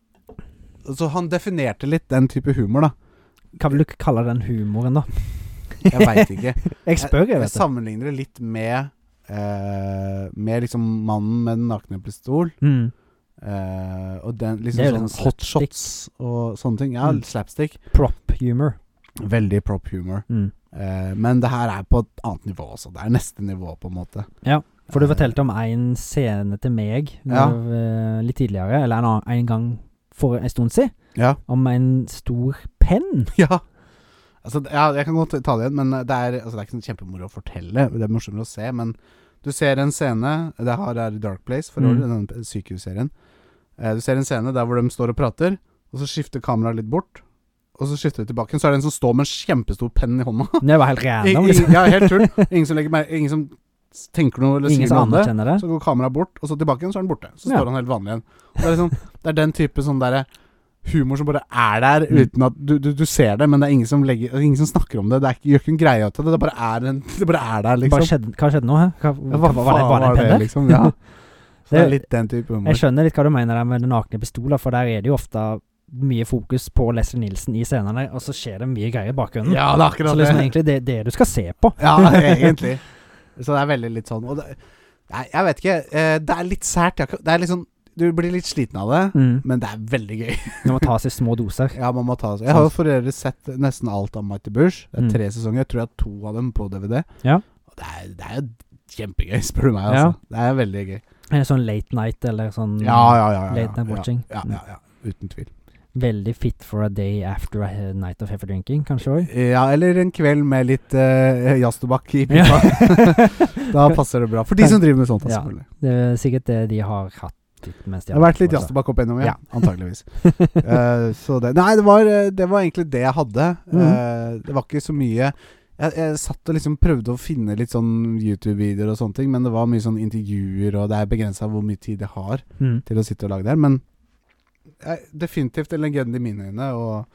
A: Altså, han definerte litt den type humor, da.
B: Hva vil du kalle den humoren, da?
A: Jeg veit ikke.
B: Jeg spør, jeg,
A: Jeg
B: vet du.
A: sammenligner det litt med eh, Med liksom mannen med den nakne pistol.
B: Mm.
A: eh, og den
B: Det
A: liksom
B: er jo
A: sånn
B: liksom
A: hotshots og sånne ting. Ja,
B: Mm.
A: slapstick.
B: Prop humor.
A: Veldig prop humor.
B: Mm.
A: Eh, men det her er på et annet nivå også. Det er neste nivå, på en måte.
B: Ja, For du
A: Eh,
B: fortalte om en scene til meg
A: Ja.
B: når, eh, litt tidligere, eller en, annen- en gang for en stund siden,
A: Ja. (laughs)
B: om en stor penn.
A: ja. Altså, ja, jeg kan godt ta det igjen, men det er, altså, det er ikke sånn kjempemoro å fortelle. Det er morsommere å se, men du ser en scene Det her er i Dark Place, for
B: Mm.
A: øvrig, denne sykehusserien. Eh, du ser en scene der hvor de står og prater, og så skifter kameraet litt bort. Og så skifter det tilbake, så er det en som står med en kjempestor penn i hånda.
B: Det var
A: (laughs)
B: helt
A: I,
B: random.
A: i,
B: Liksom.
A: ja, helt tull. Ingen som, legger mer, ingen som s- tenker noe eller
B: Ingen
A: sier noe
B: som
A: om det.
B: anerkjenner det.
A: Så går kameraet bort, og så tilbake igjen, så er den borte. Så
B: Ja.
A: står han helt vanlig igjen. Og det, er liksom, det er den type sånn derre humor som bare er der,
B: Mm.
A: uten at du, du, du ser det, men det er ingen som, legger, det er ingen som snakker om det. Det er ikke, gjør ikke en greie ut av det. Det bare er, en, det bare er der,
B: Bare
A: liksom.
B: skjedde, hva skjedde nå? Hæ? Hva,
A: Ja,
B: hva, var det bare en penne?
A: liksom? Ja. Så det er
B: Det-
A: litt den type humor.
B: Jeg skjønner litt hva du mener der med den nakne pistolen, for der er det jo ofte mye fokus på Leslie Nilsen i scenene, og så skjer det mye greier i bakgrunnen.
A: Ja, det er
B: så
A: akkurat det.
B: liksom egentlig det, det du skal se på.
A: Ja, egentlig. Så det er veldig litt sånn. Og det, nei, jeg vet ikke. eh, Det er litt sært. jeg har ikke- Det er litt sånn Du blir litt sliten av det,
B: Mm.
A: men det er veldig gøy.
B: Det må tas i små doser.
A: Ja, man må ta seg Jeg har jo for øvrig sett nesten alt av Mighty Bush. Det
B: Sånn. Mm.
A: er tre sesonger. Jeg tror jeg har to av dem på DVD.
B: Ja.
A: Og det er, det er jo kjempegøy, (laughs) spør du meg. Altså. Det er veldig gøy.
B: Eller sånn late night, eller sånn
A: Ja, ja, ja. ja,
B: late
A: ja,
B: night watching. Mm.
A: Ja, ja, ja, ja. Uten tvil.
B: Veldig fit for a day after a he- night of heavy drinking, kanskje
A: (laughs)
B: òg.
A: Ja, eller en kveld med litt uh, jazztobakk i
B: Ja.
A: pipa. (laughs)
B: (laughs)
A: da passer det bra. For de som driver med sånt, da,
B: Ja.
A: selvfølgelig.
B: Det er sikkert det de har hatt litt mens de
A: Det har vært litt
B: vært på,
A: jazztobakk opp gjennom, ja.
B: Ja.
A: Antageligvis. Eh, så det Nei, det var, eh, det var egentlig det jeg hadde. Eh,
B: Mhm.
A: det var ikke så mye jeg, jeg satt og liksom prøvde å finne litt sånn YouTube-videoer og sånne ting, men det var mye sånn intervjuer, og det er begrensa hvor mye tid jeg har
B: så. (laughs) Mm.
A: til å sitte og lage det her. Men jeg, definitivt en legende i mine øyne, og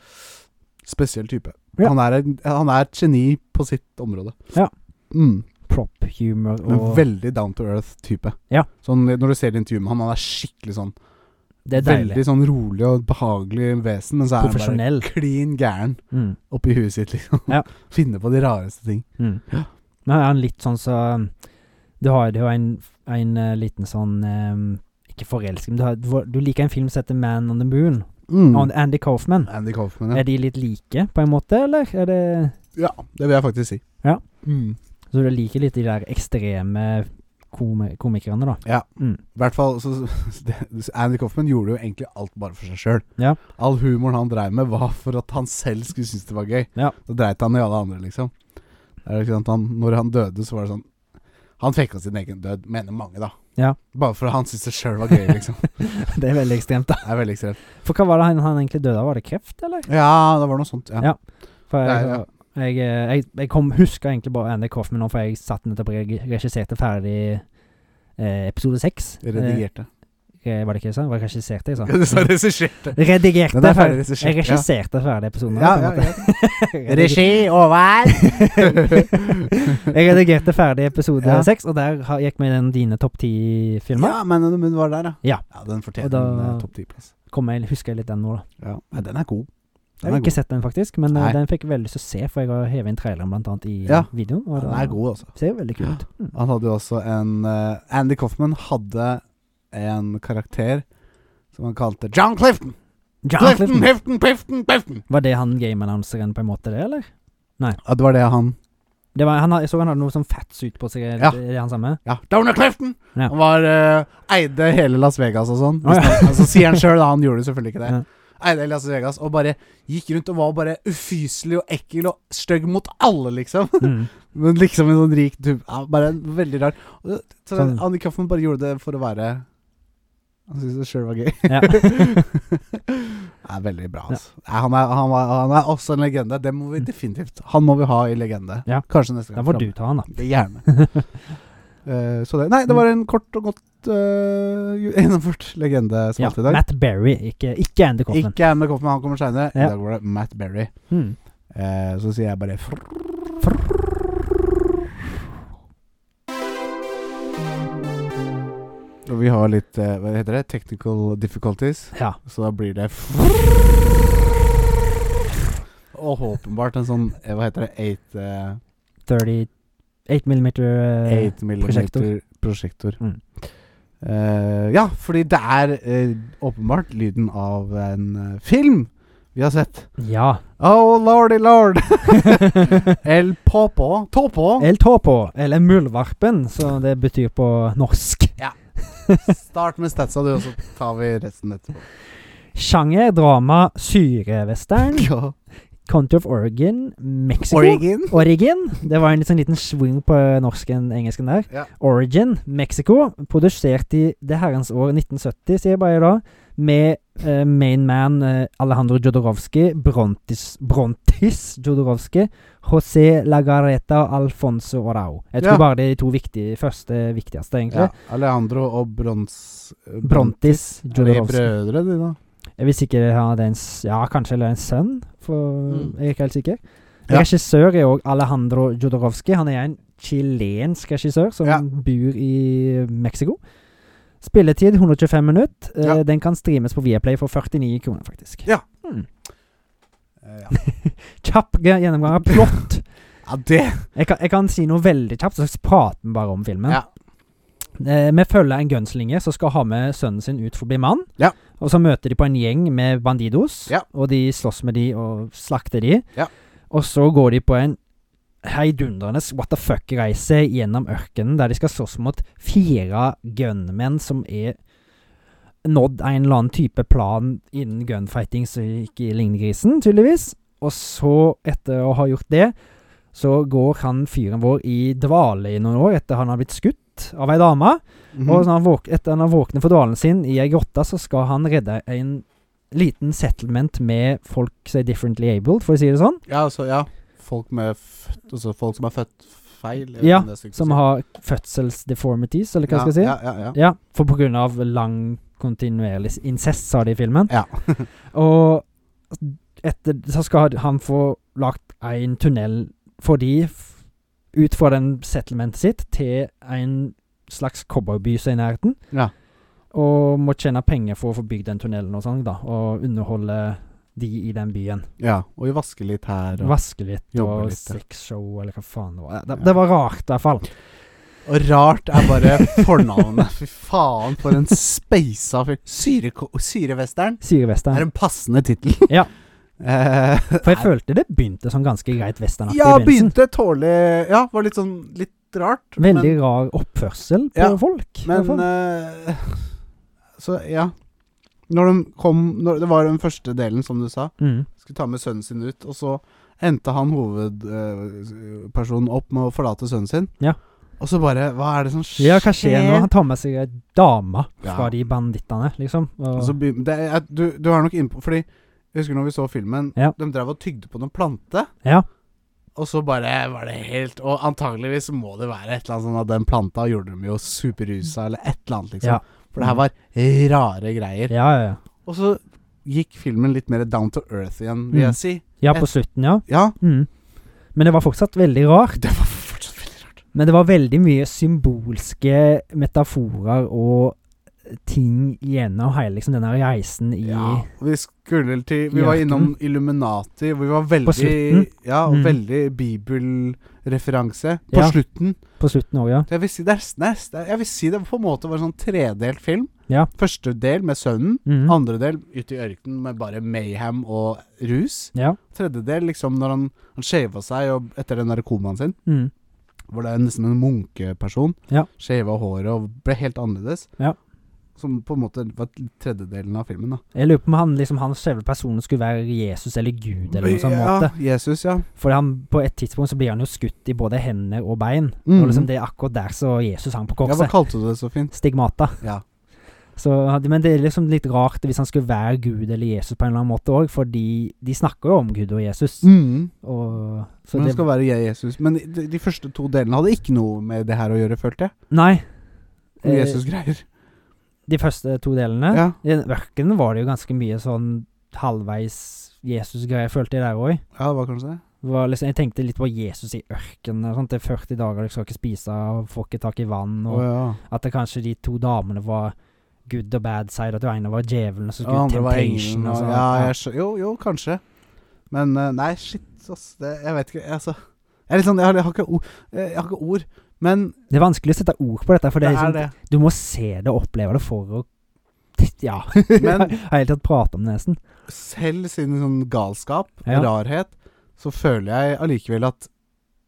A: spesiell type.
B: Ja.
A: Han, er, en- han er et geni på sitt område.
B: Ja.
A: Mm.
B: Prop humor
A: En
B: og
A: veldig down to earth-type.
B: Ja.
A: Sånn, Når du ser intervjuet med han, han er skikkelig sånn
B: Det er
A: Veldig
B: deilig.
A: sånn rolig og behagelig vesen, men så er han
B: Profesjonell.
A: bare klin gæren
B: Mm.
A: oppi huet sitt, liksom. (laughs)
B: Ja.
A: Finner på de rareste ting.
B: Mm.
A: Ja.
B: Men er han litt sånn så Du har jo en, en eh, liten sånn eh, Ikke forelsket, men du, har, du har- du liker en film som heter Man on the Moon. Av Andy Coffman.
A: Mm. Andy Kaufman,
B: Er
A: ja.
B: de litt like, på en måte, eller? Er det
A: ja. Det vil jeg faktisk si.
B: Ja.
A: Mm.
B: Så du liker litt de der ekstreme komi komikerne, da?
A: Ja.
B: Mm.
A: I hvert fall så, så det- Andy Kaufman gjorde jo egentlig alt bare for seg sjøl.
B: Ja.
A: All humoren han dreiv med, var for at han selv skulle synes det var gøy.
B: Ja.
A: Så dreit han i alle andre, liksom. Det er jo ikke sant, han, når han døde, så var det sånn Han fekka sin egen død, mener mange, da.
B: Ja.
A: Bare for at han syntes det sjøl var gøy,
B: (laughs)
A: liksom.
B: Det er veldig ekstremt, da.
A: Det er veldig ekstremt.
B: For hva var det han, han egentlig døde av? Var det kreft, eller?
A: Ja, det var noe sånt. Ja.
B: Ja. For jeg,
A: Ja, ja.
B: jeg, eh, jeg, jeg kom, husker egentlig bare Andy Coffman nå, for jeg satt nettopp og reg- regisserte ferdig eh, episode seks.
A: Redigerte.
B: Eh, var det ikke det jeg sa? Var det
A: (laughs)
B: regisserte jeg sa?
A: Du sa regisserte.
B: Redigerte.
A: Den er ferdig
B: ferdig-
A: regissert,
B: Jeg
A: ja.
B: regisserte ferdig episoden.
A: Ja,
B: på en
A: ja, (laughs)
B: måte.
A: ja.
B: Jeg rediger-
A: Regi (laughs) over!
B: jeg redigerte ferdig episode
A: Ja.
B: seks, og der har- gikk vi den dine topp ti-filmer.
A: ja, men den var der, ja.
B: Ja.
A: den fortjener
B: Og da-
A: en eh, topp ti-plass.
B: Husker jeg litt den nå, da.
A: Ja. ja, den er god.
B: Jeg
A: Den
B: har
A: er
B: ikke
A: god.
B: sett den, faktisk, men eh,
A: Nei.
B: den fikk jeg veldig lyst til å se, for jeg har hevet inn traileren blant annet i
A: Ja.
B: videoen. Og
A: Den
B: da-
A: er god, altså.
B: Ser jo veldig kult ut. Mm.
A: Han hadde jo også en eh, Andy Coffman hadde en karakter som han kalte John Clifton!
B: John
A: Clifton,
B: Clifton.
A: Clifton, Clifton, Clifton!
B: Var det han game-annonseren på en måte, det, eller?
A: Ja, det var det han
B: Det var, han, har- jeg så han hadde noe sånn fats ut på seg, er
A: Ja.
B: det- er det han samme?
A: Ja, Donald Clifton!
B: Ja.
A: Han var eh, eide hele Las Vegas og sånn.
B: Å, ja.
A: Så altså, sier han sjøl, da. Han gjorde det selvfølgelig ikke det.
B: Ja.
A: Eide hele Las Vegas og bare gikk rundt og var bare ufyselig og ekkel og stygg mot alle, liksom. (laughs)
B: Mm.
A: Men liksom en sånn rik type ja, Bare veldig rar. Og det- Så
B: Sånn.
A: Andy Kaufman bare gjorde det for å være Han syntes det sjøl var
B: (laughs)
A: gøy. (laughs) det
B: Ja.
A: er veldig bra, altså. Nei, Han, er, han, var, han er også en legende. Det må vi definitivt Han må vi ha i legende.
B: Ja.
A: Kanskje neste
B: Da
A: gang.
B: får
A: fram.
B: du ta han, da.
A: Det Gjerne.
B: (laughs)
A: Eh, så det Nei, det var en kort og godt eh, gjennomført legende som
B: Ja,
A: alltid i dag.
B: Matt Berry, ikke, ikke Andy Coffman.
A: Ikke Andy Kaufman, han kommer seinere.
B: Ja.
A: I dag var det Matt Berry.
B: Mm.
A: Eh, så sier jeg bare frrr. Og vi har litt eh, Hva heter det? Technical difficulties.
B: Ja.
A: Så da blir det Og åpenbart en sånn eh, Hva heter det? eh,
B: 38 millimeter eh,
A: 8 millimeter prosjektor.
B: Mm.
A: Eh, ja, fordi det er eh, åpenbart lyden av en eh, film vi har sett. (laughs)
B: Ja.
A: Oh lordy lord. El Popo.
B: (laughs)
A: Topo.
B: El Topo, eller Muldvarpen, som det betyr på norsk.
A: Start med statsa, du, og så tar vi resten etterpå.
B: Sjanger, drama, syrevestern,
A: Ja.
B: Country of Oregon, Mexico.
A: Oregon.
B: Origin. Det var en litt sånn liten swing på norsken engelsken der.
A: Ja.
B: Origin, Mexico. Produsert i det herrens år 1970, sier jeg bare da. Med eh, main man eh, Alejandro Jodorowsky, Brontis, Brontis Jodorowsky, José Lagareta og Alfonso Orao. Jeg tror
A: Ja.
B: bare det er de to viktige, første viktigste, egentlig.
A: Ja. Alejandro og Brons...
B: Brontis
A: Er de
B: Jodorowsky.
A: brødre, de, da?
B: Jeg vil sikkert ha det er en s- Ja, kanskje eller en sønn, for
A: Mm.
B: jeg er ikke helt sikker.
A: Ja.
B: Regissør er òg Alejandro Jodorowsky. Han er en chilensk regissør som
A: Ja.
B: bor i Mexico. Spilletid 125 minutter. Eh,
A: Ja.
B: Den kan streames på Viaplay for 49 kroner, faktisk.
A: Ja.
B: Mm.
A: Eh, Ja.
B: Kjapp ge-
A: (laughs)
B: gjennomgang av plott.
A: ja, det
B: jeg, kan, jeg kan si noe veldig kjapt, så prater vi bare om filmen.
A: Ja.
B: Eh, vi følger en gunslinger som skal ha med sønnen sin ut forbi mann.
A: Ja.
B: Og så møter de på en gjeng med bandidos,
A: Ja.
B: og de slåss med de og slakter de.
A: Ja.
B: Og så går de på en heidundrende what the fuck-reise gjennom ørkenen, der de skal slåss mot fire gunmenn som er nådd en eller annen type plan innen gunfighting som ikke ligner grisen, tydeligvis. Og så, etter å ha gjort det, så går han fyren vår i dvale i noen år etter han har blitt skutt av ei dame.
A: Mhm.
B: Og sånn. når han våk, etter han har våknet for dvalen sin i ei grotte, så skal han redde en liten settlement med folk som er differently abled, for å si det sånn.
A: Ja, altså, ja. Folk med født Altså folk som er født feil. jeg vet
B: Ja,
A: ikke om det er stygt å
B: Som
A: si.
B: har fødselsdeformities, eller hva
A: ja,
B: skal jeg si.
A: Ja, ja, ja.
B: Ja, for på grunn av lang kontinuerlig incest, sa de i filmen.
A: Ja.
B: (laughs) og etter så skal han få lagt en tunnel for de f- ut fra den settlementet sitt til en slags cowboyby som er i nærheten.
A: Ja.
B: Og må tjene penger for å få bygd den tunnelen og sånn, da. Og underholde de i den byen.
A: ja. Og vi vasker litt her. Og,
B: Vaske litt
A: Jobbe
B: og
A: litt, ja.
B: sexshow eller hva faen det var. Det,
A: Ja.
B: det var rart, i hvert fall.
A: og rart er bare fornavnet. Fy faen, for en speisa fyr. Syreko- Syrevesteren
B: Syrevestern.
A: er en passende tittel.
B: Ja.
A: (laughs) Eh,
B: For jeg følte det begynte som ganske greit westernaktig
A: ja,
B: i begynnelsen.
A: begynte tålig Ja, var litt sånn litt rart.
B: Veldig rar oppførsel på
A: Ja,
B: folk. i hvert
A: Men,
B: fall.
A: men eh, Så, ja. Når de kom når, Det var den første delen, som du sa.
B: mm.
A: skulle ta med sønnen sin ut, og så endte han hovedpersonen opp med å forlate sønnen sin.
B: Ja.
A: Og så bare Hva er det som skjer?
B: Ja, hva skjer nå? Han tar med seg ei
A: Ja.
B: dame
A: Altså,
B: fra de bandittene, liksom. Og,
A: Og så begyn- det er, du, du er nok inne på Fordi jeg husker når vi så filmen,
B: Ja.
A: de drev og tygde på noen plante.
B: Ja.
A: Og så bare var det helt Og antageligvis må det være et eller annet sånn at den planta gjorde dem jo superrusa, eller et eller annet, liksom.
B: Ja. Mm.
A: For det her var rare greier.
B: ja, ja, ja.
A: Og så gikk filmen litt mer down to earth igjen, vil
B: Mm.
A: jeg si.
B: ja, på slutten, ja.
A: Ja.
B: Mm. Men det var fortsatt veldig rart.
A: Det var fortsatt veldig rart.
B: Men det var veldig mye symbolske metaforer og ting gjennom hele liksom, denne reisen i
A: Ja, og vi skulle til Vi
B: I
A: var
B: aften.
A: innom Illuminati, hvor vi var veldig
B: Mm. slutten.
A: Ja, og
B: Mm.
A: veldig bibelreferanse på
B: Ja.
A: slutten.
B: På slutten òg, ja.
A: Jeg vil, si det er, s- det er s- det er- jeg vil si det på en måte var en sånn tredelt film.
B: Ja.
A: Første del med sønnen.
B: Mm.
A: Andre del ute i ørkenen med bare mayhem og rus.
B: ja.
A: Tredje del liksom når han, han shava seg og etter den der komaen sin,
B: Mm.
A: hvor det er nesten en munkeperson.
B: Ja.
A: Shava håret og ble helt annerledes.
B: Ja.
A: Som på en måte var tredjedelen av filmen. da
B: Jeg lurer på om han, liksom, han selve personen skulle være Jesus eller Gud eller noe sånt.
A: ja,
B: måte.
A: Jesus, ja.
B: For han, på et tidspunkt så blir han jo skutt i både hender og bein.
A: Mhm.
B: Og liksom det er akkurat der så Jesus hang på
A: Ja, hva
B: korset.
A: kalte du det så fint?
B: Stigmata.
A: Ja.
B: Så, men det er liksom litt rart hvis han skulle være Gud eller Jesus på en eller annen måte òg, fordi de snakker jo om Gud og Jesus.
A: Mm.
B: Og, så
A: Men det
B: det,
A: skal være jeg, Jesus. Men de, de første to delene hadde ikke noe med det her å gjøre, følte jeg.
B: nei.
A: Med
B: Eh,
A: Jesus-greier.
B: De første to delene.
A: Ja.
B: I den ørkenen var det jo ganske mye sånn halvveis Jesus-greier, følte jeg der òg.
A: ja, det var kanskje det.
B: Liksom, jeg tenkte litt på Jesus i ørkenen. og sånt. Det er 40 dager, du skal ikke spise, og får ikke tak i vann.
A: Å
B: Og,
A: ja.
B: At det kanskje de to damene var good og bad side, at den ene var djevelen, og så
A: Og
B: skulle
A: andre var engelen
B: temptation og
A: og
B: sånn.
A: Ja, jeg skjø jo, jo, kanskje. Men eh, nei, shit, ass. Det, jeg vet ikke, jeg, altså. Jeg er litt sånn Jeg har, jeg har, ikke, ord, jeg har ikke ord. Men
B: Det er vanskelig å sette ord på dette, for
A: det
B: det er
A: er
B: liksom,
A: det.
B: du må se det og oppleve det for å Ja. (laughs)
A: Men-
B: jeg har helt tatt prate om det, nesten.
A: Selv sin sånn galskap,
B: Ja.
A: rarhet, så føler jeg allikevel at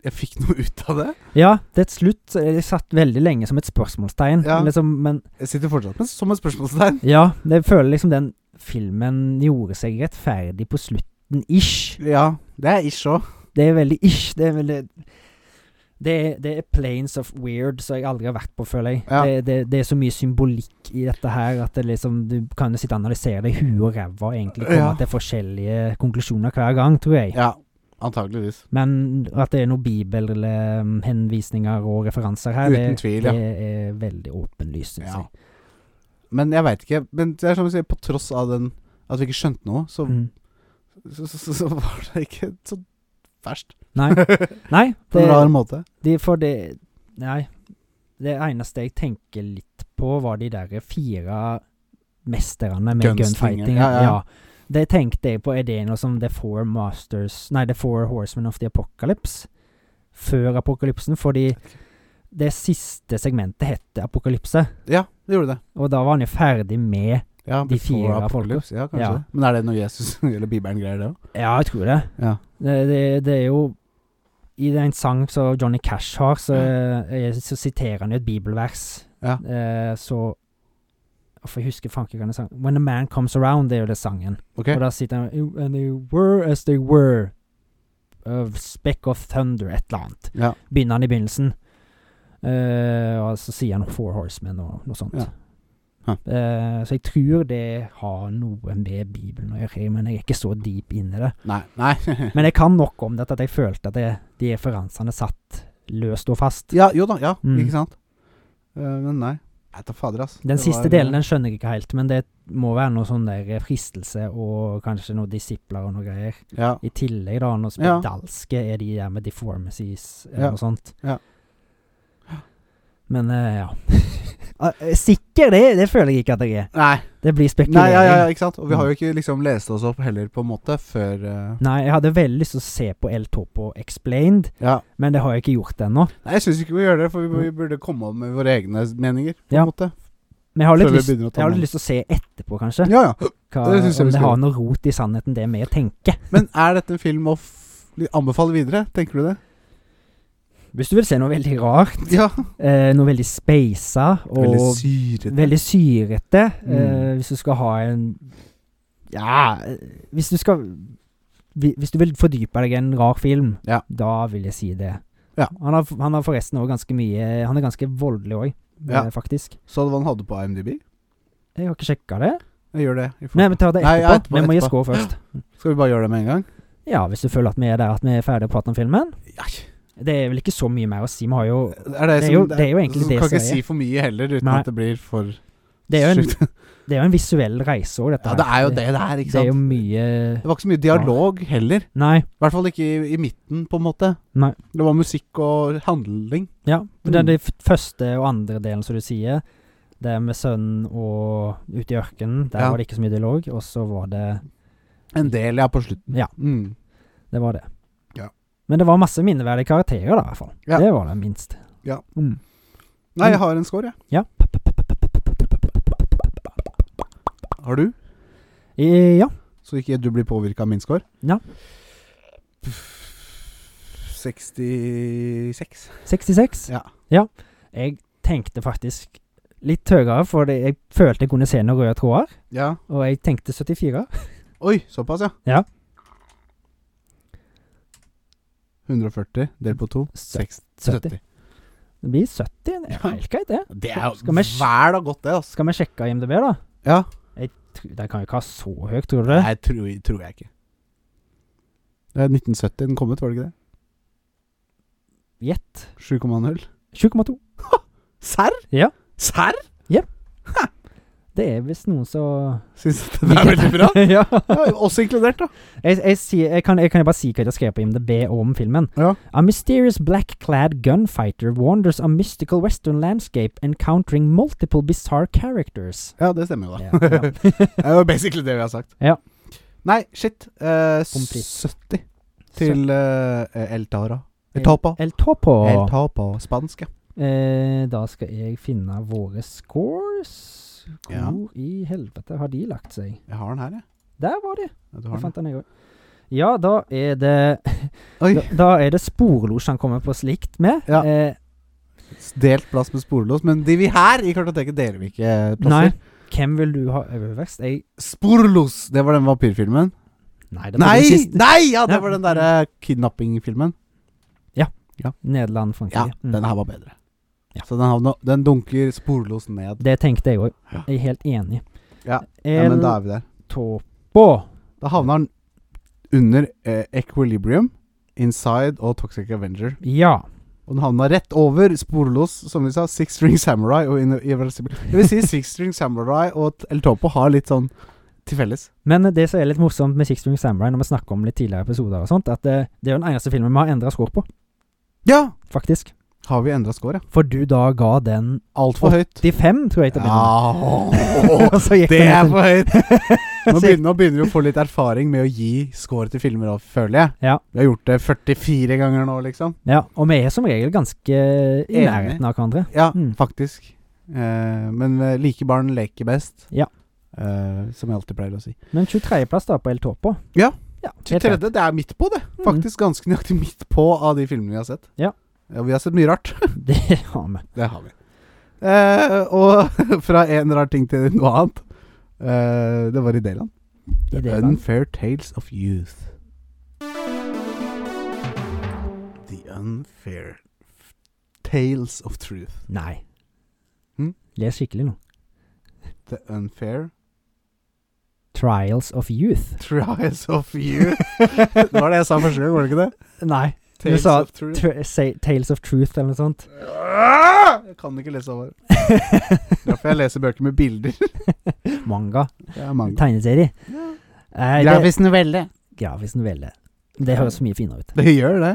A: jeg fikk noe (laughs) ut av det.
B: Ja, det er et slutt. så Jeg satt veldig lenge som et spørsmålstegn.
A: Ja.
B: Liksom, men
A: Jeg sitter fortsatt med som et spørsmålstegn.
B: ja, jeg føler liksom den filmen gjorde seg rettferdig på slutten, ish.
A: Ja, det er ish òg.
B: Det er veldig ish. Det er veldig det er, det er planes of weird som jeg aldri har vært på, føler jeg.
A: Ja.
B: Det, det, det er så mye symbolikk i dette her at det liksom, du kan jo sitte og analysere det i huet og ræva og egentlig
A: Ja.
B: komme til forskjellige konklusjoner hver gang, tror jeg.
A: Ja, antageligvis.
B: Men at det er noen bibelhenvisninger og referanser her,
A: Uten
B: det,
A: tvil, ja.
B: det er veldig åpenlyst, syns
A: Ja.
B: jeg.
A: Men jeg veit ikke. Men det er som du sier, på tross av den at vi ikke skjønte noe, så,
B: Mm.
A: så, så, så var det ikke så verst.
B: Nei. Nei
A: (laughs) På en rar måte.
B: De, for det Nei. Det eneste jeg tenker litt på, var de der fire mesterne med
A: Gunslinger.
B: gunfighting.
A: Ja, ja.
B: Det tenkte jeg på. Er det noe som The Four Masters Nei, The Four Horsemen of the Apocalypse? Før apokalypsen? Fordi det siste segmentet het apokalypse.
A: Ja, det gjorde det.
B: Og da var han jo ferdig med
A: Ja,
B: De
A: before
B: fire folka.
A: apocalypse. Ja, kanskje.
B: Ja.
A: det. Men er det noe Jesus (laughs) eller Bibelen greier, det òg?
B: Ja, jeg tror det.
A: Ja.
B: Det, det, det er jo I den sang som Johnny Cash har, så, eh, så siterer han jo et bibelvers.
A: Ja.
B: Eh, så For jeg husker fanken hva den sangen When a man comes around, det er jo det sangen.
A: Ok.
B: Og da sitter han And they were as they were. A speck of thunder, et eller annet.
A: Ja.
B: Begynner han i begynnelsen. Eh, og så sier han Four Horsemen og noe sånt.
A: Ja. Huh.
B: Eh, så jeg tror det har noe med Bibelen å gjøre, men jeg er ikke så deep inn i det.
A: Nei. Nei. (laughs)
B: Men jeg kan nok om dette at jeg følte at det, de referansene satt løst og fast.
A: ja, jo da. Ja,
B: Mm.
A: ikke sant? Eh, men nei. Jeg tar fader, ass.
B: Den
A: Det
B: siste
A: var- eh,
B: delen den skjønner jeg ikke helt, men det må være noe sånn der fristelse og kanskje noen disipler og noe greier.
A: Ja.
B: I tillegg da, noe
A: Ja.
B: spedalske er de der med deformacies eller
A: Ja.
B: noe sånt.
A: Ja.
B: Men eh, ja. (laughs) Ah, eh, Sikker det, det føler jeg ikke at jeg er.
A: Nei.
B: Det blir
A: Nei,
B: spekulering.
A: ja, ja, ja, ikke sant? Og vi har jo ikke liksom lest oss opp heller, på en måte, før eh,
B: Nei, jeg hadde veldig lyst til å se på El Topo Explained,
A: Ja.
B: men det har jeg ikke gjort ennå.
A: Nei, jeg syns ikke vi gjør det, for vi, vi burde komme opp med våre egne meninger, på en
B: Ja.
A: måte.
B: Men jeg har litt
A: Før vi
B: lyst,
A: begynner å ta
B: jeg har
A: den.
B: litt lyst til å se etterpå, kanskje.
A: Ja, ja.
B: Hva,
A: det synes jeg vi
B: om det
A: skal
B: har
A: gjøre.
B: noe rot i sannheten, det med å tenke.
A: Men er dette en film å f anbefale videre? Tenker
B: (laughs)
A: du det?
B: Hvis du vil se noe veldig rart,
A: Ja.
B: eh, noe veldig speisa og
A: Veldig syrete.
B: Veldig syrete.
A: Mm.
B: eh, hvis du skal ha en Ja eh, Hvis du skal hvi- Hvis du vil fordype deg i en rar film,
A: Ja.
B: da vil jeg si det.
A: Ja.
B: Han, har, han har forresten òg ganske mye Han er ganske voldelig òg,
A: Ja.
B: eh, faktisk.
A: Så hva han hadde på IMDb?
B: Jeg har ikke sjekka det.
A: Jeg gjør det. i forhold-
B: Nei, men ta det
A: Nei,
B: etterpå.
A: ja, etterpå,
B: vi må gi
A: etterpå.
B: skår først.
A: Skal vi bare gjøre det med en gang?
B: Ja, hvis du føler at vi er der at vi er ferdige å prate om filmen.
A: Ja.
B: Det er vel ikke så mye mer å si. Vi har jo
A: Er det,
B: Det er
A: som,
B: jo- det er jo egentlig
A: så
B: det
A: Kan
B: som
A: ikke
B: er-
A: si for mye heller, uten
B: Nei.
A: at det blir for
B: Det er jo en,
A: sjukt.
B: (laughs) det er jo en visuell reise òg, dette.
A: Ja, det
B: her.
A: er jo det det er, ikke
B: Det er jo
A: sant?
B: mye
A: Det var ikke så mye dialog heller.
B: Nei.
A: I hvert fall ikke i, i midten, på en måte.
B: Nei.
A: Det var musikk og handling.
B: Ja. men Det
A: Mm.
B: er den første og andre delen, som du sier. Det er med sønnen og ute i ørkenen. Der
A: Ja.
B: var det ikke så mye dialog. Og så var det
A: En del, ja, på slutten.
B: Ja.
A: Mm.
B: Det var det.
A: Ja.
B: Men det var masse minneverdige karakterer, da, i hvert fall.
A: Ja.
B: Det var det minst.
A: Ja.
B: Mm.
A: Nei, jeg har en score, jeg.
B: Ja.
A: Har du?
B: I, ja.
A: Så ikke du blir påvirka av min score?
B: Ja.
A: Pff, 66.
B: 66.
A: Ja.
B: Jeg tenkte faktisk litt høyere, for det- jeg følte jeg kunne se noen røde tråder.
A: Ja.
B: Og jeg tenkte 74.
A: Oi, såpass, ja.
B: Ja.
A: 140 delt på to.
B: Sø-
A: 60.
B: 70.
A: 70.
B: Det blir 70. Det er
A: Ja.
B: helt greit, det.
A: Det er jo
B: Skal vi sj-
A: vel da godt, det. Altså.
B: Skal vi sjekke IMDb, da?
A: Ja.
B: Tr- Den kan jo ikke ha så høyt, tror du det?
A: Nei, tror, tror jeg ikke. Det er 1970 den kom ut, var det ikke det?
B: Gjett.
A: 7,0.
B: 7,2.
A: Serr?
B: Ja.
A: Serr?
B: Det er visst noen som
A: Syns at (laughs) det er veldig
B: (laughs)
A: bra.
B: ja.
A: Ja, oss inkludert, da.
B: jeg, jeg, sier, jeg, kan, jeg kan jo bare si hva de har skrevet på IMDb om filmen.
A: Ja.
B: A mysterious black-clad gunfighter wanders a mystical western landscape encountering multiple bizarre characters.
A: Ja, det stemmer jo, da.
B: Ja, ja.
A: (laughs) Det er jo basically det vi har sagt.
B: Ja.
A: Nei, shit. Eh,
B: Pommes frites.
A: 70 til eh, El Tara. El Tapa.
B: El Topo.
A: El Tapa. Spansk, ja.
B: Eh, da skal jeg finne våre scores. Hvor
A: Ja.
B: i helvete har de lagt seg?
A: Jeg har den her, jeg.
B: Der var de!
A: Ja, du
B: Jeg
A: har den.
B: fant den, jeg òg. Ja, da er det
A: Oi.
B: Da, da er det sporlos han kommer på slikt med.
A: Ja.
B: Eh,
A: Delt plass med sporlås, men de vi her i kartoteket deler vi ikke plasser.
B: Nei. Hvem vil du ha øverst? Jeg
A: Sporlos! Det var den vampyrfilmen.
B: Nei! det var den
A: Nei!
B: siste.
A: Nei! Ja, det
B: Ja.
A: var den derre kidnappingfilmen.
B: Nederland, Frankrike.
A: Ja,
B: Mm.
A: den her var bedre.
B: Ja.
A: Så den, havna, den dunker sporlos ned.
B: Det tenkte jeg òg.
A: Ja.
B: Jeg er helt enig.
A: Ja. Ja,
B: El
A: men da er vi der.
B: Topo.
A: Da havna den under eh, Equilibrium, Inside og Toxic Avenger.
B: Ja.
A: Og den havna rett over sporlos, som vi sa, Six String Samurai og In Irreversible. Det
B: (laughs)
A: vil si Six String Samurai og T- El Topo har litt sånn til felles.
B: Men det som er litt morsomt med Six String Samurai, når vi snakker om litt tidligere episoder og sånt, at det, det er jo den eneste filmen vi har endra score på,
A: Ja!
B: faktisk.
A: Har vi endra score, ja?
B: For du da ga den
A: Altfor høyt.
B: 85, tror jeg, til å begynne med.
A: Ja.
B: (laughs) Og så gikk
A: Det
B: den
A: er
B: ned
A: for høyt!
B: (laughs) til-
A: Nå begynner, nå begynner vi å få litt erfaring med å gi score til filmer òg, føler jeg.
B: Ja.
A: Vi har gjort det 44 ganger nå, liksom.
B: Ja, og vi er som regel ganske i
A: Enig.
B: nærheten av hverandre.
A: Ja,
B: Mm.
A: faktisk. Eh, men eh, like barn leker best.
B: Ja.
A: Eh, som jeg alltid pleier å si.
B: Men 23.-plass da på El Topo.
A: Ja.
B: ja helt klart. Mm.
A: Tredje, det er midt på, det. Faktisk ganske nøyaktig midt på av de filmene vi har sett.
B: Ja.
A: vi har sett mye rart.
B: Mm, (laughs) det har vi.
A: Det har vi. Eh, og (laughs) fra en rar ting til noe annet. Eh, det var i Deland.
B: I
A: The
B: det land.
A: Unfair Tales of Youth. The Unfair f- Tales of Truth.
B: Nei.
A: Mm.
B: Les skikkelig nå.
A: The Unfair
B: Trials of Youth.
A: Trials of (laughs) Youth. det var det jeg sa første gang, var det ikke det?
B: Nei. Du
A: Tales
B: sa
A: of Truth.
B: Tr say, Tales of Truth eller noe sånt.
A: Ah! Jeg kan ikke lese over. Derfor jeg leser bøker med (laughs) bilder.
B: Manga.
A: Det er manga.
B: Tegneserie. Eh, det,
A: Grafisk novelle.
B: grafisk novelle. Det høres mye finere ut.
A: Det gjør det.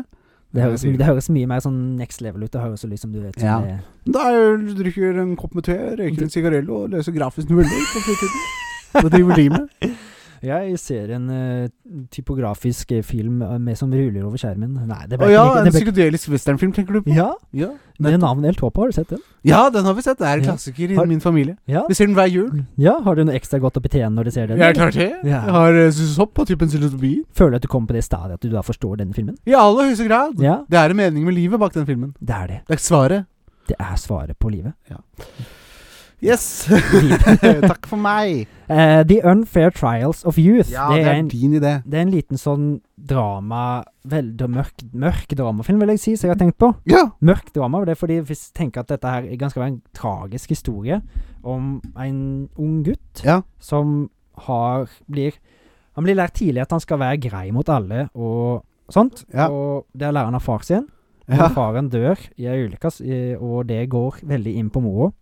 B: Det høres,
A: sier du.
B: det høres mye mer sånn next level ut. Det høres ut som du vet som
A: Ja.
B: det-
A: Da er jo- du drikker en kopp med te, røyker en sigarello og leser grafisk novelle på fritiden. Hva driver de med?
B: Jeg ser en eh, typografisk eh, film eh, med som ruller over skjermen. Nei, det
A: Å
B: ble
A: ja,
B: ikke
A: en
B: det ble,
A: psykedelisk westernfilm, tenker du på?
B: Ja,
A: Ja.
B: det er navnet El Topo. Har du sett den?
A: Ja, den har vi sett. Det er en
B: Ja.
A: klassiker i
B: Har-
A: min familie.
B: Ja.
A: Vi ser den hver jul.
B: ja. Har du noe ekstra godt å betjene når du ser den?
A: Jeg er klart det.
B: Ja.
A: Jeg har eh, sopp og typen psilotobi.
B: Føler du at du kommer på det stadiet at du da forstår denne filmen?
A: I aller høyeste grad.
B: Ja,
A: Det er en mening med livet bak den filmen.
B: det er det.
A: Det er svaret.
B: Det er svaret på livet. (laughs)
A: Yes! Takk for meg.
B: Eh, The Unfair Trials of Youth.
A: Ja,
B: det, er en,
A: din idé.
B: det er en liten sånn drama Veldig mørk, mørk dramafilm, vil jeg si, som jeg har tenkt på.
A: Ja.
B: Mørk drama, og det er fordi vi tenker at dette her er ganske en tragisk historie om en ung gutt
A: Ja.
B: som har blir Han blir lært tidlig at han skal være grei mot alle og sånt,
A: Ja.
B: og det lærer han av far sin.
A: ja.
B: Når faren dør i ei ulykke, s- i- og det går veldig inn på mora,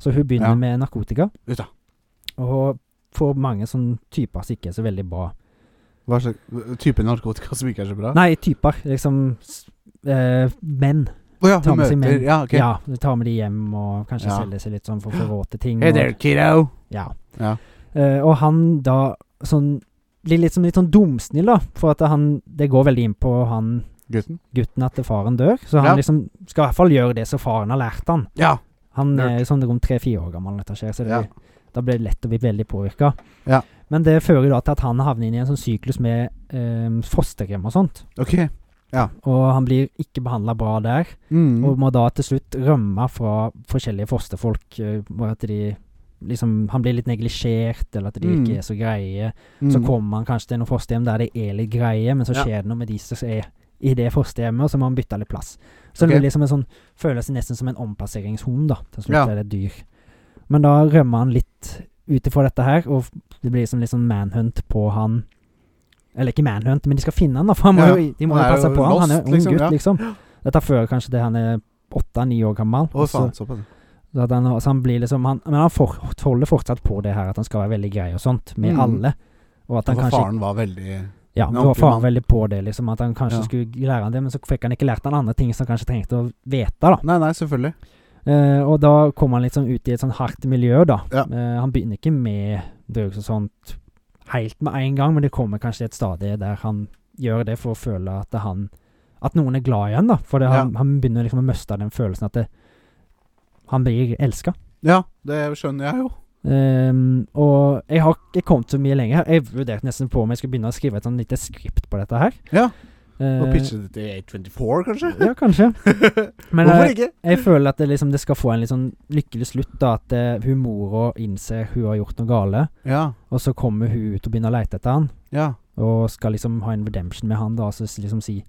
B: så hun begynner
A: Ja.
B: med narkotika.
A: Ut da.
B: Og får mange sånne typer som ikke er så veldig bra.
A: Hva slags type narkotika som ikke er så bra?
B: Nei, typer. Liksom s- eh, menn.
A: Å ja,
B: Ta
A: hun
B: med seg
A: møter
B: menn.
A: Ja, ok.
B: Ja, du tar med de hjem og kanskje
A: Ja.
B: selger seg litt sånn for å få råd til ting.
A: Hey
B: og-
A: there, kiddo.
B: Ja.
A: Ja.
B: Eh, og han da sånn blir litt, sånn- litt sånn dumsnill, da, for at han Det går veldig inn på han
A: Gutten.
B: gutten at faren dør, så
A: Ja.
B: han liksom skal i hvert fall gjøre det som faren har lært han.
A: Ja.
B: Han
A: Lurt.
B: er sånn rundt tre-fire år gammel når dette skjer, så det,
A: Ja.
B: da blir det lett å bli veldig påvirka.
A: Ja.
B: Men det fører da til at han havner inn i en sånn syklus med eh, fosterhjem og sånt.
A: Ok.
B: Og han blir ikke behandla bra der,
A: Mm.
B: og må da til slutt rømme fra forskjellige fosterfolk. eh, Bare at de liksom Han blir litt neglisjert, eller at de
A: Mm.
B: ikke er så greie.
A: mm.
B: Så kommer han kanskje til noen fosterhjem der det er litt greie, men så
A: Ja.
B: skjer det noe med de som er i det fosterhjemmet, og så må han bytte litt plass. Så
A: Ok.
B: det blir liksom en sånn, føler seg nesten som en omplasseringshund, da. Til slutt
A: Ja.
B: er det et dyr. Men da rømmer han litt ut ifra dette her, og det blir liksom litt sånn manhunt på han. Eller ikke manhunt, men de skal finne han, da, for han må
A: Ja.
B: jo, de må
A: Han
B: jo
A: er
B: passe
A: jo
B: på han. Han er
A: lost,
B: jo ung
A: liksom,
B: gutt,
A: ja.
B: liksom. Dette fører kanskje til han er åtte-ni år gammel.
A: Å,
B: og så-
A: faen. Såpass.
B: så at han, så han blir liksom han, Men han for, holder fortsatt på det her at han skal være veldig grei og sånt, med
A: Mm.
B: alle. Og at han
A: For
B: kanskje
A: faren var veldig
B: ja,
A: En
B: det var
A: ordentlig
B: faren
A: mann.
B: veldig på det, liksom, at han kanskje
A: Ja.
B: skulle lære han det, men så fikk han ikke lært han andre ting som han kanskje trengte å vite, da.
A: Nei, nei, selvfølgelig.
B: Eh, og da kom han liksom ut i et sånn hardt miljø, da.
A: Ja.
B: Eh, han begynner ikke med drugs og sånt helt med en gang, men det kommer kanskje et stadie der han gjør det for å føle at han At noen er glad i han, da. For det, han,
A: Ja.
B: han begynner liksom å miste den følelsen at det, han blir elska.
A: Ja, det skjønner jeg jo.
B: Ehm, og jeg har ikke kommet så mye lenger. her. Jeg vurderte nesten på om jeg skulle begynne å skrive et sånn lite skript på dette her.
A: Ja.
B: Eh,
A: Og pitche det til 824, kanskje? (laughs)
B: Ja, kanskje. Men eh,
A: Hvorfor
B: jeg,
A: ikke?
B: jeg føler at det, liksom, det skal få en litt sånn lykkelig slutt, da. At eh, hun mora innser hun har gjort noe gale,
A: Ja.
B: og så kommer hun ut og begynner å lete etter han.
A: Ja.
B: Og skal liksom ha en redemption med han, da, og så s- liksom si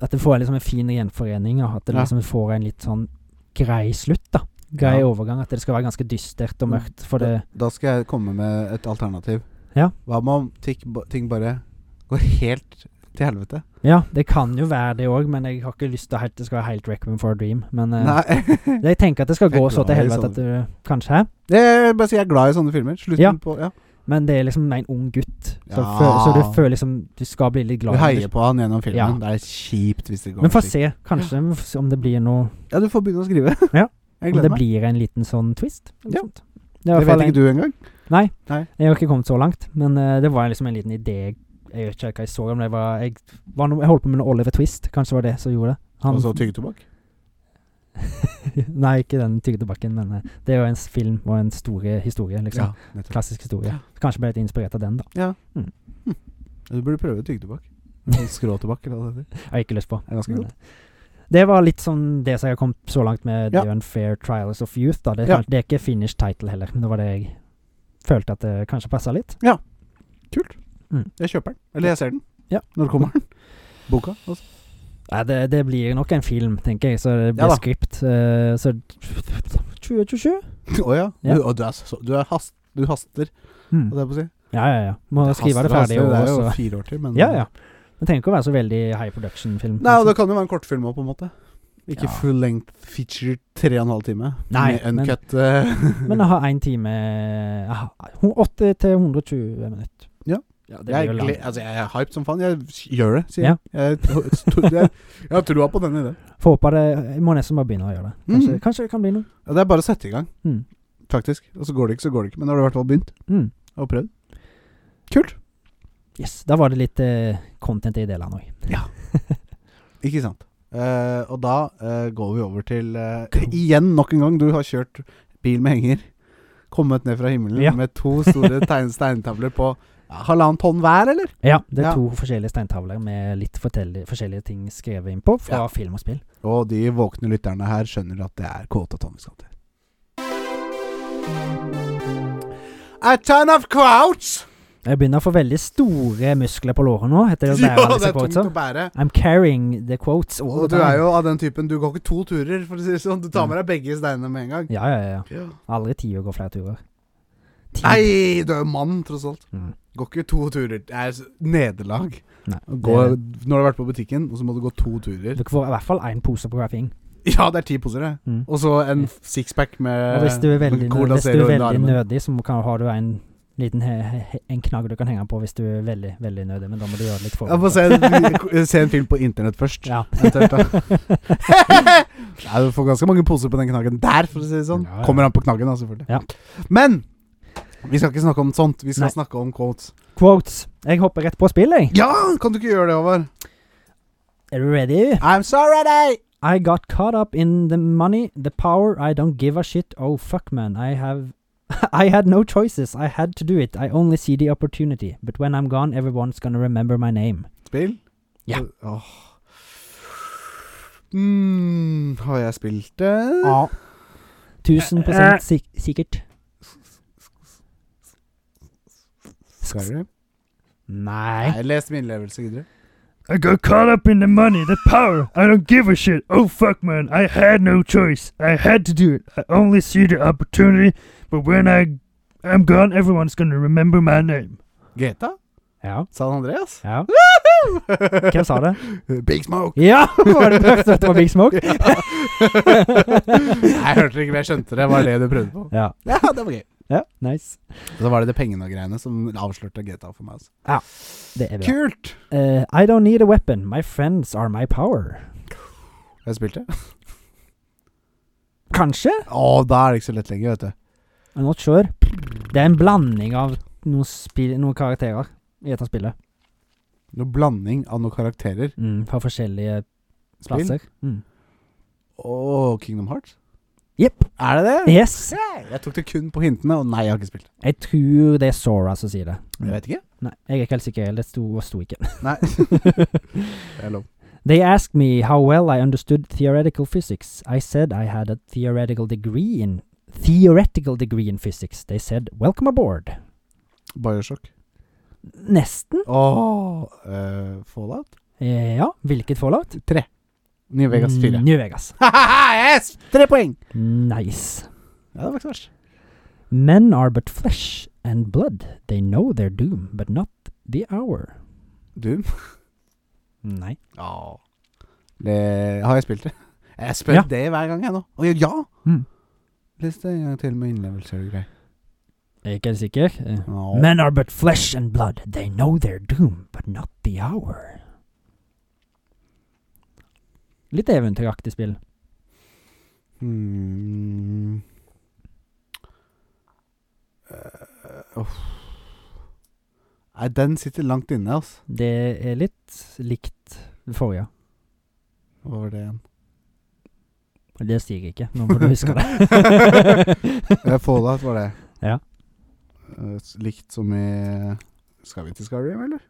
B: At det får liksom en fin gjenforening, og at det
A: Ja.
B: liksom får en litt sånn grei slutt, da.
A: Ja.
B: Grei
A: Mm.
B: overgang. At det skal være ganske dystert og mørkt, for det
A: Da skal jeg komme med et alternativ.
B: Ja.
A: Hva med om ting, ba- ting bare går helt til helvete?
B: Ja, det kan jo være det òg, men jeg har ikke lyst til at det skal være helt Requiem for a Dream. Men eh,
A: Nei.
B: (laughs) jeg tenker at det skal
A: Jeg
B: gå
A: er sånn-
B: så til
A: glad i
B: helvete
A: sånne.
B: at det kanskje er.
A: Jeg bare sier jeg er glad i sånne filmer. Slutten
B: Ja.
A: på Ja.
B: Men det er liksom en ung gutt, så,
A: Ja.
B: føl- så du føler liksom du skal bli litt
A: Du
B: glad. i
A: heier
B: det.
A: på han gjennom filmen.
B: Ja.
A: Det er kjipt hvis det går
B: Men få
A: slik.
B: se, kanskje, vi får se om det blir noe
A: Ja, du får begynne å skrive.
B: Ja.
A: Jeg
B: Om det
A: gleder meg.
B: blir en liten sånn twist.
A: Ja.
B: Eller sånt. Det,
A: Det vet ikke du engang.
B: Jeg har ikke kommet så langt, men eh, det var liksom en liten idé Jeg vet ikke hva jeg så, men det var Jeg, var noe, jeg holdt på med noe Oliver Twist, kanskje det var det som gjorde det. Han-
A: Og så tyggetobakk.
B: (laughs) Nei, ikke den tyggebakken, men eh, det er jo en s- film og en stor historie, liksom.
A: nettopp.
B: Klassisk historie.
A: Ja.
B: Så Kanskje ble jeg litt inspirert av den, da.
A: Du burde prøve tyggetobakk. Skråtobakk, eller hva det heter.
B: Jeg har ikke lyst på.
A: Det er ganske
B: Men,
A: godt.
B: eh, Det var litt sånn det som jeg har kommet så langt med
A: Ja.
B: The Unfair Trials of Youth. Da. Det, er
A: Ja.
B: kan- det er ikke finish title heller, men det var det jeg følte at det kanskje passa litt.
A: Kult.
B: Mm.
A: Jeg kjøper den. Eller jeg ser den.
B: Ja.
A: Når kommer den? Boka? Altså.
B: Nei, det, det blir nok en film, tenker jeg, så det
A: Ja
B: blir
A: da.
B: script. eh, så 2027?
A: (laughs) Å ja.
B: Ja.
A: Du, å, du, er så, du, er hast, du haster,
B: Mm.
A: holdt jeg på å si.
B: Ja, ja, ja. Må
A: Hmm. Det
B: skrive det
A: haster,
B: ferdig.
A: haster,
B: Og,
A: Det er jo
B: så-
A: fire år til, men
B: ja, ja. Det trenger ikke å være så veldig high production-film.
A: Nei, og det kan jo være en kortfilm òg, på en måte. Ikke
B: Ja.
A: full length feature tre og en halv time.
B: Nei,
A: med uncut eh,
B: (laughs) Men jeg har én time eh, hun- 80 til 120 minutter.
A: Ja.
B: det
A: (laughs)
B: blir
A: jeg,
B: jo
A: gle-
B: langt.
A: altså, jeg er hyped som faen. Jeg s- gjør det, sier
B: Ja.
A: jeg. Jeg, to- jeg. Jeg har trua på den ideen.
B: Får håpe det Jeg må nesten bare begynne å gjøre det. Kanskje,
A: Mm.
B: kanskje det kan bli noe.
A: Ja, det er bare å sette i gang,
B: Mm.
A: faktisk. Og så går det ikke, så går det ikke. Men da har du i hvert fall begynt
B: Mm.
A: og prøvd. Kult.
B: Yes. Da var det litt eh, content i delene òg.
A: Ikke sant. Eh, og da eh, går vi over til eh, Igjen, nok en gang, du har kjørt bil med henger. Kommet ned fra himmelen
B: Ja.
A: med to
B: (laughs)
A: store tegn steintavler på ja, halvannet tonn hver, eller?
B: Ja, det er
A: Ja.
B: to forskjellige steintavler med litt fortell- forskjellige ting skrevet innpå fra
A: Ja.
B: film og spill.
A: Og de våkne lytterne her skjønner at det er Kåte Tom vi skal til. A ton of crouch!
B: Jeg begynner å få veldig store muskler på låret nå.
A: (laughs)
B: Heter det å bære disse quotesa.
A: bære.
B: I'm carrying the quotes all
A: Og
B: the
A: du er
B: time.
A: jo av den typen Du går ikke to turer, for å si det sånn. Du tar med deg begge steinene med en gang.
B: Ja, ja, ja.
A: Ja.
B: Aldri tid å gå flere turer. Tid.
A: Nei, du er jo mann, tross alt.
B: Mm.
A: Går ikke to turer. Det er s- nederlag.
B: Nei,
A: Gå, når du har vært på butikken, og så må du gå to turer.
B: Du får i hvert fall én pose på hver fing.
A: (laughs) Ja, det er ti poser, det.
B: Mm.
A: Og så en f- sixpack med
B: Og hvis du er veldig,
A: med Cola
B: hvis du
A: Zero
B: er
A: under
B: veldig
A: armen.
B: nødig, så må- kan, har du en liten he, he, he- en knagg du kan henge på hvis du er veldig, veldig nødig, men da må du gjøre det litt for
A: Jeg må se, en- se en film på internett først.
B: (laughs) Ja.
A: Eventuelt,
B: (laughs)
A: da. (laughs) Nei, du får ganske mange poser på den knaggen der, for å si det sånn.
B: Ja, ja.
A: Kommer an på knaggen, da, selvfølgelig.
B: Ja.
A: Men vi skal ikke snakke om sånt. Vi skal
B: Nei.
A: snakke om quotes.
B: Quotes. Jeg hopper rett på spill, jeg.
A: Ja, kan du ikke gjøre det, Håvard?
B: Er du ready?
A: I'm sorry, day!
B: I got caught up in the money, the power, I don't give a shit. Oh, fuck, man. I have. (laughs) I had no choices. I had to do it. I only see the opportunity. But when I'm gone, everyone's gonna remember my name.
A: Spill?
B: Ja.
A: Åh. Mm, har jeg spilt det?
B: Ja.
A: Eh,
B: 1000 sik sikkert.
A: Skyrim?
B: Nei.
A: Nei, les min innlevelse videre.
C: I got caught up in the money, the power. I don't give a shit. Oh fuck, man. I had no choice. I had to do it. I only see the opportunity, but when I am gone, everyone's gonna remember my name.
A: GTA?
B: Ja.
A: San Andreas?
B: ja. Hvem sa det? (laughs)
A: (laughs) Big Smoke.
B: Ja! Var det prøvd at det var Big
A: (laughs)
B: Smoke?
A: Ja. jeg hørte det ikke, men jeg skjønte det. Var det du prøvde på?
B: Ja.
A: Ja, det var gøy.
B: ja. Nice.
A: Så var det det pengene og greiene som avslørte GTA for meg. Altså.
B: Det er bra.
A: Kult!
B: Eh, I don't need a weapon. My friends are my power.
A: Har jeg spilt det?
B: Kanskje?
A: Å, da er det ikke så lett lenger, vet du.
B: I'm not sure. Det er en blanding av noen, spill, noen karakterer i dette spillet.
A: Noe blanding av noen karakterer.
B: Mm, fra forskjellige
A: Spill.
B: plasser. Mm.
A: Og Kingdom Hearts.
B: Jepp.
A: Er det det?
B: Yes.
A: Jeg tok det kun på hintene, og nei, jeg har ikke spilt det.
B: Jeg tror det er Sora som sier det.
A: Mm. Jeg vet ikke.
B: Nei, jeg er ikke helt sikker. Det sto og sto ikke.
A: Nei.
B: (laughs)
A: Det er lov.
B: They asked me how well I understood theoretical physics. I said I had a theoretical degree in theoretical degree in physics. They said, "Welcome aboard."
A: Bioshock. Mm.
B: Nesten.
A: Åh eh, Fallout?
B: Eh, Ja, hvilket fallout?
A: Tre. New Vegas 4.
B: Mm,
A: (laughs)
B: New Vegas.
A: yes! Tre poeng!
B: Nice.
A: Ja, det var ikke verst.
B: Men are but flesh and blood. They know their doom, but not the hour.
A: Doom.
B: Nei.
A: Ja. Det, har jeg spilt det? Jeg spør
B: Ja.
A: det hver gang, jeg nå. Å ja, ja!
B: Mm.
A: Les det en gang til med innlevelse og greier.
B: Jeg er ikke helt sikker. Eh,
A: Ja.
B: Men are but flesh and blood. They know their doom, but not the hour. Litt eventyraktig spill.
A: Hmm. Eh, uff. Nei, den sitter langt inne, altså.
B: Det er litt likt det forrige.
A: Hva var det igjen?
B: Det sier jeg ikke. Nå må (laughs) du huske det. (laughs)
A: Eh, Fallout var det.
B: Ja.
A: Eh, s- likt som i Skal vi til Skyrim, eller?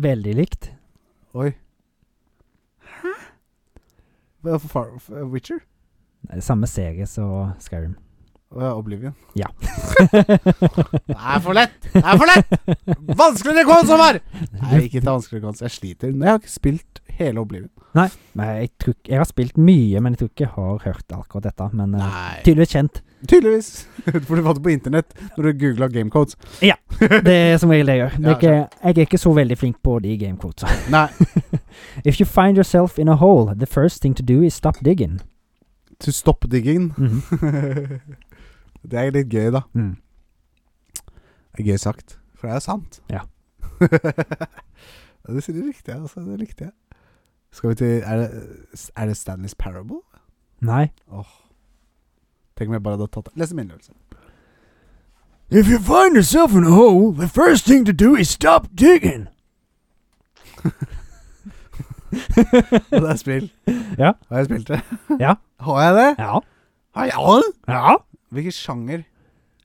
B: Veldig likt.
A: Oi. Hæ? Eh, Far, f- eh, Witcher?
B: Nei, det er Samme serie som (laughs) Skyrim.
A: Å ja, (laughs) Oblivion.
B: Ja.
A: Det er for lett! Det er for lett! Vanskeligere kons, Håvard! Nei, ikke ta vanskeligere kons. Jeg sliter. Jeg har ikke spilt hele Oblivion.
B: Nei, jeg, tror, ikke- jeg har spilt mye, men jeg tror ikke jeg har hørt akkurat dette. Men eh,
A: Nei.
B: tydeligvis (laughs) kjent.
A: Tydeligvis. (laughs) For du fant det på internett når du googla gamecodes.
B: Det er som regel det jeg gjør. Det er
A: Ja,
B: ikke, jeg er ikke så veldig flink på de gamequotesa.
A: Nei.
B: If you find yourself in a hole, the first thing to do is stop digging.
A: To stop digging.
B: Mhm.
A: (laughs) det er litt gøy, da.
B: Mm.
A: Det er gøy sagt. For det er sant.
B: Ja.
A: (laughs) Ja, det sier du riktig, altså. Det likte jeg. Skal vi til Er det, er det Stanley's Parable?
B: Nei.
A: Tenk om jeg bare hadde tatt det. Les en innlevelse.
B: If you find yourself in a hole, the first thing to do is stop digging.
A: Og det er spill.
B: (laughs) Ja.
A: Har jeg spilt det?
B: (laughs) Ja.
A: Har jeg det?
B: Ja.
A: Har jeg det?
B: ja.
A: Hvilken sjanger?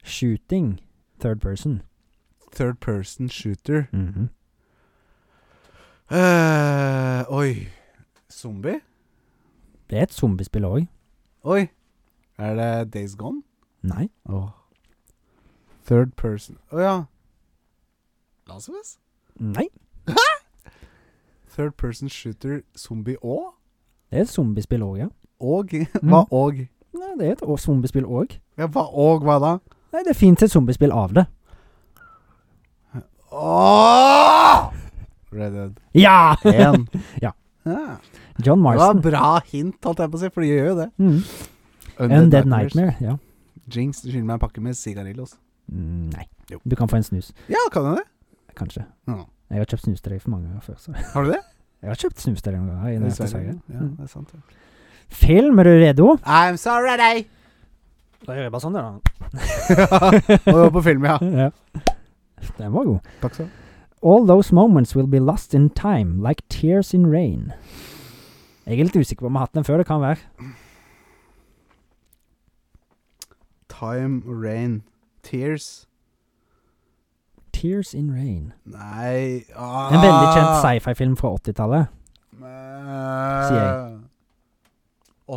B: Shooting. Third person.
A: Third person shooter.
B: Mm -hmm.
A: eh oi. Zombie?
B: Det er et zombiespill òg.
A: Oi. Er det Days Gone?
B: Nei.
A: Åh Third person Å ja. Last of Us?
B: Nei.
A: Third person shooter zombie og?
B: Det er et zombiespill òg, ja.
A: Og?
B: Mm.
A: Hva og?
B: Nei, det er et å- zombiespill òg.
A: Ja, hva og hva da?
B: Nei, det fins et zombiespill av det.
A: Åh! Red Dead
B: Ja!
A: 1.
B: (laughs) Ja.
A: Ja.
B: John
A: Det var
B: Marston.
A: bra hint, holdt jeg på å si, for de gjør jo det.
B: Mm. Undead Nightmare. Ja.
A: Jinx, du skylder meg en pakke med sigarillos.
B: Mm, nei.
A: Jo.
B: Du kan få en snus,
A: Ja, kan jeg det?
B: kanskje.
A: Ja.
B: Jeg har kjøpt snus til deg for mange ganger før. Så.
A: Har du det?
B: Jeg har kjøpt snus til deg noen ganger. i denne
A: Dessverre.
B: sesongen.
A: Ja,
B: Mm.
A: det er sant. Ja.
B: Film, er du redo?
A: I'm sorry,
B: (laughs)
A: day!
B: Da gjør jeg bare sånn, da.
A: Og det var på film, ja.
B: (laughs) ja. Den var god.
A: Takk skal du ha.
B: All those moments will be lost in time, like tears in rain. Jeg er litt usikker på om jeg har hatt den før. Det kan være.
A: Time, rain, tears
B: Tears in rain.
A: Nei ah.
B: En veldig kjent sci-fi-film fra 80-tallet. Sier
A: jeg.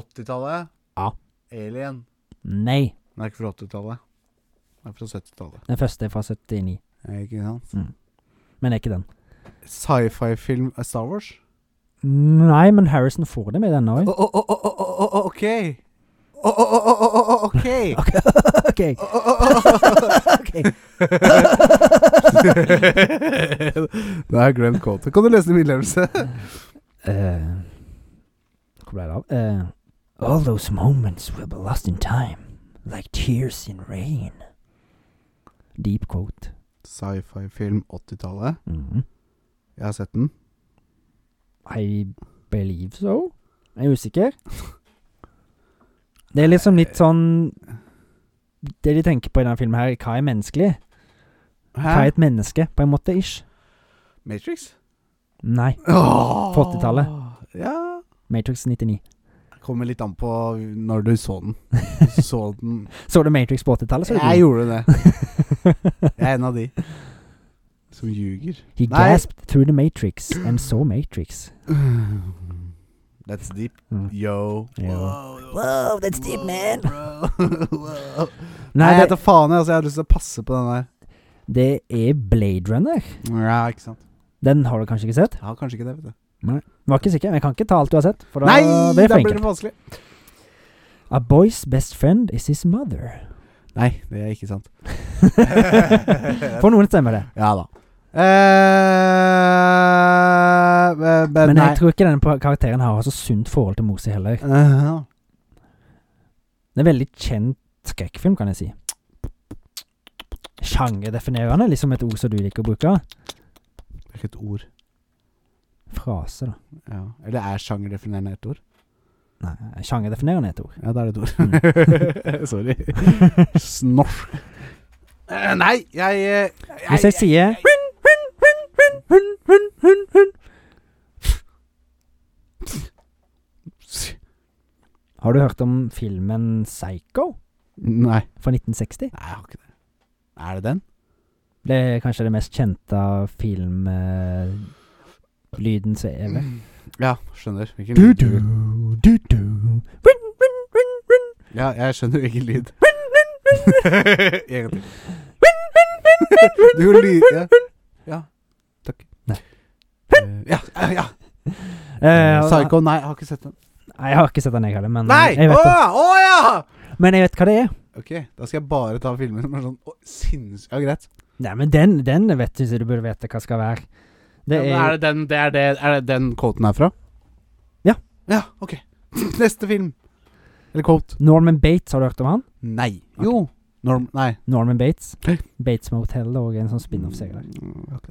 A: 80-tallet?
B: Ja.
A: Alien.
B: Nei,
A: Den er ikke fra 80-tallet. Den er fra 70-tallet.
B: den første er fra 79.
A: Er Ikke sant?
B: Men er ikke den.
A: Sci-fi-film er eh, Star Wars?
B: Nei, men Harrison får det med i denne
A: Å, (laughs)
B: òg.
A: å, å, å, å, å, å, å, OK! Å, å, å, å, å, å, å, (laughs) OK!
B: OK.
A: Å, å, å, å, å.
B: ok.
A: (laughs) Det er Glenn Cote. Kan du lese din innlevelse?
B: (laughs)
A: (laughs)
B: Eh, Hvor ble det av? Eh, All those moments will be lost in time, like tears in rain. Deep quote.
A: Sci-fi-film 80-tallet.
B: Mhm.
A: Jeg har sett den.
B: I believe so. Jeg er usikker. Det er liksom litt sånn Det de tenker på i denne filmen, her hva er menneskelig? Hva er et menneske, på en måte? ish
A: Matrix?
B: Nei.
A: Åh!
B: På 80-tallet.
A: Ja.
B: Matrix 99.
A: Kommer litt an på når du så (laughs) den. Så den
B: (laughs) Så du Matrix på 80-tallet? så er det
A: Jeg
B: god.
A: gjorde det. Jeg er en av de. Som ljuger.
B: He
A: Nei.
B: gasped through the matrix and saw matrix.
A: That's deep.
B: Mm.
A: Yo.
B: Yo.
A: Wow,
B: Wow, that's deep, man.
A: bro. (laughs) Wow. Nei,
B: Nei,
A: jeg vet
B: det,
A: da faen. jeg, Altså, jeg har lyst til å passe på den der.
B: det er Blade Runner.
A: Ja, ikke sant.
B: Den har du kanskje ikke sett?
A: Jeg har kanskje ikke det, vet du.
B: Var ikke sikker, men jeg kan ikke ta alt du har sett. For da
A: Nei,
B: blir det
A: da blir det
B: for enkelt.
A: vanskelig.
B: A boy's best friend is his
A: (laughs)
B: mother.
A: Nei, det er ikke sant.
B: For noen stemmer det.
A: Ja da. Eh, eh,
B: Men
A: nei.
B: jeg tror ikke denne pa- karakteren har så sunt forhold til mor si heller.
A: Eh,
B: Det er en veldig kjent skrekkfilm, kan jeg si. Sjangerdefinerende, liksom et ord som du liker å bruke.
A: Det er ikke et ord.
B: Frase, da.
A: Ja. Eller er sjangerdefinerende et ord?
B: Nei, sjangerdefinerende er et ord.
A: Ja, da er det et
B: Mm.
A: ord. (laughs) Sorry. Snorsk. Eh, nei, jeg, eh, jeg
B: Hvis jeg sier hun, hun, hun, hun, hun, hun, hun, hun. Har du hørt om filmen Psycho
A: Nei.
B: fra 1960?
A: Nei, jeg har ikke det. Er det den?
B: Det er kanskje det mest kjente filmlyden som er med.
A: Ja, skjønner. Hvilken
B: Du,
A: lyd
B: du, du, du. Hun, hun, hun, hun.
A: Ja, jeg skjønner hvilken
B: (laughs)
A: lyd. en gang til. Du gjorde lyd ja. ja. Takk.
B: Nei.
A: Eh, ja, ja, ja.
B: Eh, og-
A: Psycho, nei, jeg har ikke sett den.
B: Nei, Jeg har ikke sett den, jeg heller. Men,
A: Nei!
B: Jeg
A: Å
B: vet det.
A: ja! Å ja!
B: men jeg vet hva det er.
A: Ok, da skal jeg bare ta filmer som er sånn å, sinnssykt Ja, greit.
B: Nei, men den, den vet du så du burde vite hva skal være. Det
A: Ja, men
B: er,
A: det den, det er, det, er det den quoten herfra?
B: Ja.
A: Ja, ok. (laughs) Neste film. Eller quote.
B: Norman Bates, har du hørt om han?
A: Nei.
B: Ok.
A: Jo. Norm... Nei.
B: Norman Bates.
A: Hæ?
B: Bates Motel og en sånn spin-off-serie.
A: Mm, ok.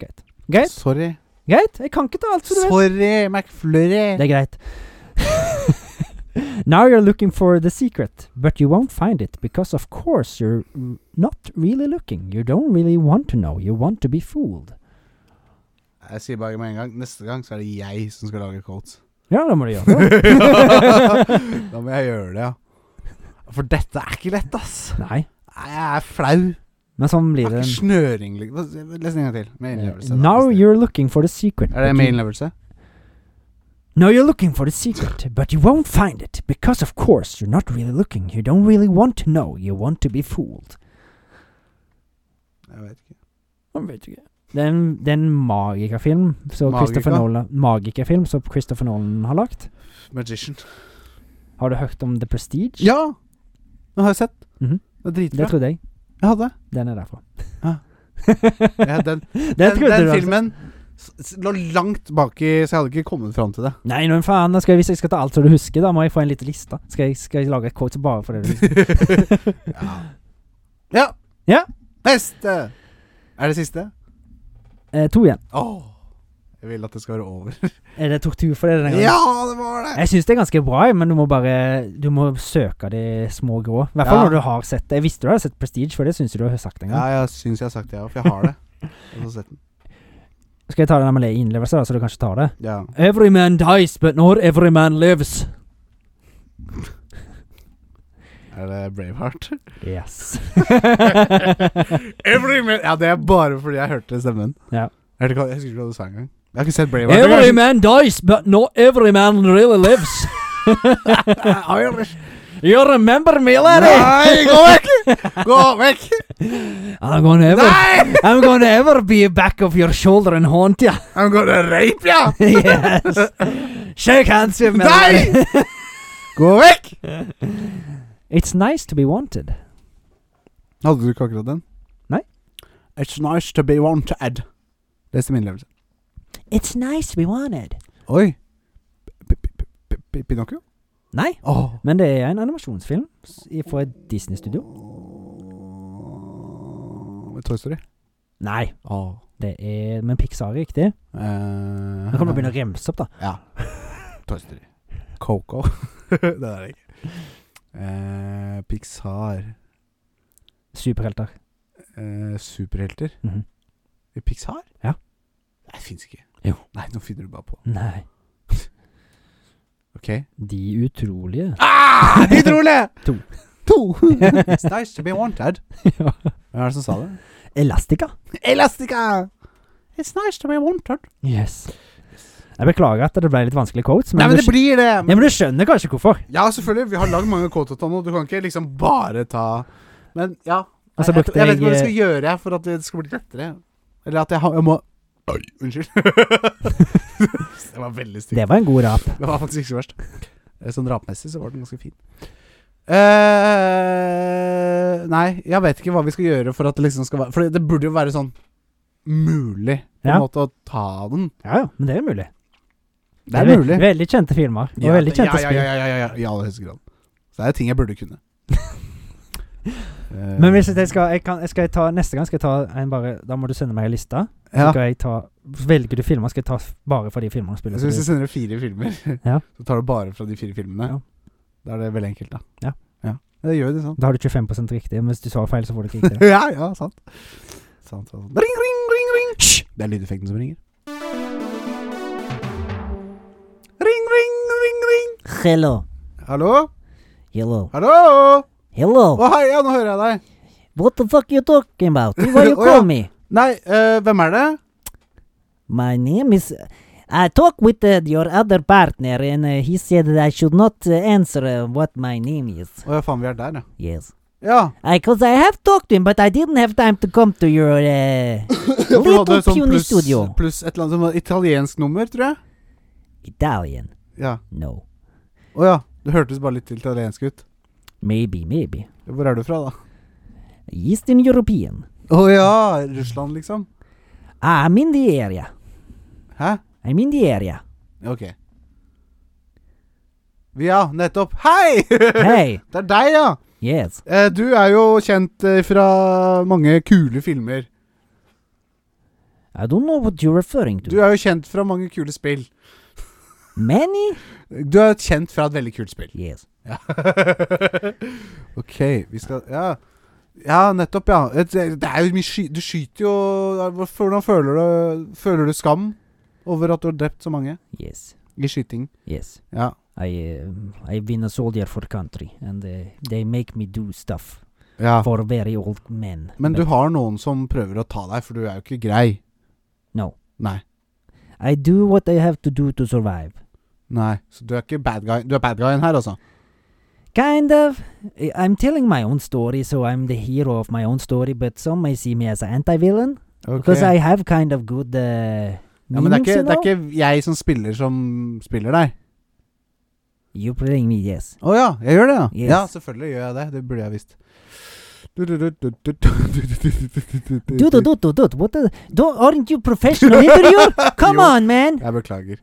B: Greit. Greit,
A: Sorry.
B: greit. Jeg kan ikke ta alt, så du vet.
A: Sorry, McFlurry.
B: Det er greit. (laughs) Now you're looking for the secret, but you won't find it because, of course, you're r- not really looking. You don't really want to know. You want to be fooled.
A: Jeg sier bare med en gang, neste gang så er det jeg som skal lage quotes.
B: (laughs) Ja, det må du gjøre.
A: (laughs) da må jeg gjøre det, ja. For dette er ikke lett, ass.
B: Nei,
A: Nei, Jeg er flau.
B: men sånn
A: Jeg
B: blir
A: har
B: det.
A: ikke snøring. liksom. Les en gang til. Med innlevelse. da.
B: Uh, Eh, Now you're looking for the secret.
A: er det
B: but
A: med
B: you-
A: innlevelse?
B: Now you're looking for the secret, but you won't find it because, of course, you're not really looking. You don't really want to know. You want to be fooled.
A: Jeg vet ikke.
B: Det er en, det er en magikerfilm som Christopher
A: Magika?
B: Nolan Magikerfilm som Christopher Nolan har lagt.
A: Magician.
B: Har du hørt om The Prestige?
A: Ja! Den har jeg sett.
B: Mhm.
A: Det er
B: Det
A: dritbra.
B: trodde jeg.
A: jeg hadde.
B: Den er derfra. (laughs)
A: Ja. Ah. Ja, den,
B: Det
A: den, den
B: trodde du altså.
A: filmen s- s- lå langt baki, så jeg hadde ikke kommet fram til det.
B: Nei, nå faen. Da skal jeg, hvis jeg skal ta alt som du husker, da må jeg få en liten liste. Skal jeg, skal jeg lage et quote bare for det du husker?
A: (laughs) ja. ja.
B: Ja.
A: Neste! Er det siste?
B: Eh, to igjen.
A: Åh. Jeg vil at det skal være over.
B: Er det tortur for deg denne gangen?
A: Ja, det var det!
B: Jeg syns det er ganske bra, jeg, men du må bare Du må søke de små grå. I hvert fall
A: Ja.
B: når du har sett det. Jeg visste du hadde sett Prestige, for det syns jeg du har sagt en
A: Ja,
B: gang.
A: jeg syns jeg har sagt det, ja, for jeg har det. Jeg har sett den.
B: Skal jeg ta den med le- innlevelse, da, så du kanskje tar det?
A: Ja.
B: Every man dies, but not every man lives.
A: Er det
B: (laughs)
A: Braveheart?
B: Yes.
A: Every man Ja, det er bare fordi jeg hørte stemmen.
B: Ja.
A: Jeg, hørte, ikke hva- jeg husker ikke hva du sa engang. Jeg har ikke sett Braveheart.
B: every
A: (laughs)
B: man dies, but not every man really lives.
A: Irish.
B: You remember me, lady?
A: Nei, gå vekk! Gå vekk!
B: I'm gonna ever, (laughs)
A: Nei!
B: I'm gonna ever be back of your shoulder and
A: (laughs)
B: haunt ya.
A: I'm gonna rape ya!
B: yes. Shake hands with me. lady.
A: Nei! Gå vekk!
B: It's nice to be wanted.
A: Hadde du ikke akkurat den?
B: Nei.
A: It's nice to be wanted. Les til min innlevelse.
B: It's nice to be wanted.
A: Oi. P- p- p- p- p- Pinocchio?
B: Nei.
A: Åh.
B: Men det er en animasjonsfilm s- i- fra et Disney-studio.
A: Åh, Toy Story?
B: Nei,
A: Åh.
B: det er Men Pixar er riktig.
A: Eh,
B: Nå kan du begynne å remse opp, da.
A: Ja. Eh, Toy Story. Coco. (laughs) det er det ikke. Eh, Pixar.
B: Superhelter.
A: Eh, superhelter.
B: Mhm.
A: I Pixar?
B: Ja.
A: Nei, det fins ikke.
B: Jo.
A: Nei, nå finner du bare på.
B: Nei.
A: Ok.
B: De utrolige.
A: (laughs)
B: (laughs)
A: Ah, utrolig!
B: To.
A: to. It's nice to be wanted.
B: Ja.
A: Hvem er det som sa det?
B: Elastica.
A: Elastica! It's nice to be wanted.
B: Yes. Jeg beklager at det ble litt vanskelige quotes, men,
A: Nei, men
B: du,
A: det blir det.
B: skj- ja, men du skjønner kanskje hvorfor.
A: Ja, selvfølgelig. Vi har lagd mange kåtota nå. Du kan ikke liksom bare ta Men ja.
B: Og så
A: Nei, jeg,
B: brukte
A: jeg vet
B: jeg,
A: ikke hva jeg skal gjøre jeg, for at det skal bli lettere. Eller at jeg, har, jeg må Oi,
B: (laughs)
A: unnskyld. det var veldig stygt.
B: Det var en god rap.
A: Det var faktisk ikke så verst. Eh, Sånn drapmessig så var den ganske fin. eh nei, jeg vet ikke hva vi skal gjøre for at det liksom skal være For det burde jo være sånn mulig på en
B: Ja.
A: måte å ta den.
B: Ja, ja, men det er jo mulig.
A: Det er
B: ve-
A: mulig.
B: Veldig kjente filmer. Og
A: Ja,
B: veldig kjente
A: ja, ja, ja, ja, ja, ja, I aller høyeste grad. Så det er ting jeg burde kunne. Eh,
B: spill. (laughs) Men hvis jeg skal, jeg kan, jeg skal jeg ta, neste gang skal jeg ta en bare Da må du sende meg en liste. Så
A: Eh, ja.
B: skal jeg ta Velger du filmer, skal jeg ta f- bare fra de filmene og spille.
A: Så hvis du sender deg fire filmer, (laughs)
B: Ja.
A: så tar du bare fra de fire filmene.
B: Ja.
A: Da er det veldig enkelt, da.
B: Ja.
A: ja. Det gjør jo
B: (laughs)
A: det sånn.
B: Da har du 25 riktig, men hvis du svarer feil, så får du
A: (laughs)
B: ikke riktig.
A: ja, ja, sant. sant, sant. Ring, ring, ring, ring. Det er lydeffekten som ringer. Ring, ring, ring, ring.
B: Hello.
A: Hallo?
B: Hello.
A: Hallo? Å,
B: Hello.
A: hei, ja, nå hører jeg deg.
B: What the fuck you talking about?
A: Why you Å, (laughs) ja. call
B: me?
A: Nei, eh, hvem er det?
B: My name is. I talk with uh, your other partner, and uh, he said that I should not uh, answer uh, what my name is.
A: Å ja, faen, vi er der, ja.
B: Yes,
A: Ja.
B: because I have talked to him, but I didn't have time to come to your uh,
A: for du
B: little
A: hadde sånn
B: puny
A: pluss-
B: studio.
A: Pluss et eller annet som var italiensk nummer, tror jeg.
B: Italian.
A: Ja.
B: No,
A: Å ja. Det hørtes bare litt italiensk ut.
B: maybe, maybe
A: Hvor er du fra, da?
B: Eastern European. Ah,
A: Å ja, Russland, liksom.
B: I'm in the area.
A: Hæ?
B: I'm in the
A: (laughs)
B: area.
A: Ok. Ja, nettopp. Hei! (laughs)
B: Hey,
A: Det er deg, ja.
B: yes.
A: Eh, Du er jo kjent eh, fra mange kule filmer.
B: I don't know what you're referring
A: Du
B: to.
A: er jo kjent fra mange kule spill.
B: Many?
A: Du er kjent fra et veldig kult spill.
B: Yes.
A: Ja. (laughs) ok, vi skal Ja, ja nettopp, ja. Et- Det er jo mye sky, Du skyter jo hvorfor- Hvordan føler du Føler du skam over at du har drept så mange
B: Yes.
A: i skyting?
B: Yes.
A: Ja.
B: I uh, I've been a soldier for country, and uh, they make me do stuff
A: ja.
B: for very old men.
A: Men du
B: But
A: har noen som prøver å ta deg, for du er jo ikke grei.
B: no,
A: Nei.
B: I do what I have to do to survive.
A: Nei. Så du er ikke bad guy. Du er bad guyen her, altså?
B: Kind of. I- I'm telling my own story, so I'm the hero of my own story. But some may see me as an anti-villain because I have kind of good. Uh,
A: Ja, men det er,
B: meanings,
A: ikke,
B: you
A: det er
B: know?
A: ikke jeg som spiller som spiller deg.
B: You playing me, yes.
A: Å ja, jeg gjør det, ja.
B: Yes.
A: Ja, selvfølgelig gjør jeg det. Det burde jeg visst.
B: Dude, dude, dude, dude, what the? Don't, aren't you professional
A: (laughs)
B: interviewer? Come
A: Jo,
B: on, man!
A: Jeg beklager.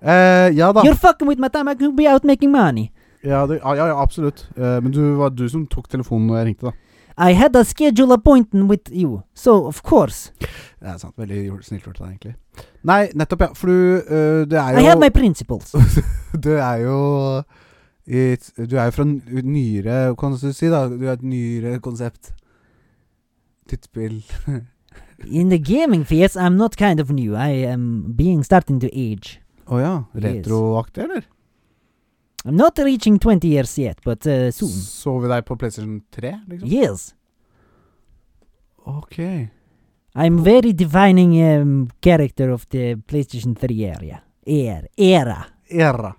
A: Eh, ja da.
B: You're fucking with my time. I could be out making money.
A: Ja, det, ja, ja, absolutt. Eh, men du var du som tok telefonen når jeg ringte, da.
B: I had a schedule appointment with you, so of course.
A: Det er sant. Veldig gjort- snilt gjort av deg, egentlig. Nei, nettopp, ja. For du, eh, du er
B: I
A: jo
B: have
A: (laughs)
B: my principles. (laughs)
A: Du er jo i, et- Du er jo fra n- nyere Hva kan du si, da? Du er et nyere konsept. Tidsspill.
B: In the gaming phase, I'm not kind of new. I am being starting to age.
A: Å ja.
B: Yes.
A: Retroaktig, eller?
B: I'm not reaching 20 years yet, but uh, soon.
A: Så vi deg på PlayStation 3, liksom?
B: Yes.
A: Ok.
B: I'm very defining um, character of the PlayStation 3 area. Air, era.
A: Era.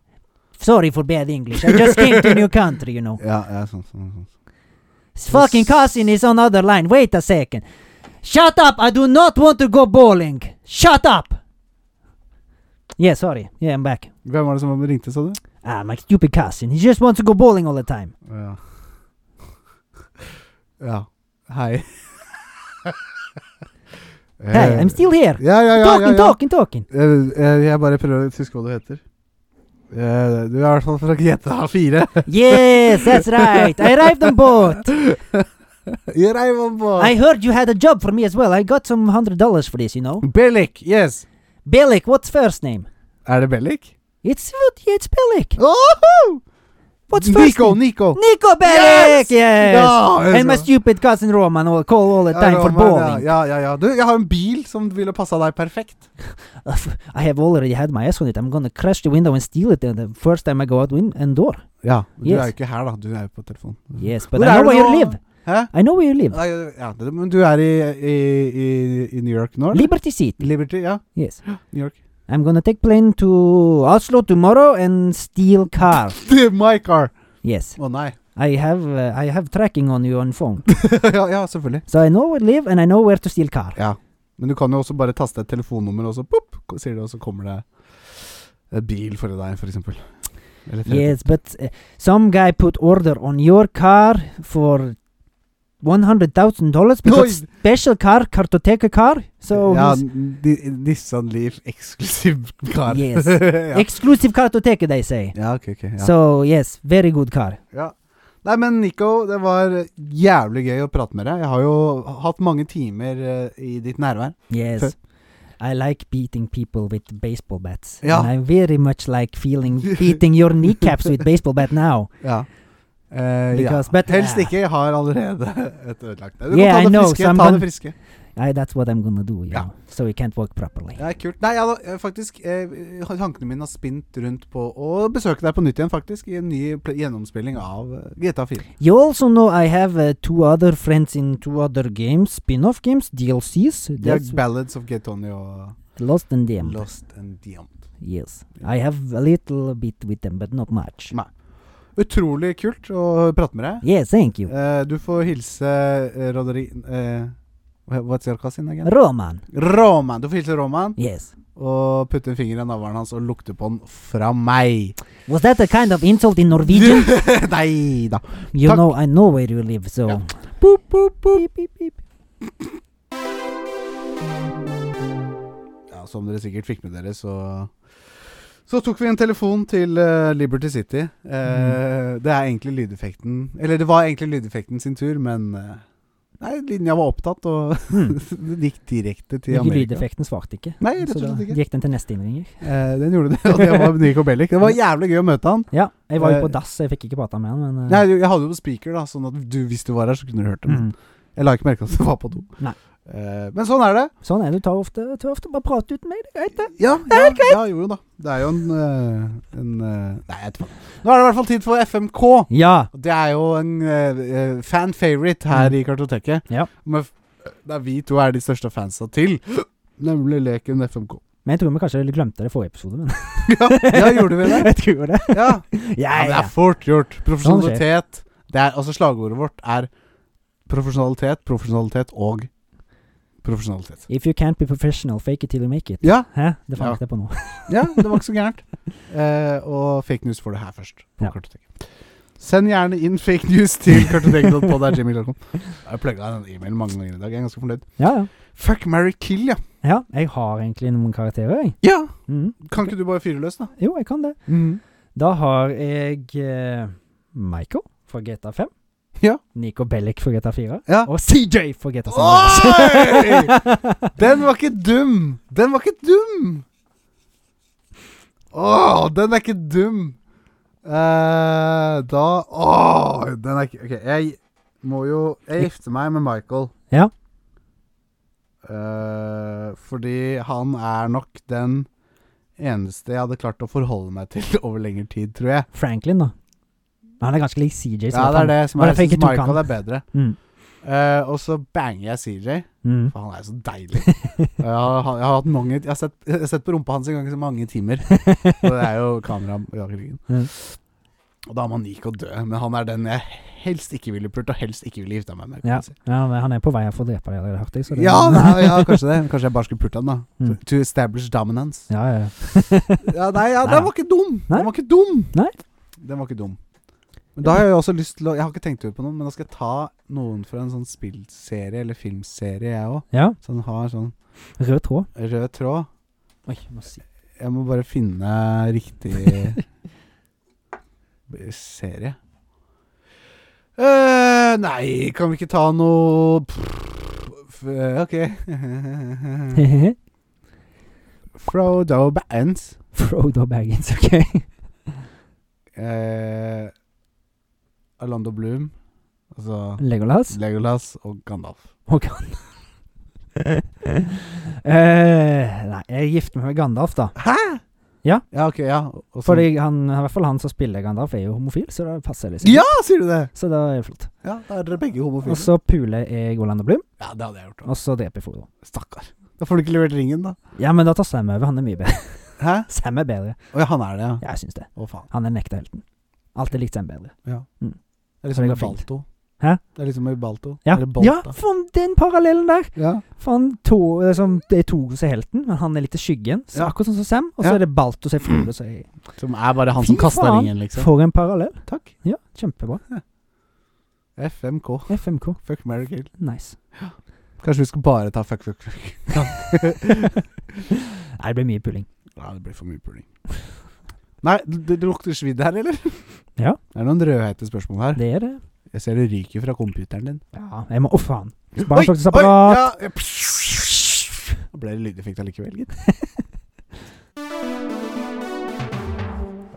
B: Sorry for bad English. I just came to a new country, you know.
A: Ja, ja sånn, sånn, sånn.
B: His fucking cousin is on other line. Wait a second. Shut up! I do not want to go bowling. Shut up! Yeah, sorry. Yeah, I'm back.
A: Hvem var det som ringte, sa du?
B: Ah, my stupid cousin. He just wants to go bowling all the time.
A: Ja. (laughs) ja. (laughs) Hei.
B: Hey, I'm still here.
A: Eh, Ja, ja, ja.
B: Talking,
A: ja, ja.
B: talking, talking.
A: Jeg, jeg, jeg bare prøver å huske hva du heter. Eh, du er i hvert fall fra GTA (laughs) 4.
B: Yes, (laughs) that's right. I arrived on board. (laughs)
A: You arrive on board.
B: I heard you had a job for me as well. I got some hundred dollars for this, you know.
A: Bellic, yes.
B: Bellic, what's first name?
A: Er det Bellic?
B: Oh. It's yeah, it's Bellic.
A: Åhå!
B: What's first
A: Nico,
B: name?
A: Nico!
B: Nico Bellic! Yes!
A: Ja, jeg
B: And my
A: skal-
B: stupid cousin Roman all call all the time
A: Ja,
B: for
A: Roman,
B: bowling.
A: Ja, ja, ja, ja. Du, jeg har en bil som ville passa deg perfekt.
B: (laughs) I have already had my ass on it. I'm gonna crash the window and steal it uh, the first time I go out win and door.
A: Ja, men du
B: Yes.
A: er jo ikke her, da. Du er jo på telefon.
B: Yes, but
A: Hvor
B: I
A: er du
B: know where you
A: nå?
B: live.
A: Hæ?
B: I know where you live.
A: Nei, Ja, det- men du er i, i, i, i New York nå? eller?
B: Liberty Seat.
A: Liberty, ja.
B: Yes.
A: New York. (laughs)
B: I'm gonna take plane to Oslo tomorrow and steal car.
A: My car!
B: Yes.
A: Å nei. (laughs)
B: I have uh, I have tracking on you on phone.
A: ja, ja, selvfølgelig.
B: So I know where to live and I know where to steal car.
A: Ja. Men du kan jo også bare taste et telefonnummer, og så pop, ko- sier det, og så kommer det en bil for deg, for eksempel. Eller et
B: Yes, but uh, some guy put order on your car for one hundred thousand dollars because
A: No,
B: special car, Kartoteka car. So
A: ja,
B: he's
A: Ni- Nissan Leaf eksklusiv kar.
B: Yes.
A: (laughs) ja.
B: exclusive Kartoteka, they say.
A: ja, ok, ok. Ja.
B: So yes, very good car.
A: ja. Nei, men Nico, det var jævlig gøy å prate med deg. Jeg har jo hatt mange timer eh, i ditt nærvær. (laughs)
B: Yes. I like beating people with baseball bats.
A: Yeah.
B: And I very much like feeling beating your kneecaps with baseball bat now.
A: Ja. Eh, ja.
B: Because- but-
A: Helst
B: ja.
A: ikke. Jeg har allerede (laughs) et ødelagt Du
B: Yeah, I
A: kan ta det
B: know,
A: friske.
B: so I'm
A: ta
B: gonna-
A: det friske.
B: I, that's what I'm gonna do, you
A: Yeah.
B: know. So we can't work properly.
A: Ja, kult. Nei, jeg hadde eh, faktisk eh, Tankene mine har spint rundt på å besøke deg på nytt igjen, faktisk. I en ny pl- gjennomspilling av eh, GTA 4.
B: You also know I have uh, two other friends in two other games, spin-off games, DLCs.
A: Det er
B: That's
A: Ballads of Gay Tony og
B: Lost and Damned.
A: Lost and Diamond.
B: Yes. I have a little bit with them, but not much.
A: Ma- Utrolig kult å prate med deg.
B: Yes, thank you.
A: Eh, du får hilse eh, Rodri... eh, wha- what's your cousin again?
B: Roman.
A: Roman! Du får hilse Roman
B: Yes.
A: og putte en finger i navlen hans og lukte på den fra meg.
B: Was that a kind of insult in Norwegian?
A: (laughs) Nei da.
B: you
A: Tack.
B: know, I know where you live, so.
A: Yeah.
B: Boop, boop, boop. Beep, beep, beep.
A: Ja, som dere sikkert fikk med dere, så Så tok vi en telefon til eh, Liberty City. Eh,
B: Mm.
A: Det er egentlig lydeffekten Eller det var egentlig lydeffekten sin tur, men eh, Nei, linja var opptatt, og (laughs)
B: Hmm.
A: den gikk direkte til
B: Ikke
A: Amerika.
B: lydeffekten svarte ikke.
A: Nei, rett
B: Så
A: og
B: da
A: slett ikke.
B: gikk den til neste innringer.
A: Eh, den gjorde det, (laughs) og det var Nico Bellic.
B: Mm.
A: Det var jævlig gøy å møte han.
B: Ja, jeg var jo på
A: Eh,
B: dass, så jeg fikk ikke prata med han, men eh,
A: Nei, jeg hadde jo på speaker, da, sånn at du, hvis du var her, så kunne du hørt det. men
B: mm.
A: Jeg la ikke merke til at du var på do.
B: Nei.
A: Eh, men sånn er det.
B: Sånn er det. Du tar ofte, tar ofte bare prat uten meg, det er greit, det.
A: Ja, ja, ja, jo da. Det er jo en, eh, en eh, Nei, jeg vet ikke. Nå er det i hvert fall tid for FMK.
B: Ja.
A: Og Det er jo en eh, eh, fan favorite her i Kartoteket.
B: Mm. Ja.
A: Men f- der vi to er de største fansa til, (gasps) nemlig leken FMK.
B: (laughs) Men jeg tror vi kanskje glemte det i forrige episode, men
A: Ja, (laughs) ja gjorde vi det?
B: (laughs) jeg tror det.
A: Ja.
B: Ja,
A: men det
B: ja.
A: er fort gjort.
B: Sånn skjer.
A: Profesjonalitet det er, Altså slagordet vårt er profesjonalitet, profesjonalitet og profesjonalitet.
B: If you can't be professional, fake it till you make it.
A: Ja,
B: Hæ? Det
A: Ja.
B: fant jeg på nå.
A: ja det var ikke så
B: (laughs)
A: gærent. Eh, og fake news får du her først. På
B: Ja.
A: Kartoteket. Send gjerne inn fake news til kartoteket.podarjimmy.com. Jeg har plugga den e-mailen mange ganger i dag. Jeg er ganske fornøyd.
B: Ja, ja.
A: Fuck, marry, kill, ja.
B: Ja, jeg har egentlig noen karakterer, jeg.
A: Ja,
B: Mhm.
A: Kan ikke du bare fyre løs, da?
B: Jo, jeg kan det. Da har jeg eh, Michael fra GTA 5.
A: Ja.
B: Nico Bellic fra GTA 4.
A: Ja.
B: Og CJ fra GTA 6.
A: Oi! Den var ikke dum! Den var ikke dum! Åh, den er ikke dum! Eh, da Åh, den er ikke Ok, jeg må jo Jeg gifter meg med Michael.
B: Ja.
A: Eh, fordi han er nok den eneste jeg hadde klart å forholde meg til (laughs) over lengre tid, tror jeg.
B: (laughs) Franklin, da. Men Han er ganske lik CJ.
A: Ja, det er det som
B: Og
A: er
B: det
A: Jeg syns
B: fikk jeg tok
A: Michael
B: han.
A: er bedre.
B: Mm.
A: Eh, og så banger jeg CJ.
B: Mm.
A: For han er jo så deilig. (laughs) Jeg har, jeg har, hatt mange, jeg har, sett, jeg har sett på rumpa hans en gang i så mange timer. Og det er jo kamera bak ryggen.
B: Mm.
A: Og da er man lik å dø, men han er den jeg helst ikke ville pult, og helst ikke ville gifta meg med. kan
B: Ja.
A: jeg si.
B: (laughs) ja, men han er på vei her for å drepe deg, allerede, hørte jeg. så det-
A: Ja, nei, ja, kanskje det. Kanskje jeg bare skulle pult han, da.
B: Mm.
A: To establish dominance.
B: (laughs) ja, ja.
A: (laughs) Ja, nei, ja,
B: Nei
A: den
B: da.
A: var ikke dum!
B: Nei.
A: Den var ikke dum!
B: Nei.
A: Den var ikke dum. Men da har jeg jo også lyst til å Jeg har ikke tenkt ut på noen, men da skal jeg ta noen fra en sånn spillserie eller filmserie, jeg òg.
B: ja.
A: Som har sånn
B: Rød tråd.
A: rød tråd.
B: Oi, må (laughs) si.
A: Jeg må bare finne riktig serie. eh nei, kan vi ikke ta noe Pff, eh, OK. Frodo Bands.
B: Frodo Baggins, ok.
A: Eh, Orlando Bloom, altså
B: Legolas.
A: (laughs) Legolas og Gandalf.
B: Og Gandalf. Eh, nei, jeg gifter meg med Gandalf, da.
A: Ja, ok, ja. Og så-
B: Fordi han, i hvert fall han som spiller Gandalf, er jo homofil, så det passer liksom.
A: ja, Ah, sier du det!
B: Så da er det flott.
A: Ja, Da er dere begge
B: Og
A: homofile.
B: så puler jeg Orlando Bloom,
A: Ja, det hadde jeg gjort. da.
B: og så dreper jeg Frodo.
A: Stakkar. Da får du ikke levert ringen, da.
B: Ja, men da tar Sam over. Han er mye bedre. (laughs)
A: Hæ?
B: Sam er bedre.
A: Å ja, han er det, ja.
B: Ja, jeg syns det.
A: Å, faen.
B: Han er nekta helten. Alltid likt Sam bedre.
A: Det er
B: Så
A: liksom i
B: det går fint.
A: Balto.
B: Hæ?
A: Det er liksom i Balto.
B: Ja,
A: Eller
B: ja
A: Balta.
B: faen, den parallellen der!
A: Ja.
B: Faen, to, liksom, det er Togo som er helten, men han er litt i skyggen. Så
A: Ja.
B: Akkurat sånn som Sam. Og så
A: Ja.
B: er det Balto som er Frodo. som
A: (clears throat)
B: er-
A: Som er bare han
B: Fy
A: som kasta
B: faen.
A: ringen, liksom.
B: For en parallell.
A: Takk.
B: Ja, kjempebra.
A: FMK.
B: FMK.
A: Fuck, marry, kill. (laughs)
B: Nice.
A: Kanskje vi skal bare ta fuck, fuck, fuck.
B: Nei, det blir mye puling.
A: Ja, det blir for mye puling. Nei, det, det lukter svidd her, eller?
B: Ja.
A: Det er noen rødhete spørsmål her.
B: Det er det.
A: Jeg ser det ryker fra computeren din.
B: Ja, jeg må Å, faen. Spar slukningsapparat.
A: ja, ja. Da ble det lydeffekt allikevel,
B: (laughs)
A: gitt.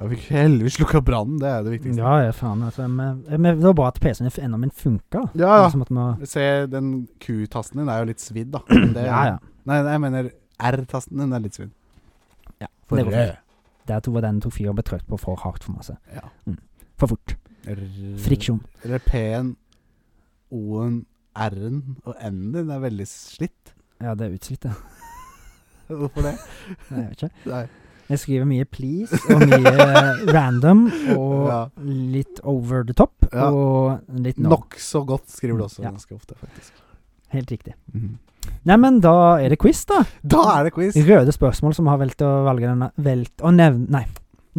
A: Jeg fikk heldigvis slukka brannen, det er det viktigste.
B: Ja, ja, faen. Altså, men, men det var bra at PC-en f- enda min funka. da.
A: Ja, ja.
B: Liksom at man,
A: Se, den Q-tasten din er jo litt (clears throat) svidd, da. Men (clears throat) Det,
B: ja, ja.
A: Nei, nei, jeg mener R-tasten din er litt svidd.
B: Ja,
A: For
B: det går
A: rød.
B: Der tok den tok fyr og ble trøkt på for hardt for masse.
A: Ja.
B: For fort.
A: R-
B: Friksjon.
A: Eller P-en, O-en, R-en og N-en din er veldig slitt. (laughs)
B: Ja, det er utslitt, det.
A: Hvorfor det?
B: Jeg vet ikke.
A: Nei.
B: Jeg skriver mye please og mye eh,
A: (laughs)
B: random og
A: Ja.
B: litt over the top
A: Ja.
B: og litt no.
A: Nokså godt skriver du også
B: Ja.
A: ganske ofte, faktisk.
B: Helt riktig.
A: Mhm.
B: Nei, men da er det quiz, da.
A: Da er det quiz!
B: Røde spørsmål som har valgt å velge denne Velt å nevne Nei.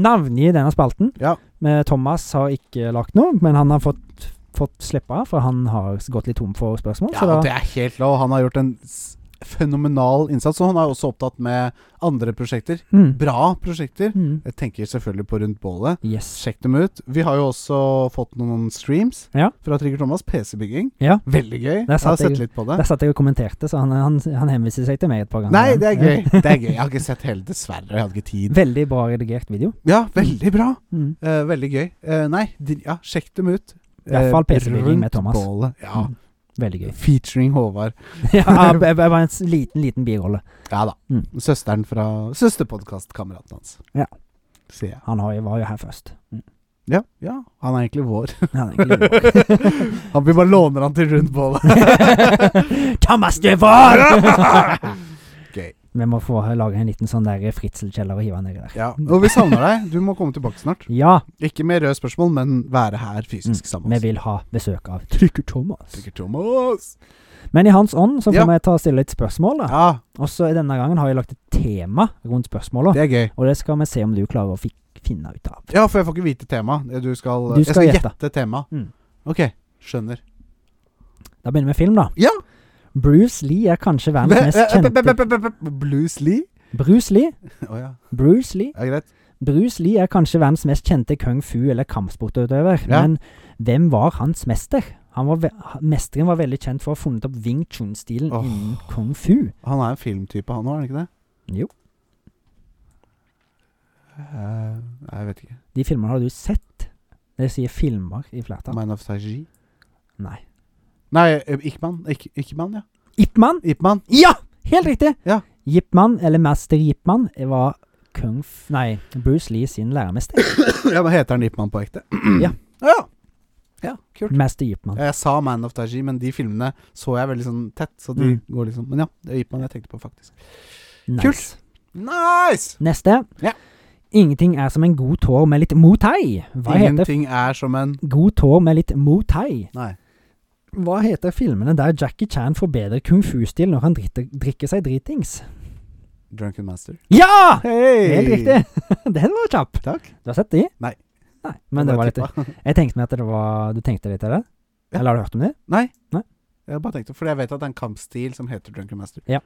B: Navngi denne spalten.
A: Ja.
B: Men Thomas har ikke lagt noe, men han har fått, fått slippe av, for han har gått litt tom for spørsmål.
A: Ja,
B: så da
A: og det er helt lov. Han har gjort en s- fenomenal innsats, og han er også opptatt med andre prosjekter.
B: mm.
A: Bra prosjekter.
B: Mm.
A: Jeg tenker selvfølgelig på Rundt bålet.
B: Yes.
A: Sjekk dem ut. Vi har jo også fått noen streams
B: Ja.
A: fra Trigger Thomas. PC-bygging.
B: Ja.
A: Veldig gøy.
B: Der
A: Jeg har
B: satt jeg-
A: sett litt på det.
B: Der satt jeg og kommenterte, så han, han, han henviste seg til meg et par ganger.
A: Nei, det er
B: Ja.
A: gøy. Det er gøy. Jeg har ikke sett hele, dessverre. Jeg hadde ikke tid.
B: Veldig bra redigert video.
A: Ja, veldig bra.
B: Mm.
A: Eh, veldig gøy. Eh, nei, de, ja, sjekk dem ut. Eh,
B: I hvert fall PC-bygging med Thomas.
A: Bålet. Ja.
B: Mm. Veldig gøy.
A: Featuring Håvard.
B: (laughs) ja, jeg- jeg var en s- liten, liten birolle.
A: Ja da.
B: Mm.
A: Søsteren fra søsterpodkastkameraten hans.
B: Ja.
A: Sier jeg.
B: Han har, jo- var jo her først. Mm.
A: Ja, ja, han er egentlig vår.
B: Han er egentlig litt
A: (laughs) han Vi bare låner han til rundt bålet.
B: (laughs) bra. (laughs) Thomas, du er
A: (laughs)
B: vår!
A: Gøy.
B: Vi må få lage en liten sånn der fritselkjeller og hive han nedi der.
A: Ja. Og vi savner deg. Du må komme tilbake snart.
B: Ja,
A: Ikke med røde spørsmål, men være her fysisk sammen
B: vi
A: med oss.
B: vil ha besøk av Trykker Thomas.
A: Sikkert Thomas.
B: Men i hans ånd så
A: Ja.
B: får vi ta og stille litt spørsmål, da.
A: Ja,
B: Og så i denne gangen har jeg lagt et tema rundt spørsmåla,
A: det er gøy.
B: og det skal vi se om du klarer å fik finne ut av.
A: Ja, for jeg får ikke vite tema. Du skal,
B: Du
A: jeg
B: skal
A: skal
B: gjette.
A: gjette, tema.
B: Mm.
A: Ok, skjønner.
B: Da begynner vi med film, da.
A: Ja.
B: Bruce Lee er kanskje verdens
A: (laughs)
B: mest
A: Eh,
B: kjente
A: Blues eh, Lee?
B: Bruce Lee?
A: Å ja.
B: Bruce Lee?
A: ja, greit.
B: Bruce Lee er kanskje verdens mest kjente kung fu- eller kampsportutøver.
A: Ja.
B: Men hvem var hans mester? Han var ve mesteren var veldig kjent for å ha funnet opp Wing Chun-stilen
A: Åh.
B: innen kung fu.
A: Han er en filmtype, han òg, er han ikke det?
B: Jo.
A: Eh, Nei, jeg vet ikke.
B: De filmene har du sett. Det sier filmer i flertall.
A: Man of Saji?
B: Nei.
A: Nei, eh, Ikman. Ik Ikman, ja.
B: Ip Man?
A: Ipman.
B: Ja! Helt riktig!
A: Ja.
B: Ip Man, eller Master Ip Man, var kung f... Nei, Bruce Lee sin læremester.
A: ja, men heter han Ipman på ekte?
B: Ja.
A: (clears throat) ja. Ja, kult.
B: Master Ip Man.
A: Ja, Jeg sa Man of Taji, men de filmene så jeg veldig sånn tett. Så de
B: Mm.
A: går liksom Men ja, det er Ipman jeg tenkte på, faktisk.
B: Nice.
A: Kult. Nice!
B: Neste.
A: Ja.
B: Ingenting er som en god tår med litt motai. Hva heter
A: Ingenting er som en
B: God tår med litt motai?
A: Nei.
B: Hva heter filmene der Jackie Chan forbedrer kung fu-stil når han dritter, drikker seg dritings?
A: Drunken Master.
B: Ja!
A: Hei!
B: Helt riktig. (laughs) Den var kjapp.
A: Takk.
B: Du har sett de?
A: Nei.
B: Nei, men det var litt
A: tippa.
B: Jeg tenkte meg at det var Du tenkte litt av det?
A: Ja.
B: Eller har du hørt om det?
A: Nei.
B: Nei.
A: (laughs) Jeg bare tenkte, fordi jeg vet at det er en kampstil som heter Drunken Master.
B: Ja.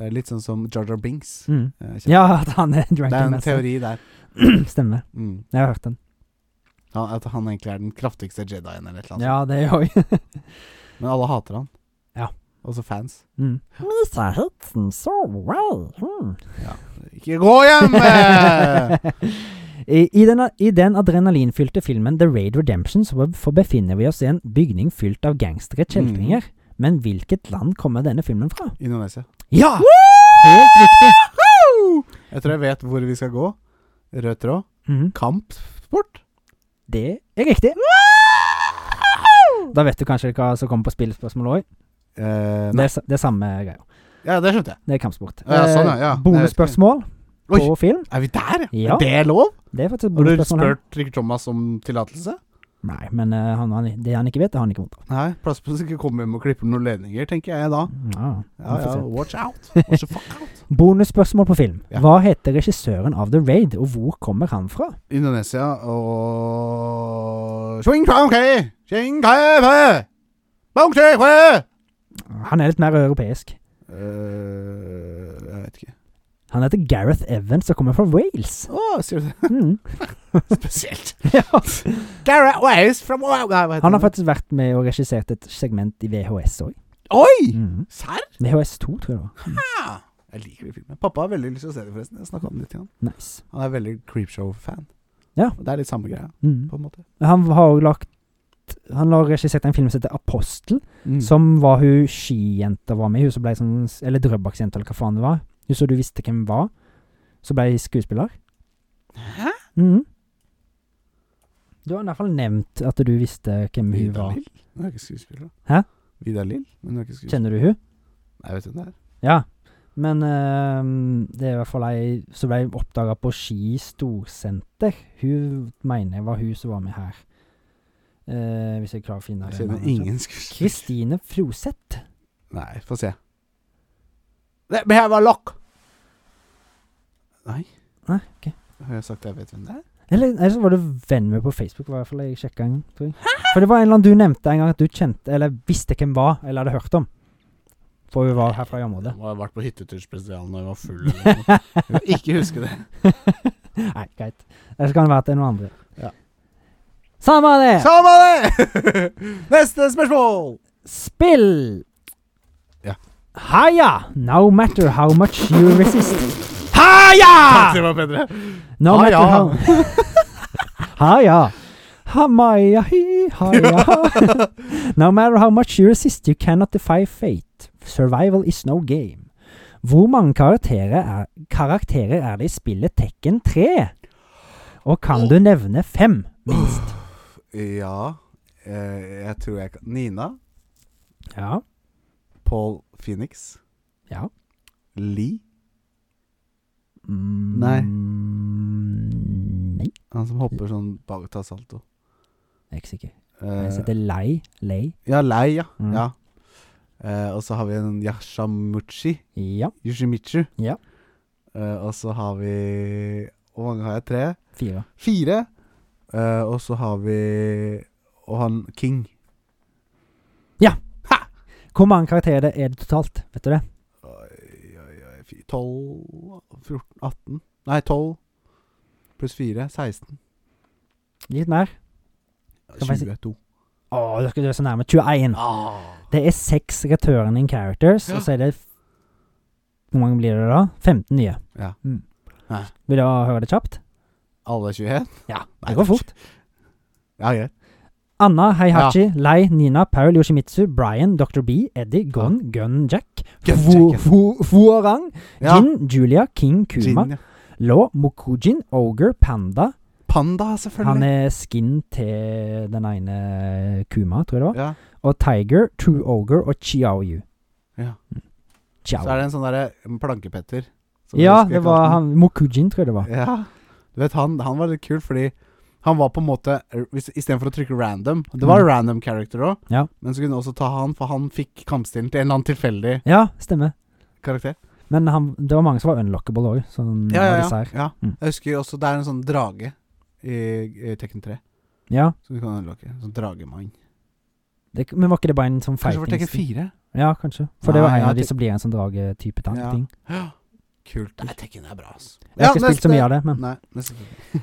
A: Eh, Litt sånn som Jarjar Binks.
B: Mm.
A: Eh, kjent.
B: Ja, at han er
A: det er
B: drunken
A: en
B: master.
A: teori der.
B: (clears throat) Stemmer.
A: Mm.
B: Jeg har hørt den.
A: Han, at han egentlig er den kraftigste Jedien eller et eller annet.
B: Ja, det gjør jeg.
A: sånt. Men alle hater han.
B: Ja.
A: Også fans.
B: (laughs) Mm. Mr. Hudson, so well. Mm.
A: Ikke gå hjem! eh!
B: (laughs) I, i, den, I den adrenalinfylte filmen The Raid Redemption så be- forbefinner vi oss i en bygning fylt av gangstere kjeltringer.
A: Mm.
B: Men hvilket land kommer denne filmen fra?
A: Indonesia.
B: Ja!
A: Helt riktig. Jeg tror jeg vet hvor vi skal gå. Rød tråd.
B: Mhm.
A: Kampsport.
B: Det er riktig. Da vet du kanskje hva som kommer på spillspørsmålet òg.
A: Eh,
B: Det,
A: nei.
B: er sa- det er samme greia.
A: Ja, det skjønte jeg.
B: Det er kampsport.
A: Ja, sånn, ja,
B: Eh,
A: ja.
B: Bonusspørsmål
A: Oi.
B: på film.
A: Er vi der?
B: Ja.
A: Er det lov?
B: Det er faktisk et
A: Har du
B: bonusspørsmål. her.
A: spurt Rikker Thomas om tillatelse?
B: Nei, men eh, han, han, det han ikke vet, det har han ikke vondt av.
A: Nei. Plass på at du ikke kommer hjem og klipper noen ledninger, tenker jeg da.
B: Ja,
A: Ja,
B: vi får
A: ja,
B: se.
A: watch out. Watch the fuck out. (laughs)
B: Bonusspørsmål på film.
A: Ja.
B: Hva heter regissøren av The Raid, og hvor kommer han fra?
A: Indonesia og Swing Chang Kei! Swing Kai Fe! Bang Chi Fe!
B: Han er litt mer europeisk.
A: Eh, Jeg vet ikke.
B: Han heter Gareth Evans og kommer fra Wales.
A: Å, sier du det? (laughs)
B: Mm.
A: Spesielt.
B: ja.
A: Gareth Ways from Nei, hva heter
B: Han har faktisk vært med og regissert et segment i VHS òg.
A: Oi!
B: Mm.
A: Serr?
B: VHS2, tror jeg det var.
A: Jeg liker de filmene. Pappa har veldig lyst til å se det, forresten. Jeg snakket om det til han.
B: Nice.
A: Han er veldig Creepshow-fan.
B: Ja.
A: Og Det er litt samme greia,
B: Mm.
A: på en måte.
B: Han har òg lagt Han har regissert en film som heter Apostel,
A: Så-
B: som var hun skijenta var med i. Hun som ble sånn Eller Drøbak-jenta, eller hva faen det var. Hun som du visste hvem var. Så ble hun skuespiller.
A: Hæ?
B: Mhm. Du har i hvert fall nevnt at du visste hvem hun
A: Vidar
B: var.
A: Lill? Hun er ikke skuespiller.
B: Hæ?
A: Vidar Lill? Men hun er ikke skuespiller.
B: Kjenner du hun?
A: Nei, jeg vet hvem det er.
B: Ja. Men eh, det er i hvert fall ei som ble oppdaga på Ski storsenter. Hun mener jeg var hun som var med her. Eh, hvis jeg klarer å finne
A: Jeg
B: det
A: kjenner
B: navnet.
A: ingen skuespiller.
B: Kristine Froseth.
A: Nei, få se. Let me have a lock! Nei.
B: Nei, ok.
A: Har jeg sagt jeg vet hvem det er?
B: Eller, eller så var du venn med på Facebook, var i hvert fall jeg sjekka en gang. Tror jeg. For det var en eller annen du nevnte en gang at du kjente, eller visste hvem var, eller hadde hørt om. For hun var herfra i
A: (laughs)
B: området. (laughs)
A: må ha vært på hytteturspesialen da jeg var full. Eller noe. (laughs) Jeg vil ikke huske det.
B: (laughs) Nei, greit. Eller så kan det være at det er noen andre.
A: Ja.
B: Samme det!
A: Samme det! (laughs) Neste spørsmål!
B: Spill!
A: Ja.
B: Haya! No matter how much you resist.
A: Takk,
B: Haya!
A: det var bedre.
B: No matter
A: Haya.
B: how (laughs) Haya! Hamaya hi,
A: (laughs)
B: haya. no matter how much you resist, you cannot defy fate. Survival is no game. Hvor mange karakterer er, karakterer er det i spillet Tekken 3? Og kan du nevne fem, minst?
A: Ja eh, Jeg tror jeg kan Nina.
B: Ja.
A: Paul Phoenix.
B: Ja.
A: Lee.
B: Mm,
A: Nei.
B: Nei,
A: Han som hopper sånn bak og tar salto.
B: jeg er ikke sikker.
A: Eh,
B: Jeg heter Lei. Lei.
A: ja, Lei, ja.
B: Mm.
A: ja. Eh, og så har vi en Yashamuchi.
B: Ja.
A: Yoshimitsu.
B: Ja.
A: Eh, og så har vi Hvor mange har jeg? Tre?
B: Fire.
A: Fire. Eh, og så har vi Og han King.
B: Hvor mange karakterer det er det totalt? Vet du det?
A: Oi, oi, oi. fy- 12 14 18 Nei, 12 pluss 4 16.
B: Litt mer. Kan man si-
A: 22.
B: Å, du er så nærme. 21.
A: Ah.
B: Det er seks returning characters, og så er det f- Hvor mange blir det da? 15 nye.
A: Ja.
B: Mm.
A: Nei.
B: Vil du høre det kjapt?
A: Alle er 21?
B: Ja.
A: Nei,
B: Det går fort.
A: Ja, greit.
B: Anna, Heihachi, Lei, Nina, Paul, Yoshimitsu, Brian, Dr. B, Eddie, Gon, Gun, Jack,
A: Gun
B: Fu-
A: Jack, ja.
B: Fu- Fuorang,
A: Ja.
B: Jin, Julia, King, Kuma,
A: Gin, ja.
B: Law, Mokujin, Ogre, Panda,
A: Panda,
B: Han
A: selvfølgelig.
B: er skin til den ene Kuma, tror jeg det var.
A: ja.
B: Og Tiger, True Ogre og Chiaoyu.
A: Ja. Så er
B: Chiao.
A: det en sånn derre en Plankepetter. som
B: Ja,
A: vi skulle
B: det
A: kalt
B: var
A: den.
B: han Mokujin, tror jeg det var.
A: Ja. Du vet, han, han var litt kul fordi han var på en måte hvis- Istedenfor å trykke random Det var
B: Mm.
A: random character òg,
B: Ja.
A: men så kunne du også ta han, for han fikk kampstilen til en eller annen tilfeldig
B: Ja, stemmer.
A: karakter.
B: Men han, det var mange som var unlockable òg. Sånn,
A: Ja, ja,
B: av disse
A: ja.
B: her.
A: ja.
B: Mm.
A: Jeg husker også det er en sånn drage i, i Tekken 3
B: ja.
A: som du kan unlocke. En Sånn dragemann.
B: Det, men var ikke det bare en sånn
A: Kanskje det var Tekken
B: fighting
A: 4?
B: Ja, kanskje. For det
A: Nei,
B: var en
A: ja,
B: av de
A: Tek-
B: som blir en sånn dragetype ting.
A: Ja.
B: ting.
A: Kult. Nei, Tekken er bra, altså.
B: Jeg har ikke spilt så mye av det, men
A: Nei, neste spørsmål.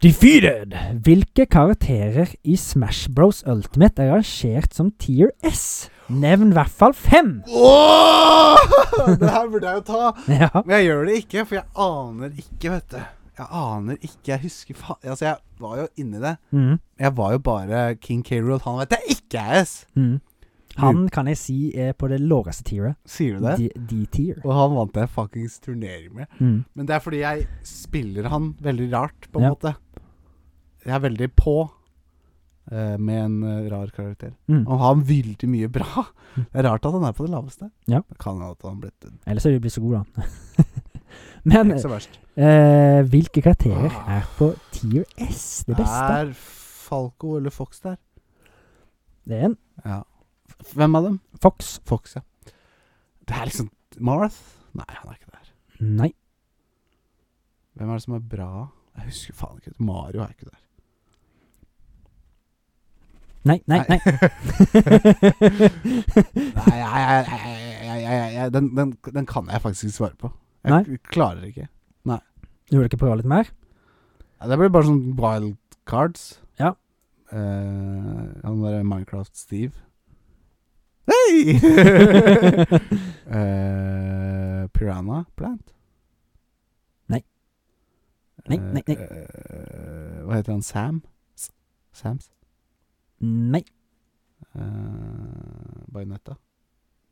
B: Defeated! Hvilke karakterer i Smash Bros Ultimate er arrangert som tier S? Nevn i hvert fall
A: (laughs)
B: fem!
A: Åh! (laughs) Det her burde jeg jo ta.
B: Ja.
A: Men jeg gjør det ikke, for jeg aner ikke, vet du. Jeg aner ikke. Jeg husker faen Altså, jeg var jo inni det.
B: Mm,
A: Jeg var jo bare King K. Rool. Han vet jeg ikke er S!
B: mm. Han kan jeg si er på det laveste tieret.
A: Sier du det?
B: D- D-tier.
A: Og han vant jeg fuckings turnering med.
B: Mm.
A: Men det er fordi jeg spiller han veldig rart, på en
B: Ja.
A: måte. Jeg er veldig på eh, med en eh, rar karakter.
B: Mm.
A: Han har veldig mye bra. (laughs) Det er rart at han er på det laveste.
B: Ja.
A: Det kan hende at han blitt det
B: Ellers er du blitt så god, da.
A: er
B: (laughs) Men
A: ikke så Ah. verst.
B: eh, hvilke karakterer er på tier S det beste?
A: Er Falco eller Fox der?
B: Det er en
A: Ja. F- Hvem av dem?
B: Fox.
A: Fox, ja. Det er liksom Marth? Nei, han er ikke der.
B: Nei.
A: Hvem er det som er bra? Jeg husker faen ikke. Mario er ikke der.
B: Nei, nei,
A: (laughs)
B: nei. (laughs)
A: Nei, jeg, jeg, jeg, jeg, jeg, jeg, den, den, den kan jeg faktisk ikke svare på. Jeg
B: Nei?
A: k- klarer ikke.
B: Du vil ikke prøve litt mer?
A: Ja, Det blir bare sånn wild cards.
B: Ja.
A: Eh, han derre Minecraft-Steve. Hei! (laughs) Eh, Piranha Plant?
B: Nei. Nei, nei, nei.
A: Eh, hva heter han? Sam? S Sams?
B: Nei.
A: Eh, Bajonetta?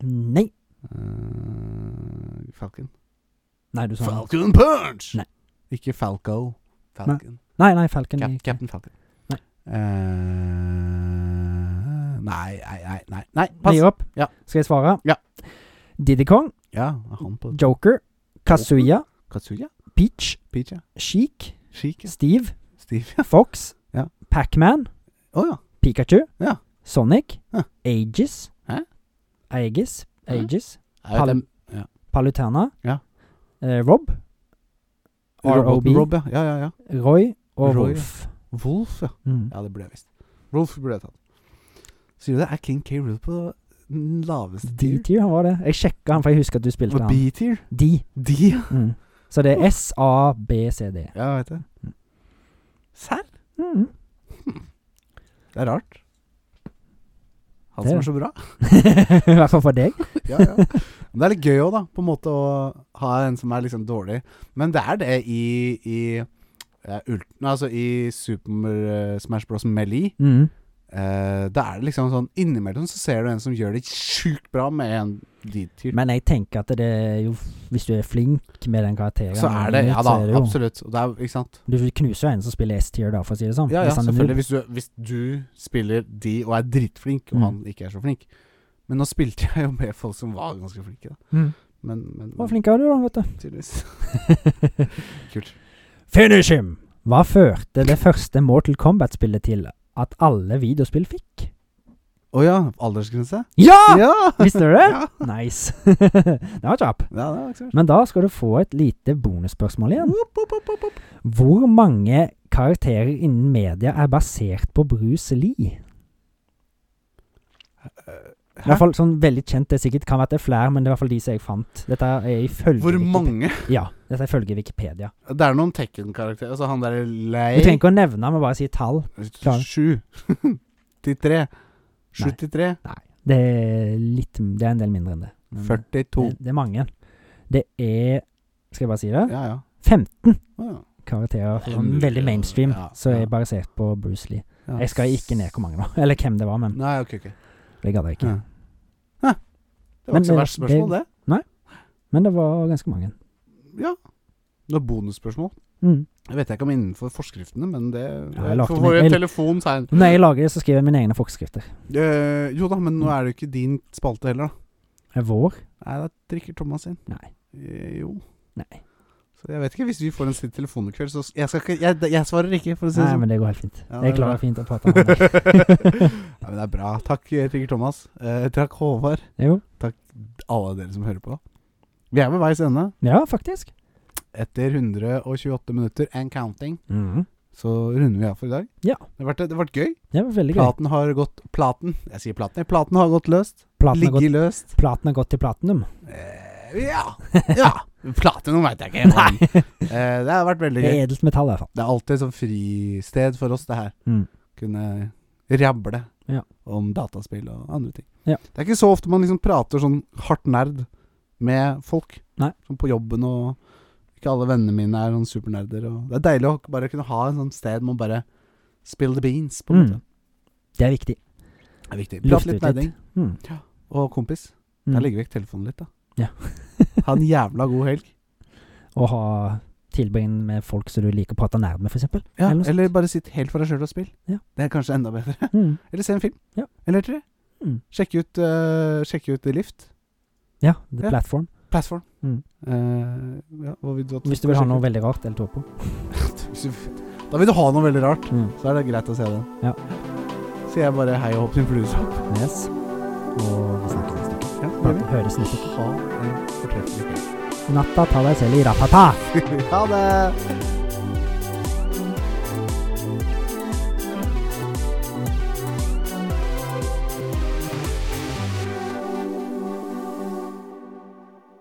B: Nei.
A: Eh, Falcon?
B: Nei, du sa noe.
A: Falcon Punch!
B: Nei.
A: Ikke Falco. Falcon.
B: Nei, nei, Falcon.
A: Cap
B: i-
A: Captain Falcon.
B: Nei.
A: Eh, nei, nei, nei, nei, nei. Pass.
B: Gi opp.
A: Ja.
B: Skal jeg svare?
A: Ja.
B: Diddy Kong,
A: Ja, han på
B: Joker, Kazuya,
A: Katsuya?
B: Peach,
A: Peach, ja.
B: Sheik,
A: Chic, ja.
B: Steve,
A: (laughs) Steve, ja.
B: Fox,
A: Ja.
B: Pac-Man,
A: Å ja.
B: Pikachu,
A: Ja.
B: Sonic,
A: Ja.
B: Aegis,
A: Hæ?
B: Aegis,
A: Hæ?
B: Aegis,
A: Jeg vet
B: Pal-
A: dem.
B: Palutena,
A: Ja.
B: eh, Rob,
A: Rob,
B: ROB,
A: Rob, ja. ja. Ja, ja.
B: Roy og
A: Roy, ja.
B: Wolf.
A: Wolf, ja.
B: Mm.
A: Ja, det burde jeg visst. Rolf burde jeg tatt. Sier du det? Er King K. Rool på den laveste tier?
B: D-tier, han var det. Jeg sjekka han, for jeg husker at du spilte
A: Og
B: han.
A: B-tier?
B: D.
A: D, ja.
B: Mm. Så det er S, A, B, C, D.
A: Ja, jeg vet det. Serr?
B: Mm. (laughs)
A: Det er rart. Han
B: Det
A: som
B: er
A: er så bra.
B: I hvert fall for deg.
A: Ja, ja. Men det er litt gøy òg, da. På en måte å ha en som er liksom dårlig. Men det er det i, i eh, ult, nei, altså i Super eh, Smash Bros. Melee.
B: Mm.
A: Eh, da er det liksom sånn Innimellom så ser du en som gjør det sjukt bra med en D-tier.
B: Men jeg tenker at det er jo Hvis du er flink med den karakteren,
A: Så er det Ja
B: så
A: da,
B: er det jo-
A: absolutt. Og det er, ikke sant?
B: Du knuser jo en som spiller S-tier, da, for å si det sånn.
A: Ja, ja,
B: Hvis han er noob.
A: selvfølgelig. Hvis du, hvis du spiller de og er drittflink, og
B: Mm.
A: han ikke er så flink Men nå spilte jeg jo med folk som var ganske flinke, da.
B: Mm.
A: Men, men,
B: Hvor flink er du, da, vet du?
A: tydeligvis. Kult.
B: Finish him! Hva førte det første Mortal Kombat-spillet til at alle videospill fikk?
A: Å ja, aldersgrense?
B: Ja!
A: Ja!
B: Visste du det?
A: Ja,
B: Nice. (laughs) Den var kjapp.
A: ja det var ikke så verst.
B: Men da skal du få et lite bonusspørsmål igjen.
A: Opp, opp, opp, opp, opp.
B: Hvor mange karakterer innen media er basert på Bruce Lee?
A: Eh,
B: I hvert fall sånn veldig kjent. Det er sikkert kan være at det er flere, men det er i hvert fall de som jeg fant. Dette er ifølge
A: Hvor
B: Wikip-
A: mange?
B: Ja, dette er ifølge Wikipedia.
A: Det er noen Tekken-karakterer. Altså han derre
B: Du trenger
A: lei
B: ikke å nevne, men bare si tall. klare.
A: Sju. (laughs) 73.
B: Nei.
A: 73.
B: Nei, det er litt Det er en del mindre enn det. Men
A: 42.
B: Det, det er mange. Det er Skal jeg bare si det?
A: Ja, ja. Å,
B: 15
A: ja.
B: karakterer.
A: Det er
B: Sånn, veldig mainstream.
A: ja,
B: Så
A: ja.
B: er basert på Bruce Lee.
A: ja.
B: Jeg skal ikke ned hvor mange det var, (laughs) eller hvem det var, men
A: Nei, ok, ok.
B: det gadd jeg ikke.
A: Ja. Hæ. Det var
B: Men
A: ikke så
B: det-
A: verst spørsmål, det.
B: Men det var ganske mange.
A: Ja. Noe bonusspørsmål.
B: Mm.
A: Jeg vet ikke om innenfor forskriftene, men det
B: Ja, jeg lagde
A: For
B: meg- Mm.
A: vår
B: jeg-
A: telefon sa en
B: Når jeg lager det, så skriver jeg mine egne forskrifter.
A: Eh, Jo da, men nå er det jo ikke din spalte heller, da.
B: Er vår?
A: Nei, da drikker Thomas inn.
B: Nei.
A: Eh, Jo.
B: Nei.
A: Så jeg vet ikke, hvis vi får en stille telefon i kveld, så jeg, skal ikke, jeg, jeg svarer ikke, for å si det
B: Nei,
A: sånn.
B: men det går helt fint.
A: Ja, det
B: jeg
A: er bra.
B: klarer fint å prate med deg.
A: (laughs) Nei, men det er bra. Takk, eh, Trigger Thomas. Eh, takk, Håvard.
B: Jo.
A: Alle dere som hører på. Vi er ved veis ende.
B: Ja, faktisk.
A: Etter 128 minutter and counting,
B: Mhm.
A: så runder vi av for i dag.
B: Ja.
A: Det har vært, det har vært gøy.
B: Det var veldig gøy.
A: Platen har gått Platen, jeg sier platen. jeg. Platen har gått løst.
B: Platen har
A: Ligge
B: gått,
A: løst.
B: platen har gått til platinum.
A: Eh, ja. ja. Platinum veit jeg ikke. men,
B: (laughs)
A: Eh, det har vært veldig
B: Det er
A: gøy.
B: edelt metall, i hvert fall.
A: Det er alltid sånn fristed for oss, det her.
B: Mm.
A: kunne rable
B: Ja.
A: om dataspill og andre ting.
B: Ja.
A: Det er ikke så ofte man liksom prater sånn hardt nerd med folk.
B: Nei.
A: Sånn på jobben og Ikke alle vennene mine er sånn supernerder. Og det er deilig å bare kunne ha en sånn sted man bare spill the beans, på en
B: Mm.
A: måte.
B: Det er viktig.
A: Det er viktig.
B: Lufte
A: Prat
B: ut
A: litt nerding.
B: Mm.
A: Og kompis,
B: Mm.
A: jeg legger vekk telefonen litt, da.
B: Ja.
A: (laughs) ha en jævla god helg.
B: Å ha tilbringe med folk som du liker å prate nerd med, f.eks.
A: Ja,
B: Eller noe
A: eller,
B: sånt.
A: bare sitt helt for deg sjøl og spill.
B: Ja.
A: Det er kanskje enda bedre.
B: Mm.
A: Eller se en film.
B: Ja.
A: Eller tre.
B: Mm.
A: Sjekke ut, uh, sjekke ut Lift.
B: Ja, The
A: Ja.
B: Platform.
A: Platform.
B: Mm.
A: Eh, ja, hva vil du at
B: Hvis du vil ha noe veldig rart eller tror på.
A: Hvis du- Da vil du ha noe veldig rart,
B: Mm.
A: så er det greit å se den.
B: Ja.
A: Så jeg bare hei og hopp sin fluesopp.
B: Yes. Og vi snakkes neste uke.
A: Ja, det gjør vi.
B: Høres neste uke.
A: Ha en fortreffelig
B: Natta, ta deg selv i ratata!
A: kveld. (laughs) ha det!